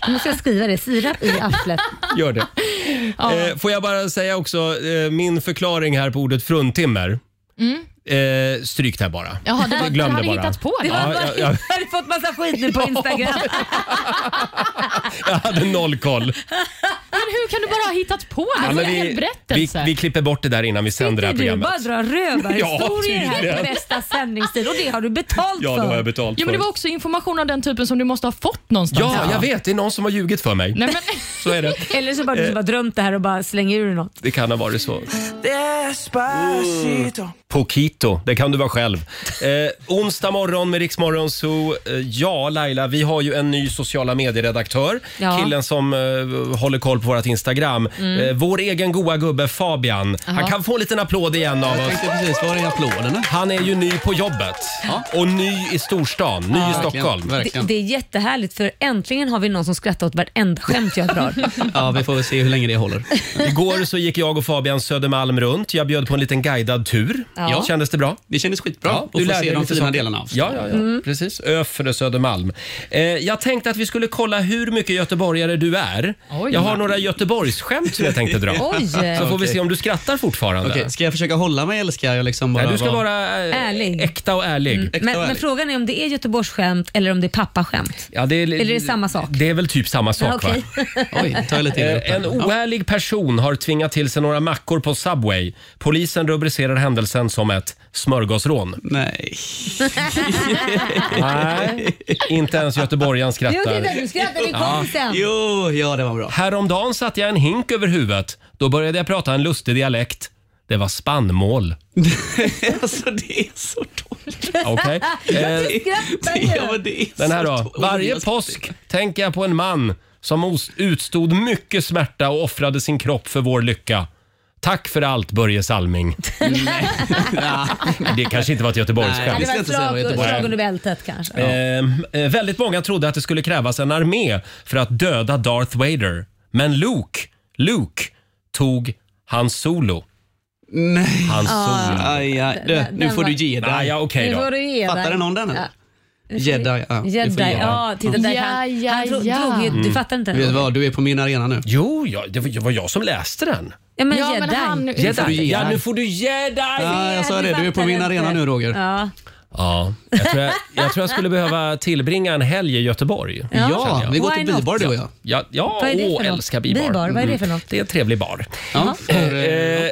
[SPEAKER 3] Nu måste jag skriva det. Sirap i arslet.
[SPEAKER 1] Gör det.
[SPEAKER 3] Ja.
[SPEAKER 1] Eh, får jag bara säga också eh, min förklaring här på ordet fruntimmer.
[SPEAKER 3] Mm.
[SPEAKER 1] Eh, stryk det här bara.
[SPEAKER 3] Jaha, det var-
[SPEAKER 1] Jag glömde
[SPEAKER 3] du hade
[SPEAKER 1] bara.
[SPEAKER 3] hittat på det.
[SPEAKER 1] Ja,
[SPEAKER 3] Det var
[SPEAKER 1] jag,
[SPEAKER 3] bara-
[SPEAKER 1] jag,
[SPEAKER 3] Jag hade fått massa skit nu på Instagram.
[SPEAKER 1] jag hade noll koll.
[SPEAKER 4] Men hur kan du bara ha hittat på det?
[SPEAKER 1] Ja,
[SPEAKER 4] Alltså, Det
[SPEAKER 1] men
[SPEAKER 4] är en
[SPEAKER 1] vi, vi,
[SPEAKER 4] berättelse.
[SPEAKER 1] vi klipper bort det där innan vi sänder det här
[SPEAKER 3] Du
[SPEAKER 1] programmet.
[SPEAKER 3] bara drar rövarhistorier
[SPEAKER 1] Ja,
[SPEAKER 3] här
[SPEAKER 1] tydligen.
[SPEAKER 3] på bästa sändningstid och det har du betalt
[SPEAKER 1] Ja,
[SPEAKER 3] för.
[SPEAKER 1] det har jag betalt
[SPEAKER 4] Ja, men det
[SPEAKER 1] för.
[SPEAKER 4] var också information av den typen som du måste ha fått någonstans.
[SPEAKER 1] Ja, jag vet. Det är någon som har ljugit för mig.
[SPEAKER 4] Nej, men...
[SPEAKER 1] Så är det.
[SPEAKER 3] Eller så bara du
[SPEAKER 1] Eh.
[SPEAKER 3] som har drömt det här och bara slänger ur något.
[SPEAKER 1] Det kan ha varit så. Pokito, det kan du vara själv. Eh, onsdag morgon med Riksmorgon så eh, ja Laila, vi har ju en ny sociala medieredaktör.
[SPEAKER 8] Ja.
[SPEAKER 1] Killen som eh, håller koll på vårt Instagram.
[SPEAKER 8] Mm.
[SPEAKER 1] Eh, vår egen goa gubbe Fabian. Han
[SPEAKER 8] Jaha.
[SPEAKER 1] kan få en liten applåd igen av oss. Jag tänkte precis, var är applåderna? Han är ju ny på jobbet. Och ny i storstan, ny
[SPEAKER 4] Ja,
[SPEAKER 1] i
[SPEAKER 4] verkligen,
[SPEAKER 1] Stockholm.
[SPEAKER 3] Det, det är jättehärligt för äntligen har vi någon som skrattar åt vartenda skämt jag drar.
[SPEAKER 1] Ja, vi får se hur länge det håller. Igår så gick jag och Fabian Södermalm runt. Jag bjöd på en liten guidad tur.
[SPEAKER 3] Ja.
[SPEAKER 1] Kändes det bra? Det kändes skitbra.
[SPEAKER 9] Och få se de fina delarna av
[SPEAKER 1] Ja, ja, ja.
[SPEAKER 9] Mm.
[SPEAKER 1] precis. Öfre Södermalm. Eh, jag tänkte att vi skulle kolla hur mycket göteborgare du är.
[SPEAKER 9] Oj.
[SPEAKER 1] jag har några Göteborgsskämt som jag tänkte dra.
[SPEAKER 9] Oj.
[SPEAKER 1] Så får vi
[SPEAKER 9] Okej.
[SPEAKER 1] se om du skrattar fortfarande.
[SPEAKER 9] Okej, ska jag försöka hålla mig eller ska jag liksom bara
[SPEAKER 1] Nej, du ska
[SPEAKER 9] vara...
[SPEAKER 1] vara eh,
[SPEAKER 3] Ärlig. Mm.
[SPEAKER 1] äkta och ärlig.
[SPEAKER 3] Men, men frågan är om det är Göteborgsskämt eller om det är pappaskämt.
[SPEAKER 1] Ja, det är,
[SPEAKER 3] Eller är det samma sak?
[SPEAKER 1] Det är väl typ samma sak va?
[SPEAKER 3] Okej.
[SPEAKER 1] Oj, ta
[SPEAKER 9] Eh,
[SPEAKER 1] lite en oärlig person har tvingat till sig några mackor på Subway. Polisen rubricerar händelsen som ett smörgåsrån. Nej. Nej, inte ens göteborgaren skrattar.
[SPEAKER 5] Jo, titta, nu skrattar vi kompisen.
[SPEAKER 1] Jo, ja det var bra. Häromdagen satte jag en hink över huvudet. Då började jag prata en lustig dialekt. Det var spannmål. alltså det är så dåligt. Okej. Eh, Den här då. Varje påsk tänker jag på en man som os- utstod mycket smärta och offrade sin kropp för vår lycka. Tack för allt, Börje Salming. det kanske inte var ett
[SPEAKER 3] Nej,
[SPEAKER 1] Göteborgsskämt.
[SPEAKER 3] det var ett slag, slag under bältet kanske.
[SPEAKER 1] Ehm, eh, väldigt många trodde att det skulle krävas en armé för att döda Darth Vader. Men Luke, Luke tog hans solo.
[SPEAKER 9] Nej.
[SPEAKER 1] Han
[SPEAKER 9] Ah.
[SPEAKER 1] solo.
[SPEAKER 9] Aj, aj. Du, Den- nu den får var- du ge dig.
[SPEAKER 1] Ah, ja, okej
[SPEAKER 3] Nu
[SPEAKER 1] då.
[SPEAKER 3] får du ge dig.
[SPEAKER 9] Fattade någon den, eller?
[SPEAKER 3] Ja.
[SPEAKER 9] Jedi, ja.
[SPEAKER 3] Jedi, ja, titta där. Han, han drog, drog ju,
[SPEAKER 1] Mm.
[SPEAKER 3] du fattar inte
[SPEAKER 9] Vet du
[SPEAKER 3] den?
[SPEAKER 9] vad, du är på min arena nu.
[SPEAKER 1] Jo, ja, det var, det var jag som läste den.
[SPEAKER 3] Ja men
[SPEAKER 4] Ja, men
[SPEAKER 3] jedi.
[SPEAKER 4] han-
[SPEAKER 1] Jedi. Ja, nu får du ge dig!
[SPEAKER 9] Ja, jag sa det. Du är på min arena nu, Roger.
[SPEAKER 3] Ja.
[SPEAKER 1] Ja, jag tror jag, jag, tror jag skulle behöva tillbringa en helg i Göteborg.
[SPEAKER 9] Ja,
[SPEAKER 1] känner jag.
[SPEAKER 9] vi går till Why not? bibar, du och jag.
[SPEAKER 1] Ja, ja
[SPEAKER 9] Vad är det för
[SPEAKER 1] åh,
[SPEAKER 9] något?
[SPEAKER 1] älskar bibar.
[SPEAKER 9] Bibar, vad är det för
[SPEAKER 1] Mm.
[SPEAKER 9] något?
[SPEAKER 1] Det är en trevlig bar. Eh, eh,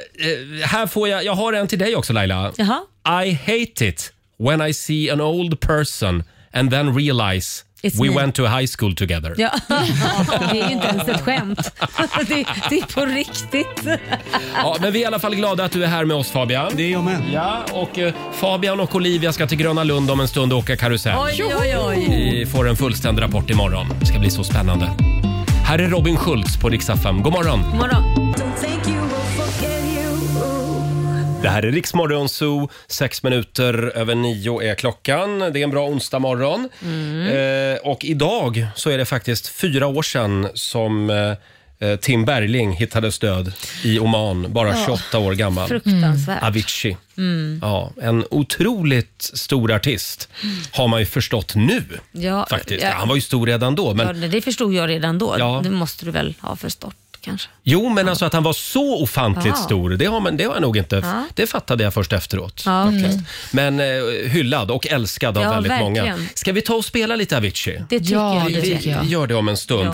[SPEAKER 1] här får jag, jag har en till dig också Laila.
[SPEAKER 3] Jaha.
[SPEAKER 1] I hate it when I see an old person and then realize
[SPEAKER 3] It's
[SPEAKER 1] We
[SPEAKER 3] me.
[SPEAKER 1] went to high school together.
[SPEAKER 3] Ja. Det är ju inte ens ett skämt. Alltså, Det, det är på riktigt.
[SPEAKER 1] Ja, men vi är i alla fall glada att du är här med oss Fabian. Det är jag med. Ja, och eh, Fabian och Olivia ska till Gröna Lund om en stund och åka karusell.
[SPEAKER 3] Oj, oj, oj.
[SPEAKER 1] Vi får en fullständig rapport imorgon. Det ska bli så spännande. Här är Robin Schultz på Rix FM. God morgon!
[SPEAKER 3] God morgon.
[SPEAKER 1] Det här är Rix Morgon Zoo. Sex minuter över nio är klockan. Det är en bra onsdag morgon.
[SPEAKER 3] Mm.
[SPEAKER 1] Eh, och idag så är det faktiskt fyra år sedan som eh, eh, Tim Bergling hittades död i Oman, bara
[SPEAKER 3] Ja.
[SPEAKER 1] 28 år gammal.
[SPEAKER 3] Fruktansvärt.
[SPEAKER 1] Avicii.
[SPEAKER 3] Mm.
[SPEAKER 1] Ja, en otroligt stor artist har man ju förstått nu.
[SPEAKER 3] Ja,
[SPEAKER 1] faktiskt.
[SPEAKER 3] ja.
[SPEAKER 1] Han var ju stor redan då. Men,
[SPEAKER 3] Ja, det förstod jag redan då.
[SPEAKER 1] Ja.
[SPEAKER 3] Det måste du väl ha förstått kanske.
[SPEAKER 1] Jo, men alltså att han var så ofantligt
[SPEAKER 3] Aha.
[SPEAKER 1] stor, det har, man, det har jag nog inte...
[SPEAKER 3] Ja.
[SPEAKER 1] Det fattade jag först efteråt.
[SPEAKER 3] Ja, okej.
[SPEAKER 1] Men eh, hyllad och älskad av
[SPEAKER 3] Ja,
[SPEAKER 1] väldigt många.
[SPEAKER 3] verkligen.
[SPEAKER 1] Ska vi ta och spela lite Avicii?
[SPEAKER 3] Det tycker Ja, jag vi
[SPEAKER 1] vi,
[SPEAKER 3] det gör. tycker jag.
[SPEAKER 1] vi gör det om en stund.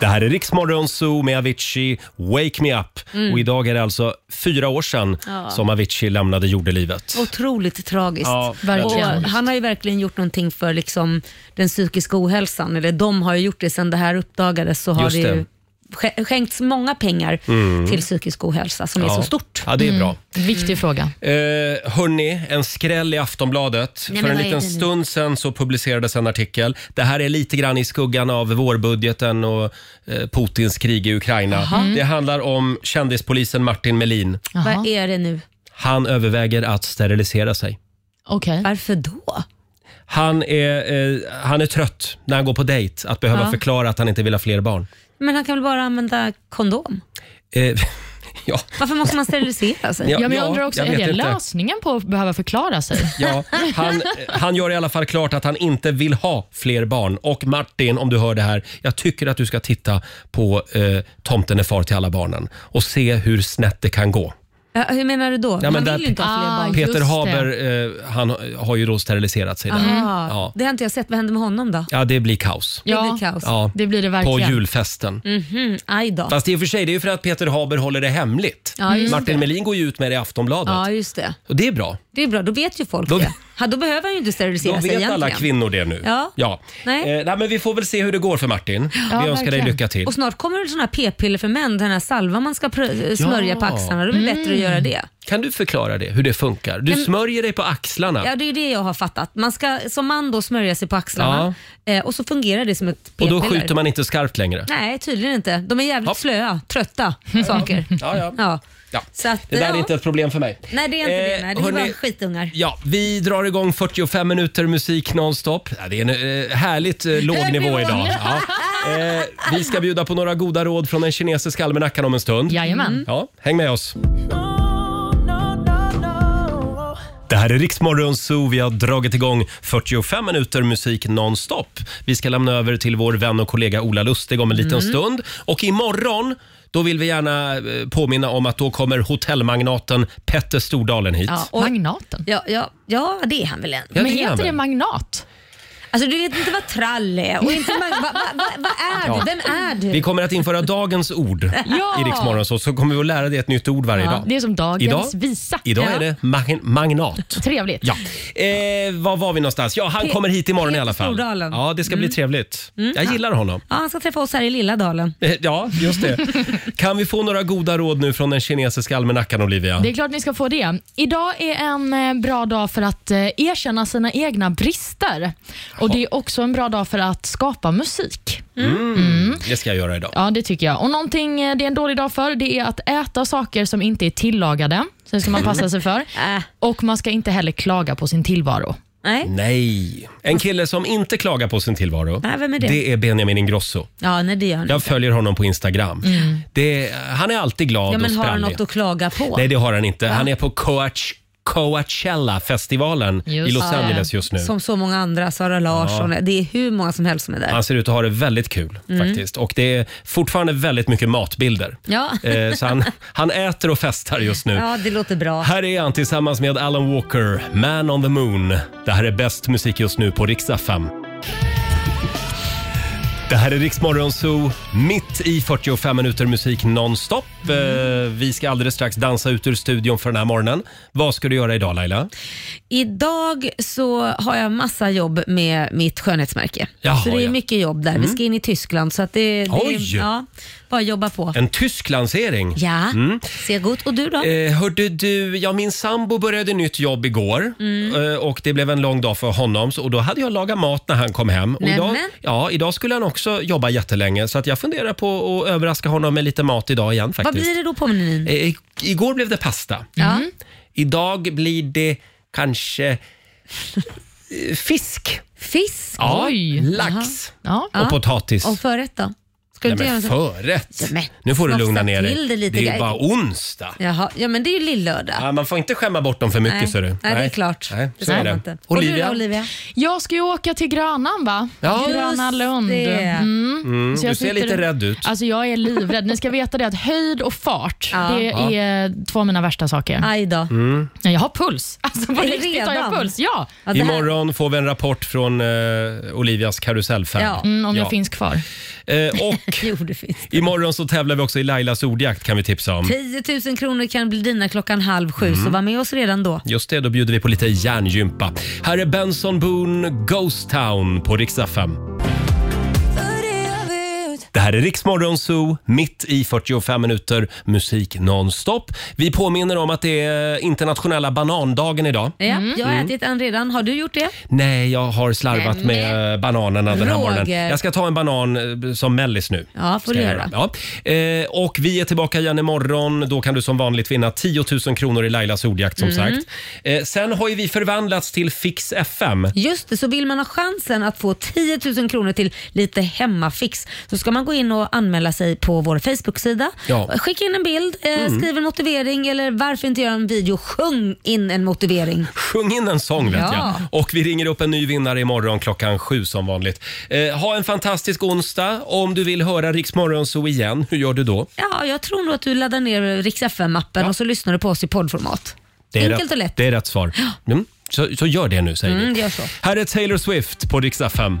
[SPEAKER 1] Det här är Riksmorgon Zoo med Avicii, Wake Me Up.
[SPEAKER 3] Mm.
[SPEAKER 1] Och idag är det alltså fyra år sedan
[SPEAKER 3] Ja.
[SPEAKER 1] som Avicii lämnade jordelivet.
[SPEAKER 3] Otroligt tragiskt.
[SPEAKER 1] Ja,
[SPEAKER 3] och
[SPEAKER 1] verkligen.
[SPEAKER 3] han har ju verkligen gjort någonting för liksom den psykiska ohälsan. Eller de har ju gjort det sen det här uppdagades så har
[SPEAKER 1] Just
[SPEAKER 3] det
[SPEAKER 1] det.
[SPEAKER 3] ju sk- skänkts många pengar
[SPEAKER 1] Mm.
[SPEAKER 3] till psykisk ohälsa som är
[SPEAKER 1] Ja.
[SPEAKER 3] så stort. Mm.
[SPEAKER 1] Ja, det är bra.
[SPEAKER 4] Viktig fråga.
[SPEAKER 1] Eh, hörni, en skräll i Aftonbladet.
[SPEAKER 4] Nej,
[SPEAKER 1] För
[SPEAKER 4] men
[SPEAKER 1] en
[SPEAKER 4] vad är
[SPEAKER 1] liten
[SPEAKER 4] det nu?
[SPEAKER 1] stund sen så publicerades en artikel. Det här är lite grann i skuggan av vårbudgeten och eh, Putins krig i Ukraina.
[SPEAKER 3] Jaha.
[SPEAKER 1] Det handlar om kändispolisen Martin Melin.
[SPEAKER 3] Vad är det nu?
[SPEAKER 1] Han överväger att sterilisera sig.
[SPEAKER 4] Okay.
[SPEAKER 3] Varför då?
[SPEAKER 1] Han är, eh, han är trött när han går på dejt att behöva
[SPEAKER 3] Ja.
[SPEAKER 1] förklara att han inte vill ha fler barn.
[SPEAKER 3] Men han kan väl bara använda kondom?
[SPEAKER 1] Eh, ja,
[SPEAKER 3] Varför måste man sterilisera sig?
[SPEAKER 1] Ja,
[SPEAKER 4] Ja, men jag
[SPEAKER 1] ja,
[SPEAKER 4] undrar också,
[SPEAKER 1] jag
[SPEAKER 4] är
[SPEAKER 1] vet
[SPEAKER 4] det
[SPEAKER 1] inte.
[SPEAKER 4] lösningen på att behöva förklara sig?
[SPEAKER 1] ja. Han, han gör i alla fall klart att han inte vill ha fler barn. Och Martin, om du hör det här, jag tycker att du ska titta på eh, Tomten är far till alla barnen och se hur snett det kan gå.
[SPEAKER 3] Ja, hur menar du då?
[SPEAKER 1] Ja, men
[SPEAKER 3] han
[SPEAKER 1] där-
[SPEAKER 3] vill ju inte ha fler barn.
[SPEAKER 1] Peter Haber eh, han har ju då steriliserat sig. Där.
[SPEAKER 3] Aha.
[SPEAKER 1] Ja.
[SPEAKER 3] Ah.
[SPEAKER 1] Mm.
[SPEAKER 3] Det har inte jag sett. Vad händer med honom då?
[SPEAKER 1] ja, det blir kaos.
[SPEAKER 3] Det blir kaos.
[SPEAKER 1] Ja,
[SPEAKER 3] Det blir det
[SPEAKER 1] På
[SPEAKER 3] verkligen.
[SPEAKER 1] julfesten.
[SPEAKER 3] Mhm, aj då.
[SPEAKER 1] Fast i och för sig, det är ju för att Peter Haber håller det hemligt. Mm.
[SPEAKER 3] Ja, just
[SPEAKER 1] Martin
[SPEAKER 3] det.
[SPEAKER 1] Melin går ju ut med det i Aftonbladet.
[SPEAKER 3] Ja, just det.
[SPEAKER 1] Och det är bra.
[SPEAKER 3] Det är bra, då vet ju folk
[SPEAKER 1] Då-
[SPEAKER 3] det. Ja, då behöver han ju inte sterilisera
[SPEAKER 1] Då
[SPEAKER 3] sig
[SPEAKER 1] vet
[SPEAKER 3] egentligen.
[SPEAKER 1] alla kvinnor det nu.
[SPEAKER 3] Ja.
[SPEAKER 1] Nej.
[SPEAKER 3] Nej.
[SPEAKER 1] Eh, nej, men vi får väl se hur det går för Martin.
[SPEAKER 3] Ja,
[SPEAKER 1] vi önskar dig
[SPEAKER 3] verkligen.
[SPEAKER 1] lycka till.
[SPEAKER 3] Och snart kommer det såna här p-piller för män, den här salvan man ska prö- smörja på axlarna. Då är det
[SPEAKER 1] Mm.
[SPEAKER 3] bättre att göra det.
[SPEAKER 1] Kan du förklara det, hur det funkar? Du
[SPEAKER 3] Men-
[SPEAKER 1] smörjer dig på axlarna.
[SPEAKER 3] Ja, det är ju det jag har fattat. Man ska som man då smörja sig på axlarna eh, och så fungerar det som ett
[SPEAKER 1] och
[SPEAKER 3] p-piller.
[SPEAKER 1] då skjuter man inte skarpt längre.
[SPEAKER 3] Nej, tydligen inte. De är jävligt slöa, trötta saker.
[SPEAKER 1] Ja, ja. Ja.
[SPEAKER 3] Så att,
[SPEAKER 1] Det där är
[SPEAKER 3] ja.
[SPEAKER 1] inte ett problem för mig.
[SPEAKER 3] Nej, det är inte det. Nej, det är
[SPEAKER 1] hörni-
[SPEAKER 3] bara skitungar.
[SPEAKER 1] Ja, vi drar igång 45 minuter musik nonstop. Ja, det är en eh, härligt eh, låg
[SPEAKER 3] Hög
[SPEAKER 1] nivå
[SPEAKER 3] nivå.
[SPEAKER 1] idag. Ja. Eh, vi ska bjuda på några goda råd från den kinesiska almanackan om en stund.
[SPEAKER 4] Jajamän. Mm.
[SPEAKER 1] Ja, häng med oss. Det här är Riksmorgon Zoo. Vi har dragit igång 45 minuter musik nonstop. Vi ska lämna över till vår vän och kollega Ola Lustig om en liten
[SPEAKER 14] Mm.
[SPEAKER 1] stund. Och imorgon då vill vi gärna eh, påminna om att då kommer hotellmagnaten Petter Stordalen hit.
[SPEAKER 3] Ja, och-
[SPEAKER 4] Magnaten?
[SPEAKER 3] Ja, ja, ja, det är han väl än.
[SPEAKER 1] Ja, det är han väl.
[SPEAKER 4] magnat?
[SPEAKER 3] Alltså du vet inte vad trall är och inte mag- vad va, va, vad är
[SPEAKER 1] Ja.
[SPEAKER 3] du? Vem är du?
[SPEAKER 1] Vi kommer att införa dagens ord
[SPEAKER 4] Ja.
[SPEAKER 1] i Riksmorgon så, så kommer vi att lära dig ett nytt ord varje
[SPEAKER 4] Ja,
[SPEAKER 1] dag.
[SPEAKER 4] det är som dagens
[SPEAKER 1] Idag-
[SPEAKER 4] visa.
[SPEAKER 1] Idag
[SPEAKER 4] Ja.
[SPEAKER 1] är det mag- magnat.
[SPEAKER 4] Trevligt.
[SPEAKER 1] Ja. Eh, var var vi någonstans? Ja, han
[SPEAKER 3] Pe-
[SPEAKER 1] kommer hit imorgon i
[SPEAKER 3] Peter
[SPEAKER 1] alla fall.
[SPEAKER 3] Stordalen.
[SPEAKER 1] Ja, det ska bli
[SPEAKER 3] Mm.
[SPEAKER 1] trevligt.
[SPEAKER 3] Mm.
[SPEAKER 1] Jag gillar honom.
[SPEAKER 3] Ja, han ska träffa oss här i Lilla Dalen.
[SPEAKER 1] Eh, Ja, just det. Kan vi få några goda råd nu från den kinesiska almanackan, Olivia?
[SPEAKER 4] Det är klart ni ska få det. Idag är en eh, bra dag för att eh, erkänna sina egna brister. Och Det är också en bra dag för att skapa musik.
[SPEAKER 1] Mm.
[SPEAKER 4] Mm.
[SPEAKER 1] Det ska jag göra idag.
[SPEAKER 4] Ja, det tycker jag. Och någonting eh, det är en dålig dag för, det är att äta saker som inte är tillagade. Så det ska man passa sig för.
[SPEAKER 1] Äh.
[SPEAKER 4] Och man ska inte heller klaga på sin tillvaro.
[SPEAKER 3] Nej.
[SPEAKER 1] Nej. En kille som inte klagar på sin tillvaro,
[SPEAKER 3] Nej, vem är det?
[SPEAKER 1] är Benjamin Ingrosso.
[SPEAKER 3] Ja, nej det gör han
[SPEAKER 1] Jag följer honom på Instagram.
[SPEAKER 3] Mm.
[SPEAKER 1] Det, han är alltid glad
[SPEAKER 3] Ja, men
[SPEAKER 1] och
[SPEAKER 3] har han
[SPEAKER 1] sprallig.
[SPEAKER 3] något att klaga på?
[SPEAKER 1] Nej, det har han inte. Han är på Coach, Coachella-festivalen i Los
[SPEAKER 3] Ja,
[SPEAKER 1] Angeles
[SPEAKER 3] ja.
[SPEAKER 1] just nu.
[SPEAKER 3] Som så många andra, Sara Larsson.
[SPEAKER 1] Ja. Alltså,
[SPEAKER 3] Det är hur många som helst som är där.
[SPEAKER 1] Han ser ut att ha det väldigt kul
[SPEAKER 3] Mm.
[SPEAKER 1] faktiskt. Och det är fortfarande väldigt mycket matbilder.
[SPEAKER 3] Ja.
[SPEAKER 1] Eh, Så han, han äter och festar just nu.
[SPEAKER 3] ja, det låter bra.
[SPEAKER 1] Här är han tillsammans med Alan Walker, Man on the Moon. Det här är bäst musik just nu på Riksa 5. Det här är Riksmorgon Zoo, mitt i 45 minuter musik nonstop.
[SPEAKER 3] Mm.
[SPEAKER 1] Eh, Vi ska alldeles strax dansa ut ur studion för den här morgonen. Vad ska du göra idag Laila?
[SPEAKER 3] Idag så har jag massa jobb med mitt skönhetsmärke.
[SPEAKER 1] Jaha,
[SPEAKER 3] så det är
[SPEAKER 1] ja.
[SPEAKER 3] mycket jobb där. Vi
[SPEAKER 1] Mm.
[SPEAKER 3] ska in i Tyskland så att det, det
[SPEAKER 1] Oj!
[SPEAKER 3] ja, bara jobba på.
[SPEAKER 1] En tysk lansering.
[SPEAKER 3] Ja,
[SPEAKER 1] Mm.
[SPEAKER 3] ser gott. Och du då?
[SPEAKER 1] Eh, hörde du, ja min sambo började nytt jobb igår
[SPEAKER 3] Mm.
[SPEAKER 1] eh, och det blev en lång dag för honom så, och då hade jag lagat mat när han kom hem. Och idag,
[SPEAKER 3] Nämen.
[SPEAKER 1] ja, idag skulle han också jobba jättelänge så att jag funderar på att överraska honom med lite mat idag igen faktiskt.
[SPEAKER 3] Vad blir det då på menyn?
[SPEAKER 1] Eh, mm. i- igår blev det pasta.
[SPEAKER 3] Ja.
[SPEAKER 1] Idag blir det kanske eh, fisk.
[SPEAKER 3] Fisk?
[SPEAKER 1] Ja,
[SPEAKER 3] Oj.
[SPEAKER 1] lax
[SPEAKER 3] Jaha.
[SPEAKER 1] och potatis.
[SPEAKER 3] Och förrätt då? Ska du
[SPEAKER 1] Nej,
[SPEAKER 3] inte
[SPEAKER 1] men
[SPEAKER 3] göra så?
[SPEAKER 1] förrätt.
[SPEAKER 3] Ja, men,
[SPEAKER 1] nu får du
[SPEAKER 3] snofsa
[SPEAKER 1] lugna ner
[SPEAKER 3] till det
[SPEAKER 1] dig.
[SPEAKER 3] lite,
[SPEAKER 1] Det är ju
[SPEAKER 3] Geir.
[SPEAKER 1] bara onsdag.
[SPEAKER 3] Jaha, ja men det är ju lillördag.
[SPEAKER 1] Ja, man får inte skämma bort dem för mycket.
[SPEAKER 3] Nej.
[SPEAKER 1] ser du.
[SPEAKER 3] Nej, det är klart.
[SPEAKER 1] Nej,
[SPEAKER 3] Det
[SPEAKER 1] så är
[SPEAKER 3] ska man
[SPEAKER 1] det.
[SPEAKER 3] inte. Och du
[SPEAKER 1] Olivia?
[SPEAKER 3] då, Olivia?
[SPEAKER 4] Jag ska ju åka till Grönan va?
[SPEAKER 1] Ja.
[SPEAKER 4] Gröna
[SPEAKER 1] Just
[SPEAKER 4] Lund.
[SPEAKER 1] det.
[SPEAKER 4] Mm.
[SPEAKER 1] Mm,
[SPEAKER 4] jag
[SPEAKER 1] du ser
[SPEAKER 4] sitter-
[SPEAKER 1] lite rädd ut.
[SPEAKER 4] Alltså jag är livrädd. Ni ska veta det att höjd och fart, det
[SPEAKER 1] Ja.
[SPEAKER 4] är två av mina värsta saker.
[SPEAKER 3] Aj då.
[SPEAKER 1] Mm.
[SPEAKER 4] Ja, Jag har puls. Alltså på
[SPEAKER 3] Är det
[SPEAKER 4] riktigt har jag
[SPEAKER 3] redan?
[SPEAKER 4] puls. Ja.
[SPEAKER 1] Imorgon får vi en rapport från eh, Olivias karusellfärd.
[SPEAKER 4] Ja, mm, om jag finns kvar.
[SPEAKER 1] Eh, och
[SPEAKER 3] jo, det finns.
[SPEAKER 1] imorgon så tävlar vi också i Lailas ordjakt kan vi tipsa om.
[SPEAKER 3] 10 000 kronor kan bli dina klockan halv sju,
[SPEAKER 1] Mm.
[SPEAKER 3] så var med oss redan då.
[SPEAKER 1] Just det, då bjuder vi på lite hjärngympa. Här är Benson Boone, Ghost Town på riksdag 5. Det här är Riksmorgon Zoo, mitt i 45 minuter musik nonstop. Vi påminner om att det är internationella banandagen idag.
[SPEAKER 3] Ja, Jag har
[SPEAKER 1] Mm.
[SPEAKER 3] ätit en redan. Har du gjort det?
[SPEAKER 1] Nej, jag har slarvat
[SPEAKER 3] Nej, men-
[SPEAKER 1] med eh, bananerna den här
[SPEAKER 3] Roger.
[SPEAKER 1] morgonen. Jag ska ta en banan eh, som mellis nu.
[SPEAKER 3] Ja, får
[SPEAKER 1] Ska
[SPEAKER 3] du
[SPEAKER 1] jag
[SPEAKER 3] göra.
[SPEAKER 1] Ja. Eh, och vi är tillbaka igen imorgon. Då kan du som vanligt vinna 10 000 kronor i Lailas ordjakt som
[SPEAKER 3] Mm.
[SPEAKER 1] sagt. Eh, sen har ju vi förvandlats till Fix FM.
[SPEAKER 3] Just det, så vill man ha chansen att få 10 000 kronor till lite hemmafix så ska man gå in och anmäla sig på vår Facebook-sida.
[SPEAKER 1] Ja.
[SPEAKER 3] Skicka in en bild, eh,
[SPEAKER 1] Mm.
[SPEAKER 3] skriv en motivering eller varför inte göra en video? Sjung in en motivering.
[SPEAKER 1] Sjung in en sång vet
[SPEAKER 3] Ja.
[SPEAKER 1] jag. Och vi ringer upp en ny vinnare imorgon klockan sju som vanligt. Eh, ha en fantastisk onsdag. Om du vill höra Rix så igen, hur gör du då?
[SPEAKER 3] Ja, jag tror nog att du laddar ner Rix FM-appen och så lyssnar du på oss i poddformat. Enkelt
[SPEAKER 1] rätt,
[SPEAKER 3] och lätt.
[SPEAKER 1] Det är rätt svar. Mm. Så, så gör det nu säger vi.
[SPEAKER 3] Mm, gör så.
[SPEAKER 1] Här är Taylor Swift på Rix FM.